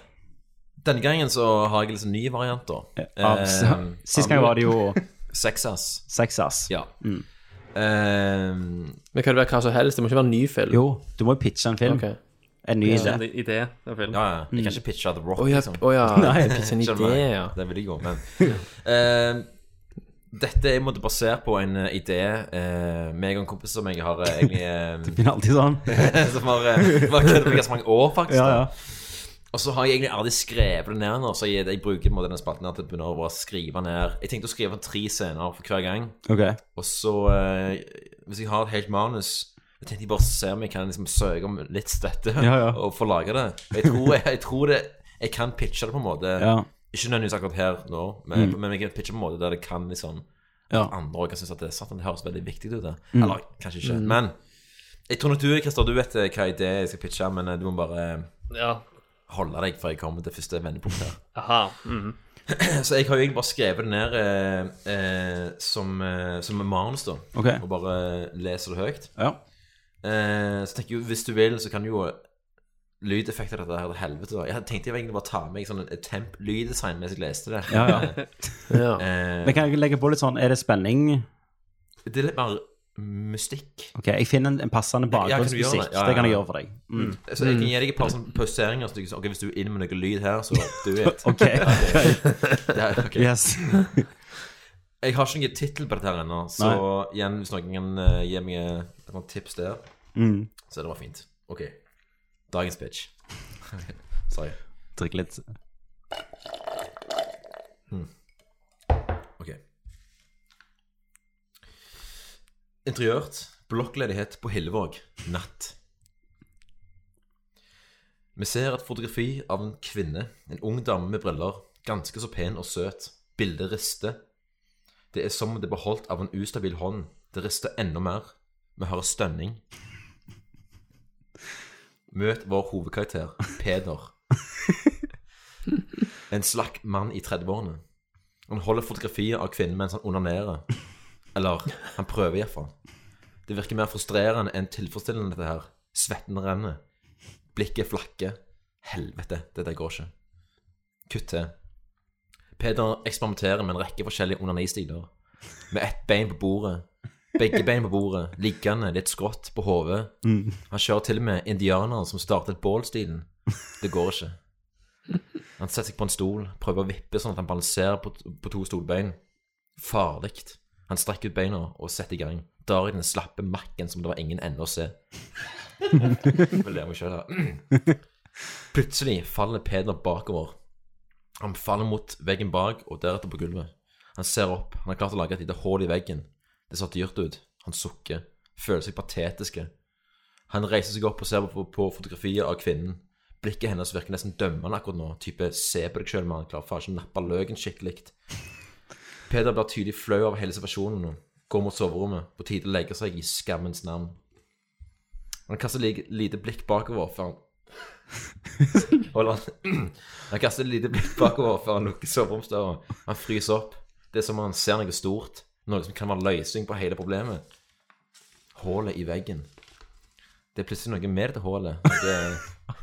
H: Denne gangen så har jeg liksom nye varianter.
A: Eh, av-
H: Eh,
A: Sist gang var det jo
H: Sexas.
A: Sexas.
H: Ja. Eh,
A: Mm.
I: Men kan det være hva som helst? Det må ikke være en ny film?
A: Jo, du må jo pitche en film.
I: Ok.
A: En ny idé.
J: En idé av film.
H: Ja, ja. Jeg
A: Mm.
H: kan ikke pitche The Rock,
I: Å ja,
H: liksom.
I: å ja.
A: Nei,
I: det er en
H: Skjønner
I: idé,
H: meg.
I: ja.
H: Det vil jeg gå men eh, Dette er måtte basert på en eh, idé uh, meg og en kompis som jeg har eh, egentlig
A: Begynner alltid sånn.
H: eh, Som har eh, vært kødd med i ganske mange år, faktisk.
A: Ja,
H: da.
A: ja.
H: Og så har jeg egentlig aldri skrevet det ned nå, så jeg, jeg bruker på en måte denne spalten her til å begynne å bare skrive ned Jeg tenkte å skrive tre scener for hver gang,
A: Ok.
H: og så eh, Hvis jeg har et helt manus jeg tenkte jeg bare ser om jeg kan liksom søke om litt støtte
A: Ja, ja.
H: og få lage det. Og Jeg tror, jeg, jeg tror det Jeg kan pitche det på en måte.
A: Ja. Mm.
H: Ikke nødvendigvis akkurat her nå, men, men jeg kan pitche på en måte der det kan liksom
A: Ja.
H: at andre også kan synes at det er sant, det høres veldig viktig ut. Det.
A: Mm.
H: Eller kanskje ikke. Men jeg tror nok du, Christer, du vet eh, hva idé jeg skal pitche, men eh, du må bare eh,
J: Ja.
H: holde deg før jeg kommer til første vendepunkt her.
J: Aha. mhm.
H: Så jeg har jo egentlig bare skrevet det ned eh, eh, som, eh, som manus, da.
A: Ok.
H: Og bare leser det høyt.
A: Ja.
H: Eh, så tenker jeg jo, hvis du vil, så kan jo lydeffekter av dette her til helvete. da. Jeg tenkte jeg egentlig bare ta med meg sånn et temp-lyddesign mens jeg leste det.
A: Ja, ja.
I: Ja.
H: Eh,
A: Men kan jeg legge på litt sånn Er det spenning?
H: det er litt mer mystikk.
A: Ok, Jeg finner en, en passende
H: Ja, kan du gjøre det?
A: bakgrunnsmusikk.
H: Ja, ja,
A: Det kan jeg
H: ja.
A: gjøre for deg. Mm.
H: Så jeg kan gi deg et par sånne pauseringer. Så du, ok, Hvis du er inne med noe lyd her, så do it.
A: Ok.
H: Ja, ok.
A: Yes.
H: Jeg har ikke noen tittel på dette her ennå, så igjen, hvis noen kan eh, gi meg et noen tips der,
A: Mm.
H: så er det bare fint. Ok. Dagens pitch. Sorry.
A: Drikke litt.
H: Ok. Interiørt. Blokkledighet på Hillevåg. Natt. Vi ser et fotografi av en kvinne, en ung dame med briller, ganske så pen og søt. Bildet rister. Det er som om det er beholdt av en ustabil hånd. Det rister enda mer. Vi hører stønning. Møt vår hovedkarakter, Peder. En slakk mann i 30-årene. Han holder fotografier av kvinnen mens han onanerer. Eller han prøver iallfall. Det virker mer frustrerende enn tilfredsstillende, dette her. Svetten renner. Blikket flakker. Helvete, dette går ikke. Kutt til. Peder eksperimenterer med en rekke forskjellige onanistiler. Med ett bein på bordet. Begge bein på bordet, liggende, litt skrått på hodet. Han kjører til og med indianeren som startet bålstilen. Det går ikke. Han setter seg på en stol, prøver å vippe sånn at han balanserer på, på to stolbein. Farlig. Han strekker ut beina og setter i gang. Drar i den slappe makken som det var ingen ende å se. Vel, det er meg selv, da. Plutselig faller Peder bakover. Han faller mot veggen bak og deretter på gulvet. Han ser opp. Han har klart å lage et lite hull i veggen. Det ser dyrt ut. Han sukker. Føler seg patetiske. Han reiser seg opp og ser på, på fotografier av kvinnen. Blikket hennes virker nesten dømmende akkurat nå. Type se på deg sjøl, mann. Klarer faen ikke å nappe løken skikkelig. Peder blir tydelig flau over hele situasjonen nå. Går mot soverommet. På tide å legge seg i skammens navn. Han kaster like, lite blikk bakover før han Hold han Han kaster et lite blikk bakover før han lukker soveromsdøra. Han fryser opp. Det er som om han ser noe stort. Noe som kan være løsning på hele problemet. Hullet i veggen. Det er plutselig noe med dette hullet. Noe,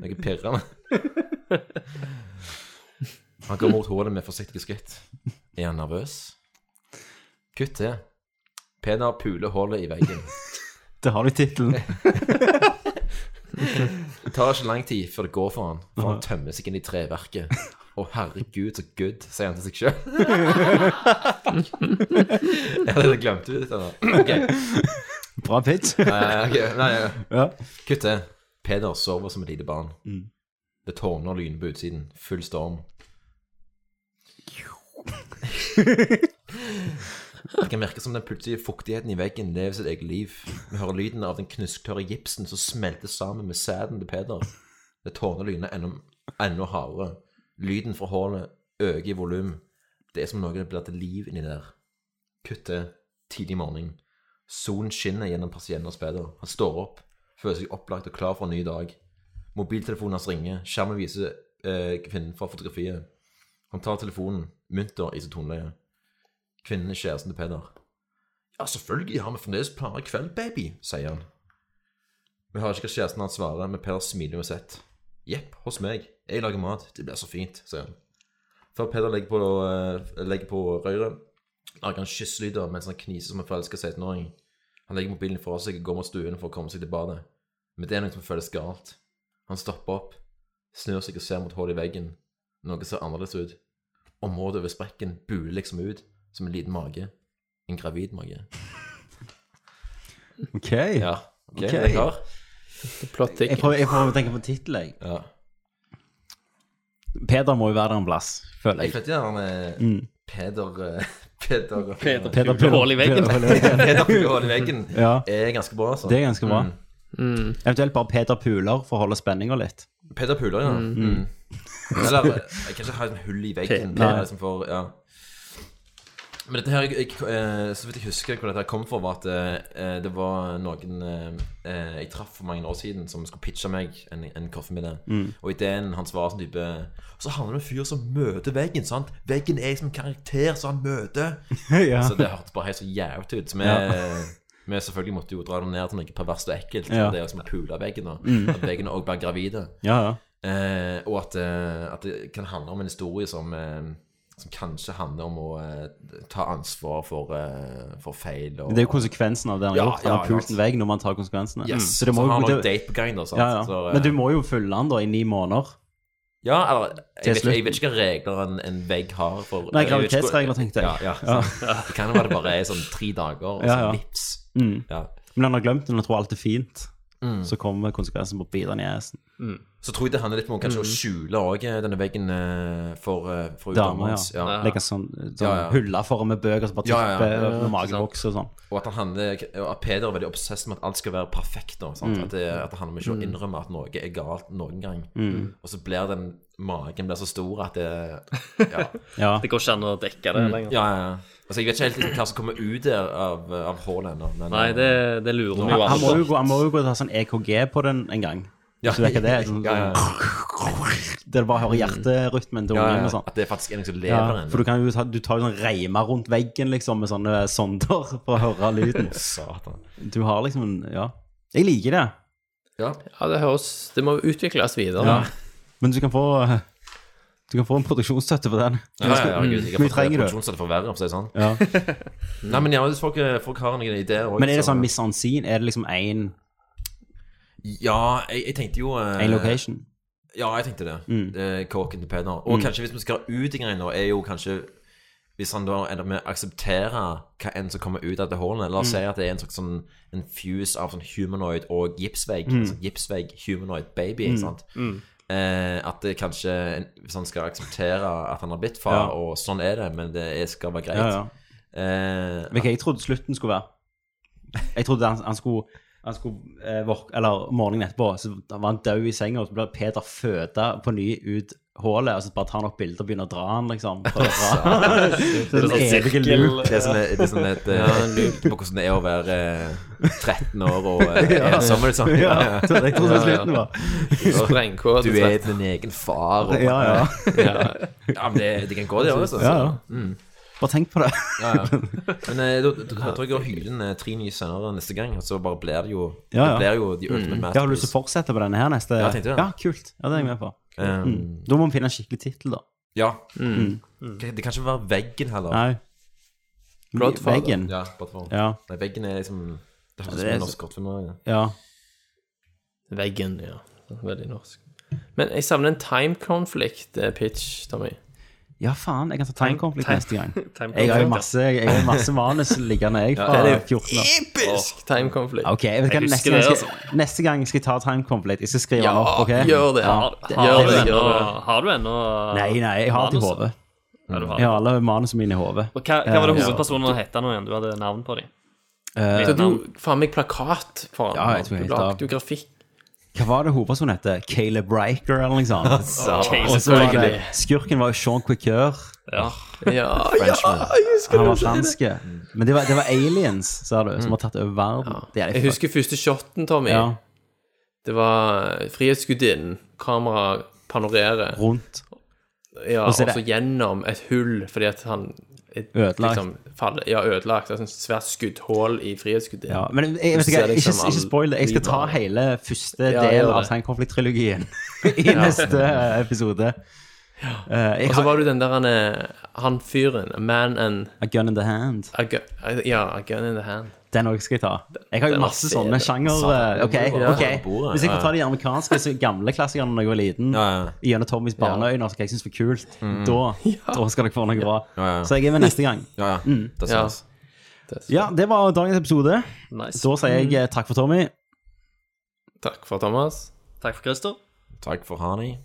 H: noe pirrende. Han går mot hullet med forsiktige skritt. Er han nervøs? Kutt til. Peder puler hullet i veggen.
A: Det har du tittelen.
H: Det tar ikke lang tid før det går for han, for han tømmer seg inn i treverket. Å, herregud, så good, sier han til seg sjøl. Jeg hadde glemt ut dette. nå. Ok,
A: Bra pitch.
H: eh, ok, nei, nei, nei.
A: Ja.
H: Kutt det. Peder sover som et lite barn. Det tårner lyn på utsiden. Full storm. Det kan virke som den plutselige fuktigheten i veggen lever sitt eget liv. Vi hører lyden av den knusktørre gipsen som smelter sammen med sæden til Peder. Det tårner lynet enda, enda hardere. Lyden fra hullet øker i volum. Det er som noe det blir til liv inni der. Kutt det. Tidlig morgen. Solen skinner gjennom persiennen og speider. Han står opp, føler seg opplagt og klar for en ny dag. Mobiltelefonen hans ringer. Skjermen viser eh, kvinnen fra fotografiet. Han tar telefonen, munter i sitt toneleie. Kvinnen er kjæresten til Peder. Ja, selvfølgelig har vi fremdeles planer i kveld, baby, sier han. Vi hører ikke hva kjæresten hans svarer, men Peder smiler uansett. Jepp, hos meg. Jeg lager mat. Det blir så fint, sier han. Før Peder legger på, eh, legger på røret, lager han kysselyder mens han kniser som en forelska 16-åring. Han legger mobilen fra seg og går mot stuen for å komme seg til badet. Men det er noe som føles galt. Han stopper opp, snur seg og ser mot hullet i veggen. Noe ser annerledes ut. Området over sprekken buler liksom ut som en liten mage. En gravid mage.
A: OK. Ja,
H: ok, det er klar.
I: Plot
A: Jeg prøver, jeg prøver å tenke på tittelen, jeg.
H: Ja.
A: Peder må jo være der en plass, føler
H: Jeg
A: jeg.
H: vet ikke, han er
A: Mm.
H: Peder eh, Peder
J: Peder
A: Peder
J: Puler hull i veggen.
A: Puler hull i veggen.
H: Peder Puler hull i veggen
A: Ja.
H: er ganske bra, altså.
A: Det er ganske bra.
H: Mm.
A: Eventuelt bare Peder Puler for å holde spenninga litt.
H: Peder Puler, ja. Mm. Eller eh, jeg kan ikke ha et hull i veggen.
A: Pe-
H: Det
A: Nei.
H: er liksom for, ja. Men dette her, jeg, eh, så vidt jeg husker hvor dette her kom fra, var at eh, det var noen eh, eh, jeg traff for mange år siden, som skulle pitche meg en, en kaffemiddag.
A: Mm.
H: Og ideen hans var sånn type Så handler det om en fyr som møter veggen. sant? Veggen er som en karakter som han møter.
A: Ja.
H: Så det hørtes bare helt så jævlig ut. Så vi,
A: Ja.
H: vi selvfølgelig måtte jo dra det ned til noe perverst og ekkelt.
A: Ja.
H: Det er jo som å pule veggen. Og,
A: Mm.
H: At veggen òg blir gravide.
A: Ja, ja.
H: Eh, og at, eh, at det kan handle om en historie som, eh, som kanskje handler om å eh, ta ansvar for, eh, for feil. Og,
A: Det er jo konsekvensen av det han har
H: Ja,
A: gjort. Han
H: ja,
A: har pult en
H: ja.
A: vegg når man tar konsekvensene.
H: Yes.
A: Så
H: Så,
A: det må jo-
H: han har noe
A: det-
H: date på gang, da. Sant?
A: Ja, ja.
H: Så, eh,
A: Men du må jo følge han da i ni måneder.
H: ja, eller
A: Til
H: jeg vet, jeg
A: slutt.
H: vet ikke hva regler en, en vegg har for
A: Nei,
H: jeg vet ikke hvor-
A: graviditetsregler, tenkte jeg.
H: Ja, ja,
A: Ja.
H: sant. Det kan jo være det bare er sånn tre dager, og
A: Ja, ja.
H: så vips.
A: Mm.
H: Ja.
A: Men han har glemt den og tror alt er fint.
H: Mm.
A: Så kommer konsekvensen på å bite den i assen.
H: Så tror jeg det handler litt om
A: Mm.
H: kanskje å skjule også, eh, denne veggen eh, for, eh, for
A: Damer, ja.
H: utenlands.
A: Legger sånn, sånn
H: Ja, ja.
A: huller foran med bøker som bare
H: Ja, ja,
A: tipper
H: ja.
A: over
H: Ja,
A: magen
H: sant.
A: vokser og sånn.
H: Og at, han handler, og at Peder er veldig obsess med at alt skal være perfekt. nå, sant?
A: Mm.
H: At, det, at det handler om ikke å innrømme at noe er galt noen gang.
A: Mm.
H: Og så blir den magen blir så stor at det Ja,
A: Ja.
J: Det går ikke an å dekke
I: Mm.
J: det
H: ja.
J: lenger.
H: ja, ja. Altså, jeg vet ikke helt liksom hva som kommer ut der av, av hullet ennå. men- eh,
J: Nei, det, det lurer
A: Han,
J: vi jo
A: han, må
J: alle
A: jo
J: på.
A: gå, han må jo gå og ta sånn EKG på den en gang.
H: Ja.
A: Hvis du vet hva det er. Sånn,
H: Ja, ja, ja.
A: Der du bare hører hjerterytmen til
H: Ja,
A: ungen
H: ja,
A: og sånn.
H: At det faktisk er noen som lever
A: Ja, for du, kan jo ta, du tar jo sånn reimer rundt veggen liksom med sånne sonder for å høre lyden.
H: Satan.
A: Du har liksom en Ja. Jeg liker det.
H: Ja.
I: Ja, det høres Det må utvikles videre.
A: Ja. Men du kan få eh, Du kan få en produksjonsstøtte for den.
H: Ja, ja, ja, herregud, jeg
A: Mye
H: har fått
A: Mm. trenger du.
H: produksjonsstøtte for verre, for å si det sånn.
A: Ja.
H: Nei, men ja, hvis folk, eh, folk har noen ideer også,
A: Men er det
H: så-
A: sånn Miss Unseen? Er det liksom én
H: Ja, jeg, jeg tenkte jo eh,
A: location?
H: Ja, jeg tenkte det.
A: Mm.
H: Eh, Kåken til Peder. Og
A: Mm.
H: kanskje hvis vi skal ut i greiene nå, er jo kanskje Hvis han da ender med å akseptere hva enn som kommer ut av det hullet La oss
A: Mm.
H: si at det er en slags sånn En fuse av sånn humanoid og gipsvegg.
A: Mm.
H: en Sånn gipsvegg, humanoid baby,
A: Mm.
H: sant. Eh, at det kanskje en- Hvis han skal akseptere at han har blitt far,
A: Ja.
H: og sånn er det, men det er, skal være greit
A: Ja, ja.
H: Eh,
A: Hva jeg trodde slutten skulle være. Jeg trodde han, han skulle han skulle eh, våk- Eller morgenen etterpå så var han død i senga, og så ble Peter føda på ny ut hullet, og så bare tar han opp bilder og begynner å dra han, liksom. For å dra.
J: Det er
A: Den
J: sånn
A: evige
J: sirkel.
A: loop.
H: Det er sånn, det er sånn et eh, loop på hvordan det er å være eh, 13 år og eh, ensom, liksom.
A: Ja, det var det jeg trodde
I: Ja, ja.
A: slutten var.
I: Sprengkode.
H: Du er din egen far. Og,
A: Ja, ja.
I: ja.
H: Ja, men det, det kan gå, det også.
A: Ja, ja.
H: Mm.
A: Bare tenk på det.
H: Ja, ja. Men eh, da da- da tror jeg jeg går hylen eh, tre nye sønner neste gang, og så bare blir det jo
A: Ja, ja.
H: Det blir jo de ultimate
A: Jeg har lyst til å
H: masterpiece.
A: fortsette på denne her neste
H: Ja, jeg tenkte det.
A: Ja, kult. Ja, det er jeg med på.
H: Um,
A: Da må vi finne en skikkelig tittel, da.
H: ja. Det kan ikke være veggen heller.
A: Mm. Nei.
I: Bloodfather.
A: Veggen.
H: Ja, bare for.
A: Ja.
H: Nei, veggen er liksom Det høres ut
A: det
H: som
A: er
H: en
A: så-
H: norsk kortfilm. også, Ja.
A: ja.
I: Veggen, ja. Veldig norsk. Men jeg savner en time conflict-pitch, Tommy.
A: Ja, faen. Jeg kan ta Time Conflict
J: Time-
A: neste gang.
J: Time
A: Jeg har jo
J: conflict,
A: masse, jeg har jo masse manus liggende, jeg, fra
I: det er jo
A: 14 år.
I: Episk time conflict.
A: Ok, jeg vet hva,
J: Jeg
A: neste,
J: husker
A: gang
J: det,
A: skal, neste gang skal jeg ta Time Conflict. Jeg skal skrive
I: Ja,
A: den opp, OK?
I: gjør det.
A: Ja.
J: Har,
I: Det-
J: har,
I: det-
J: du
I: det-
J: ennå,
I: det-
J: har du ennå
A: Nei, nei, jeg har det i hodet.
J: Ja, du har
A: Jeg
J: det.
A: har alle manusene mine i hodet.
J: Og hva, hva var det
A: Eh, Ja.
J: hovedpersonene het nå igjen? Du hadde navn på dem.
A: Eh,
I: Så du faen meg plakat foran
A: Ja, jeg tror jeg
I: Du
A: heter-
I: lagde jo grafikk.
A: Hva var det hovedpersonen het? Caleb Riker, eller noe sånt?
H: Altså,
A: og så var det,
H: selvfølgelig.
A: skurken var jo Sean Quicker.
J: Ja.
I: Ja, jeg husker
A: Han var
I: det.
A: franske. Men det var, det var aliens, sa du, som har tatt over verden. Det er
I: Jeg
A: litt
I: husker første shoten, Tommy.
A: Ja.
I: Det var Frihetsgudinnen. Kamera panorerer.
A: rundt.
I: Ja,
A: Og
I: og
A: så er
I: så
A: det-
I: gjennom et hull fordi at han et-
A: Ødelagt.
I: faller, ja, ødelagt. Altså et svært skuddhull i Frihetsgudinnen.
A: Ja, men jeg, jeg vet
I: Så
A: ikke,
I: ser
A: ikke,
I: liksom
A: ikke spoil det. Jeg skal ta
I: all-
A: hele første
I: Ja,
A: del
I: gjør
A: av
I: det.
A: Seinkonflikt-trilogien i
I: Ja.
A: neste eh, episode. Eh, jeg
I: Og så
A: har
I: var du den der han, eh, han fyren. A man and
A: A Gun in the Hand.
I: a gu, Ja, a gun in the hand.
A: Den òg skal jeg ta. Jeg har jo
I: Den var
A: masse
I: fet.
A: sånne sjanger...
I: Samme
A: eh, Ok,
I: bordet.
A: ok.
I: Samme bordet,
A: Hvis jeg får
I: ja.
A: ta de amerikanske så gamle klassikerne da jeg var liten,
H: Ja, ja.
A: gjennom Tommys barneøyne, som jeg syns var kult,
I: Mm.
A: da, da skal dere få noe bra.
H: Ja, ja.
A: Så jeg er med neste gang.
H: Ja, ja.
A: Mm.
H: Det
I: Ja.
H: ses.
A: Ja, det var dagens episode.
J: Nice.
A: Da sier jeg eh, takk for Tommy.
I: Takk for Thomas.
J: Takk for Christer.
H: Takk for honey.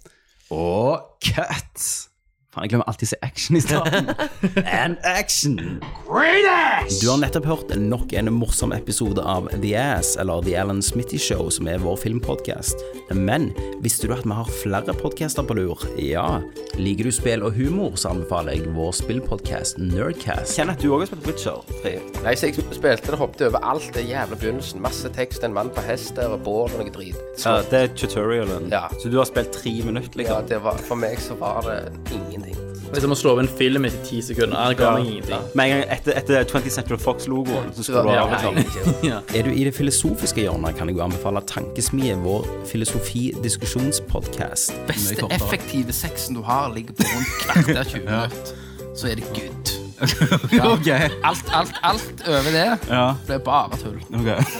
A: Og cut! Faen, jeg glemmer alltid å si action i starten. And action! Du har nettopp hørt nok en morsom episode av The Ass, eller The Alan Smitty Show, som er vår filmpodcast. Men visste du at vi har flere podcaster på lur? Ja. Liker du spill og humor, så anbefaler jeg vår spillpodcast Nerdcast.
M: Kenneth, du òg har spilt Witcher 3.
N: Nei, så jeg spilte det, hoppet over alt det jævla begynnelsen. Masse tekst, en mann på hest der, og bål og noe drit.
M: Ja, det er tutorialen.
N: Ja.
M: Så du har spilt tre minutter,
N: Ja,
M: liksom.
N: det var, for meg så var det ingenting.
I: Det er som å slå over en film etter ti sekunder. Nei, det ga meg ingenting.
M: Med en gang etter, etter 20 Central Fox-logoen, så skulle
N: Ja,
M: du ha
N: ja,
M: liksom.
A: Er du i det filosofiske hjørnet, kan jeg jo anbefale Tankesmie, vår filosofi-diskusjonspodcast.
O: beste effektive sexen du har, ligger på rundt kvarter 20 minutter. Så er det good.
A: Ok.
O: Alt, alt, alt over det
A: Ja.
O: ble bare tull.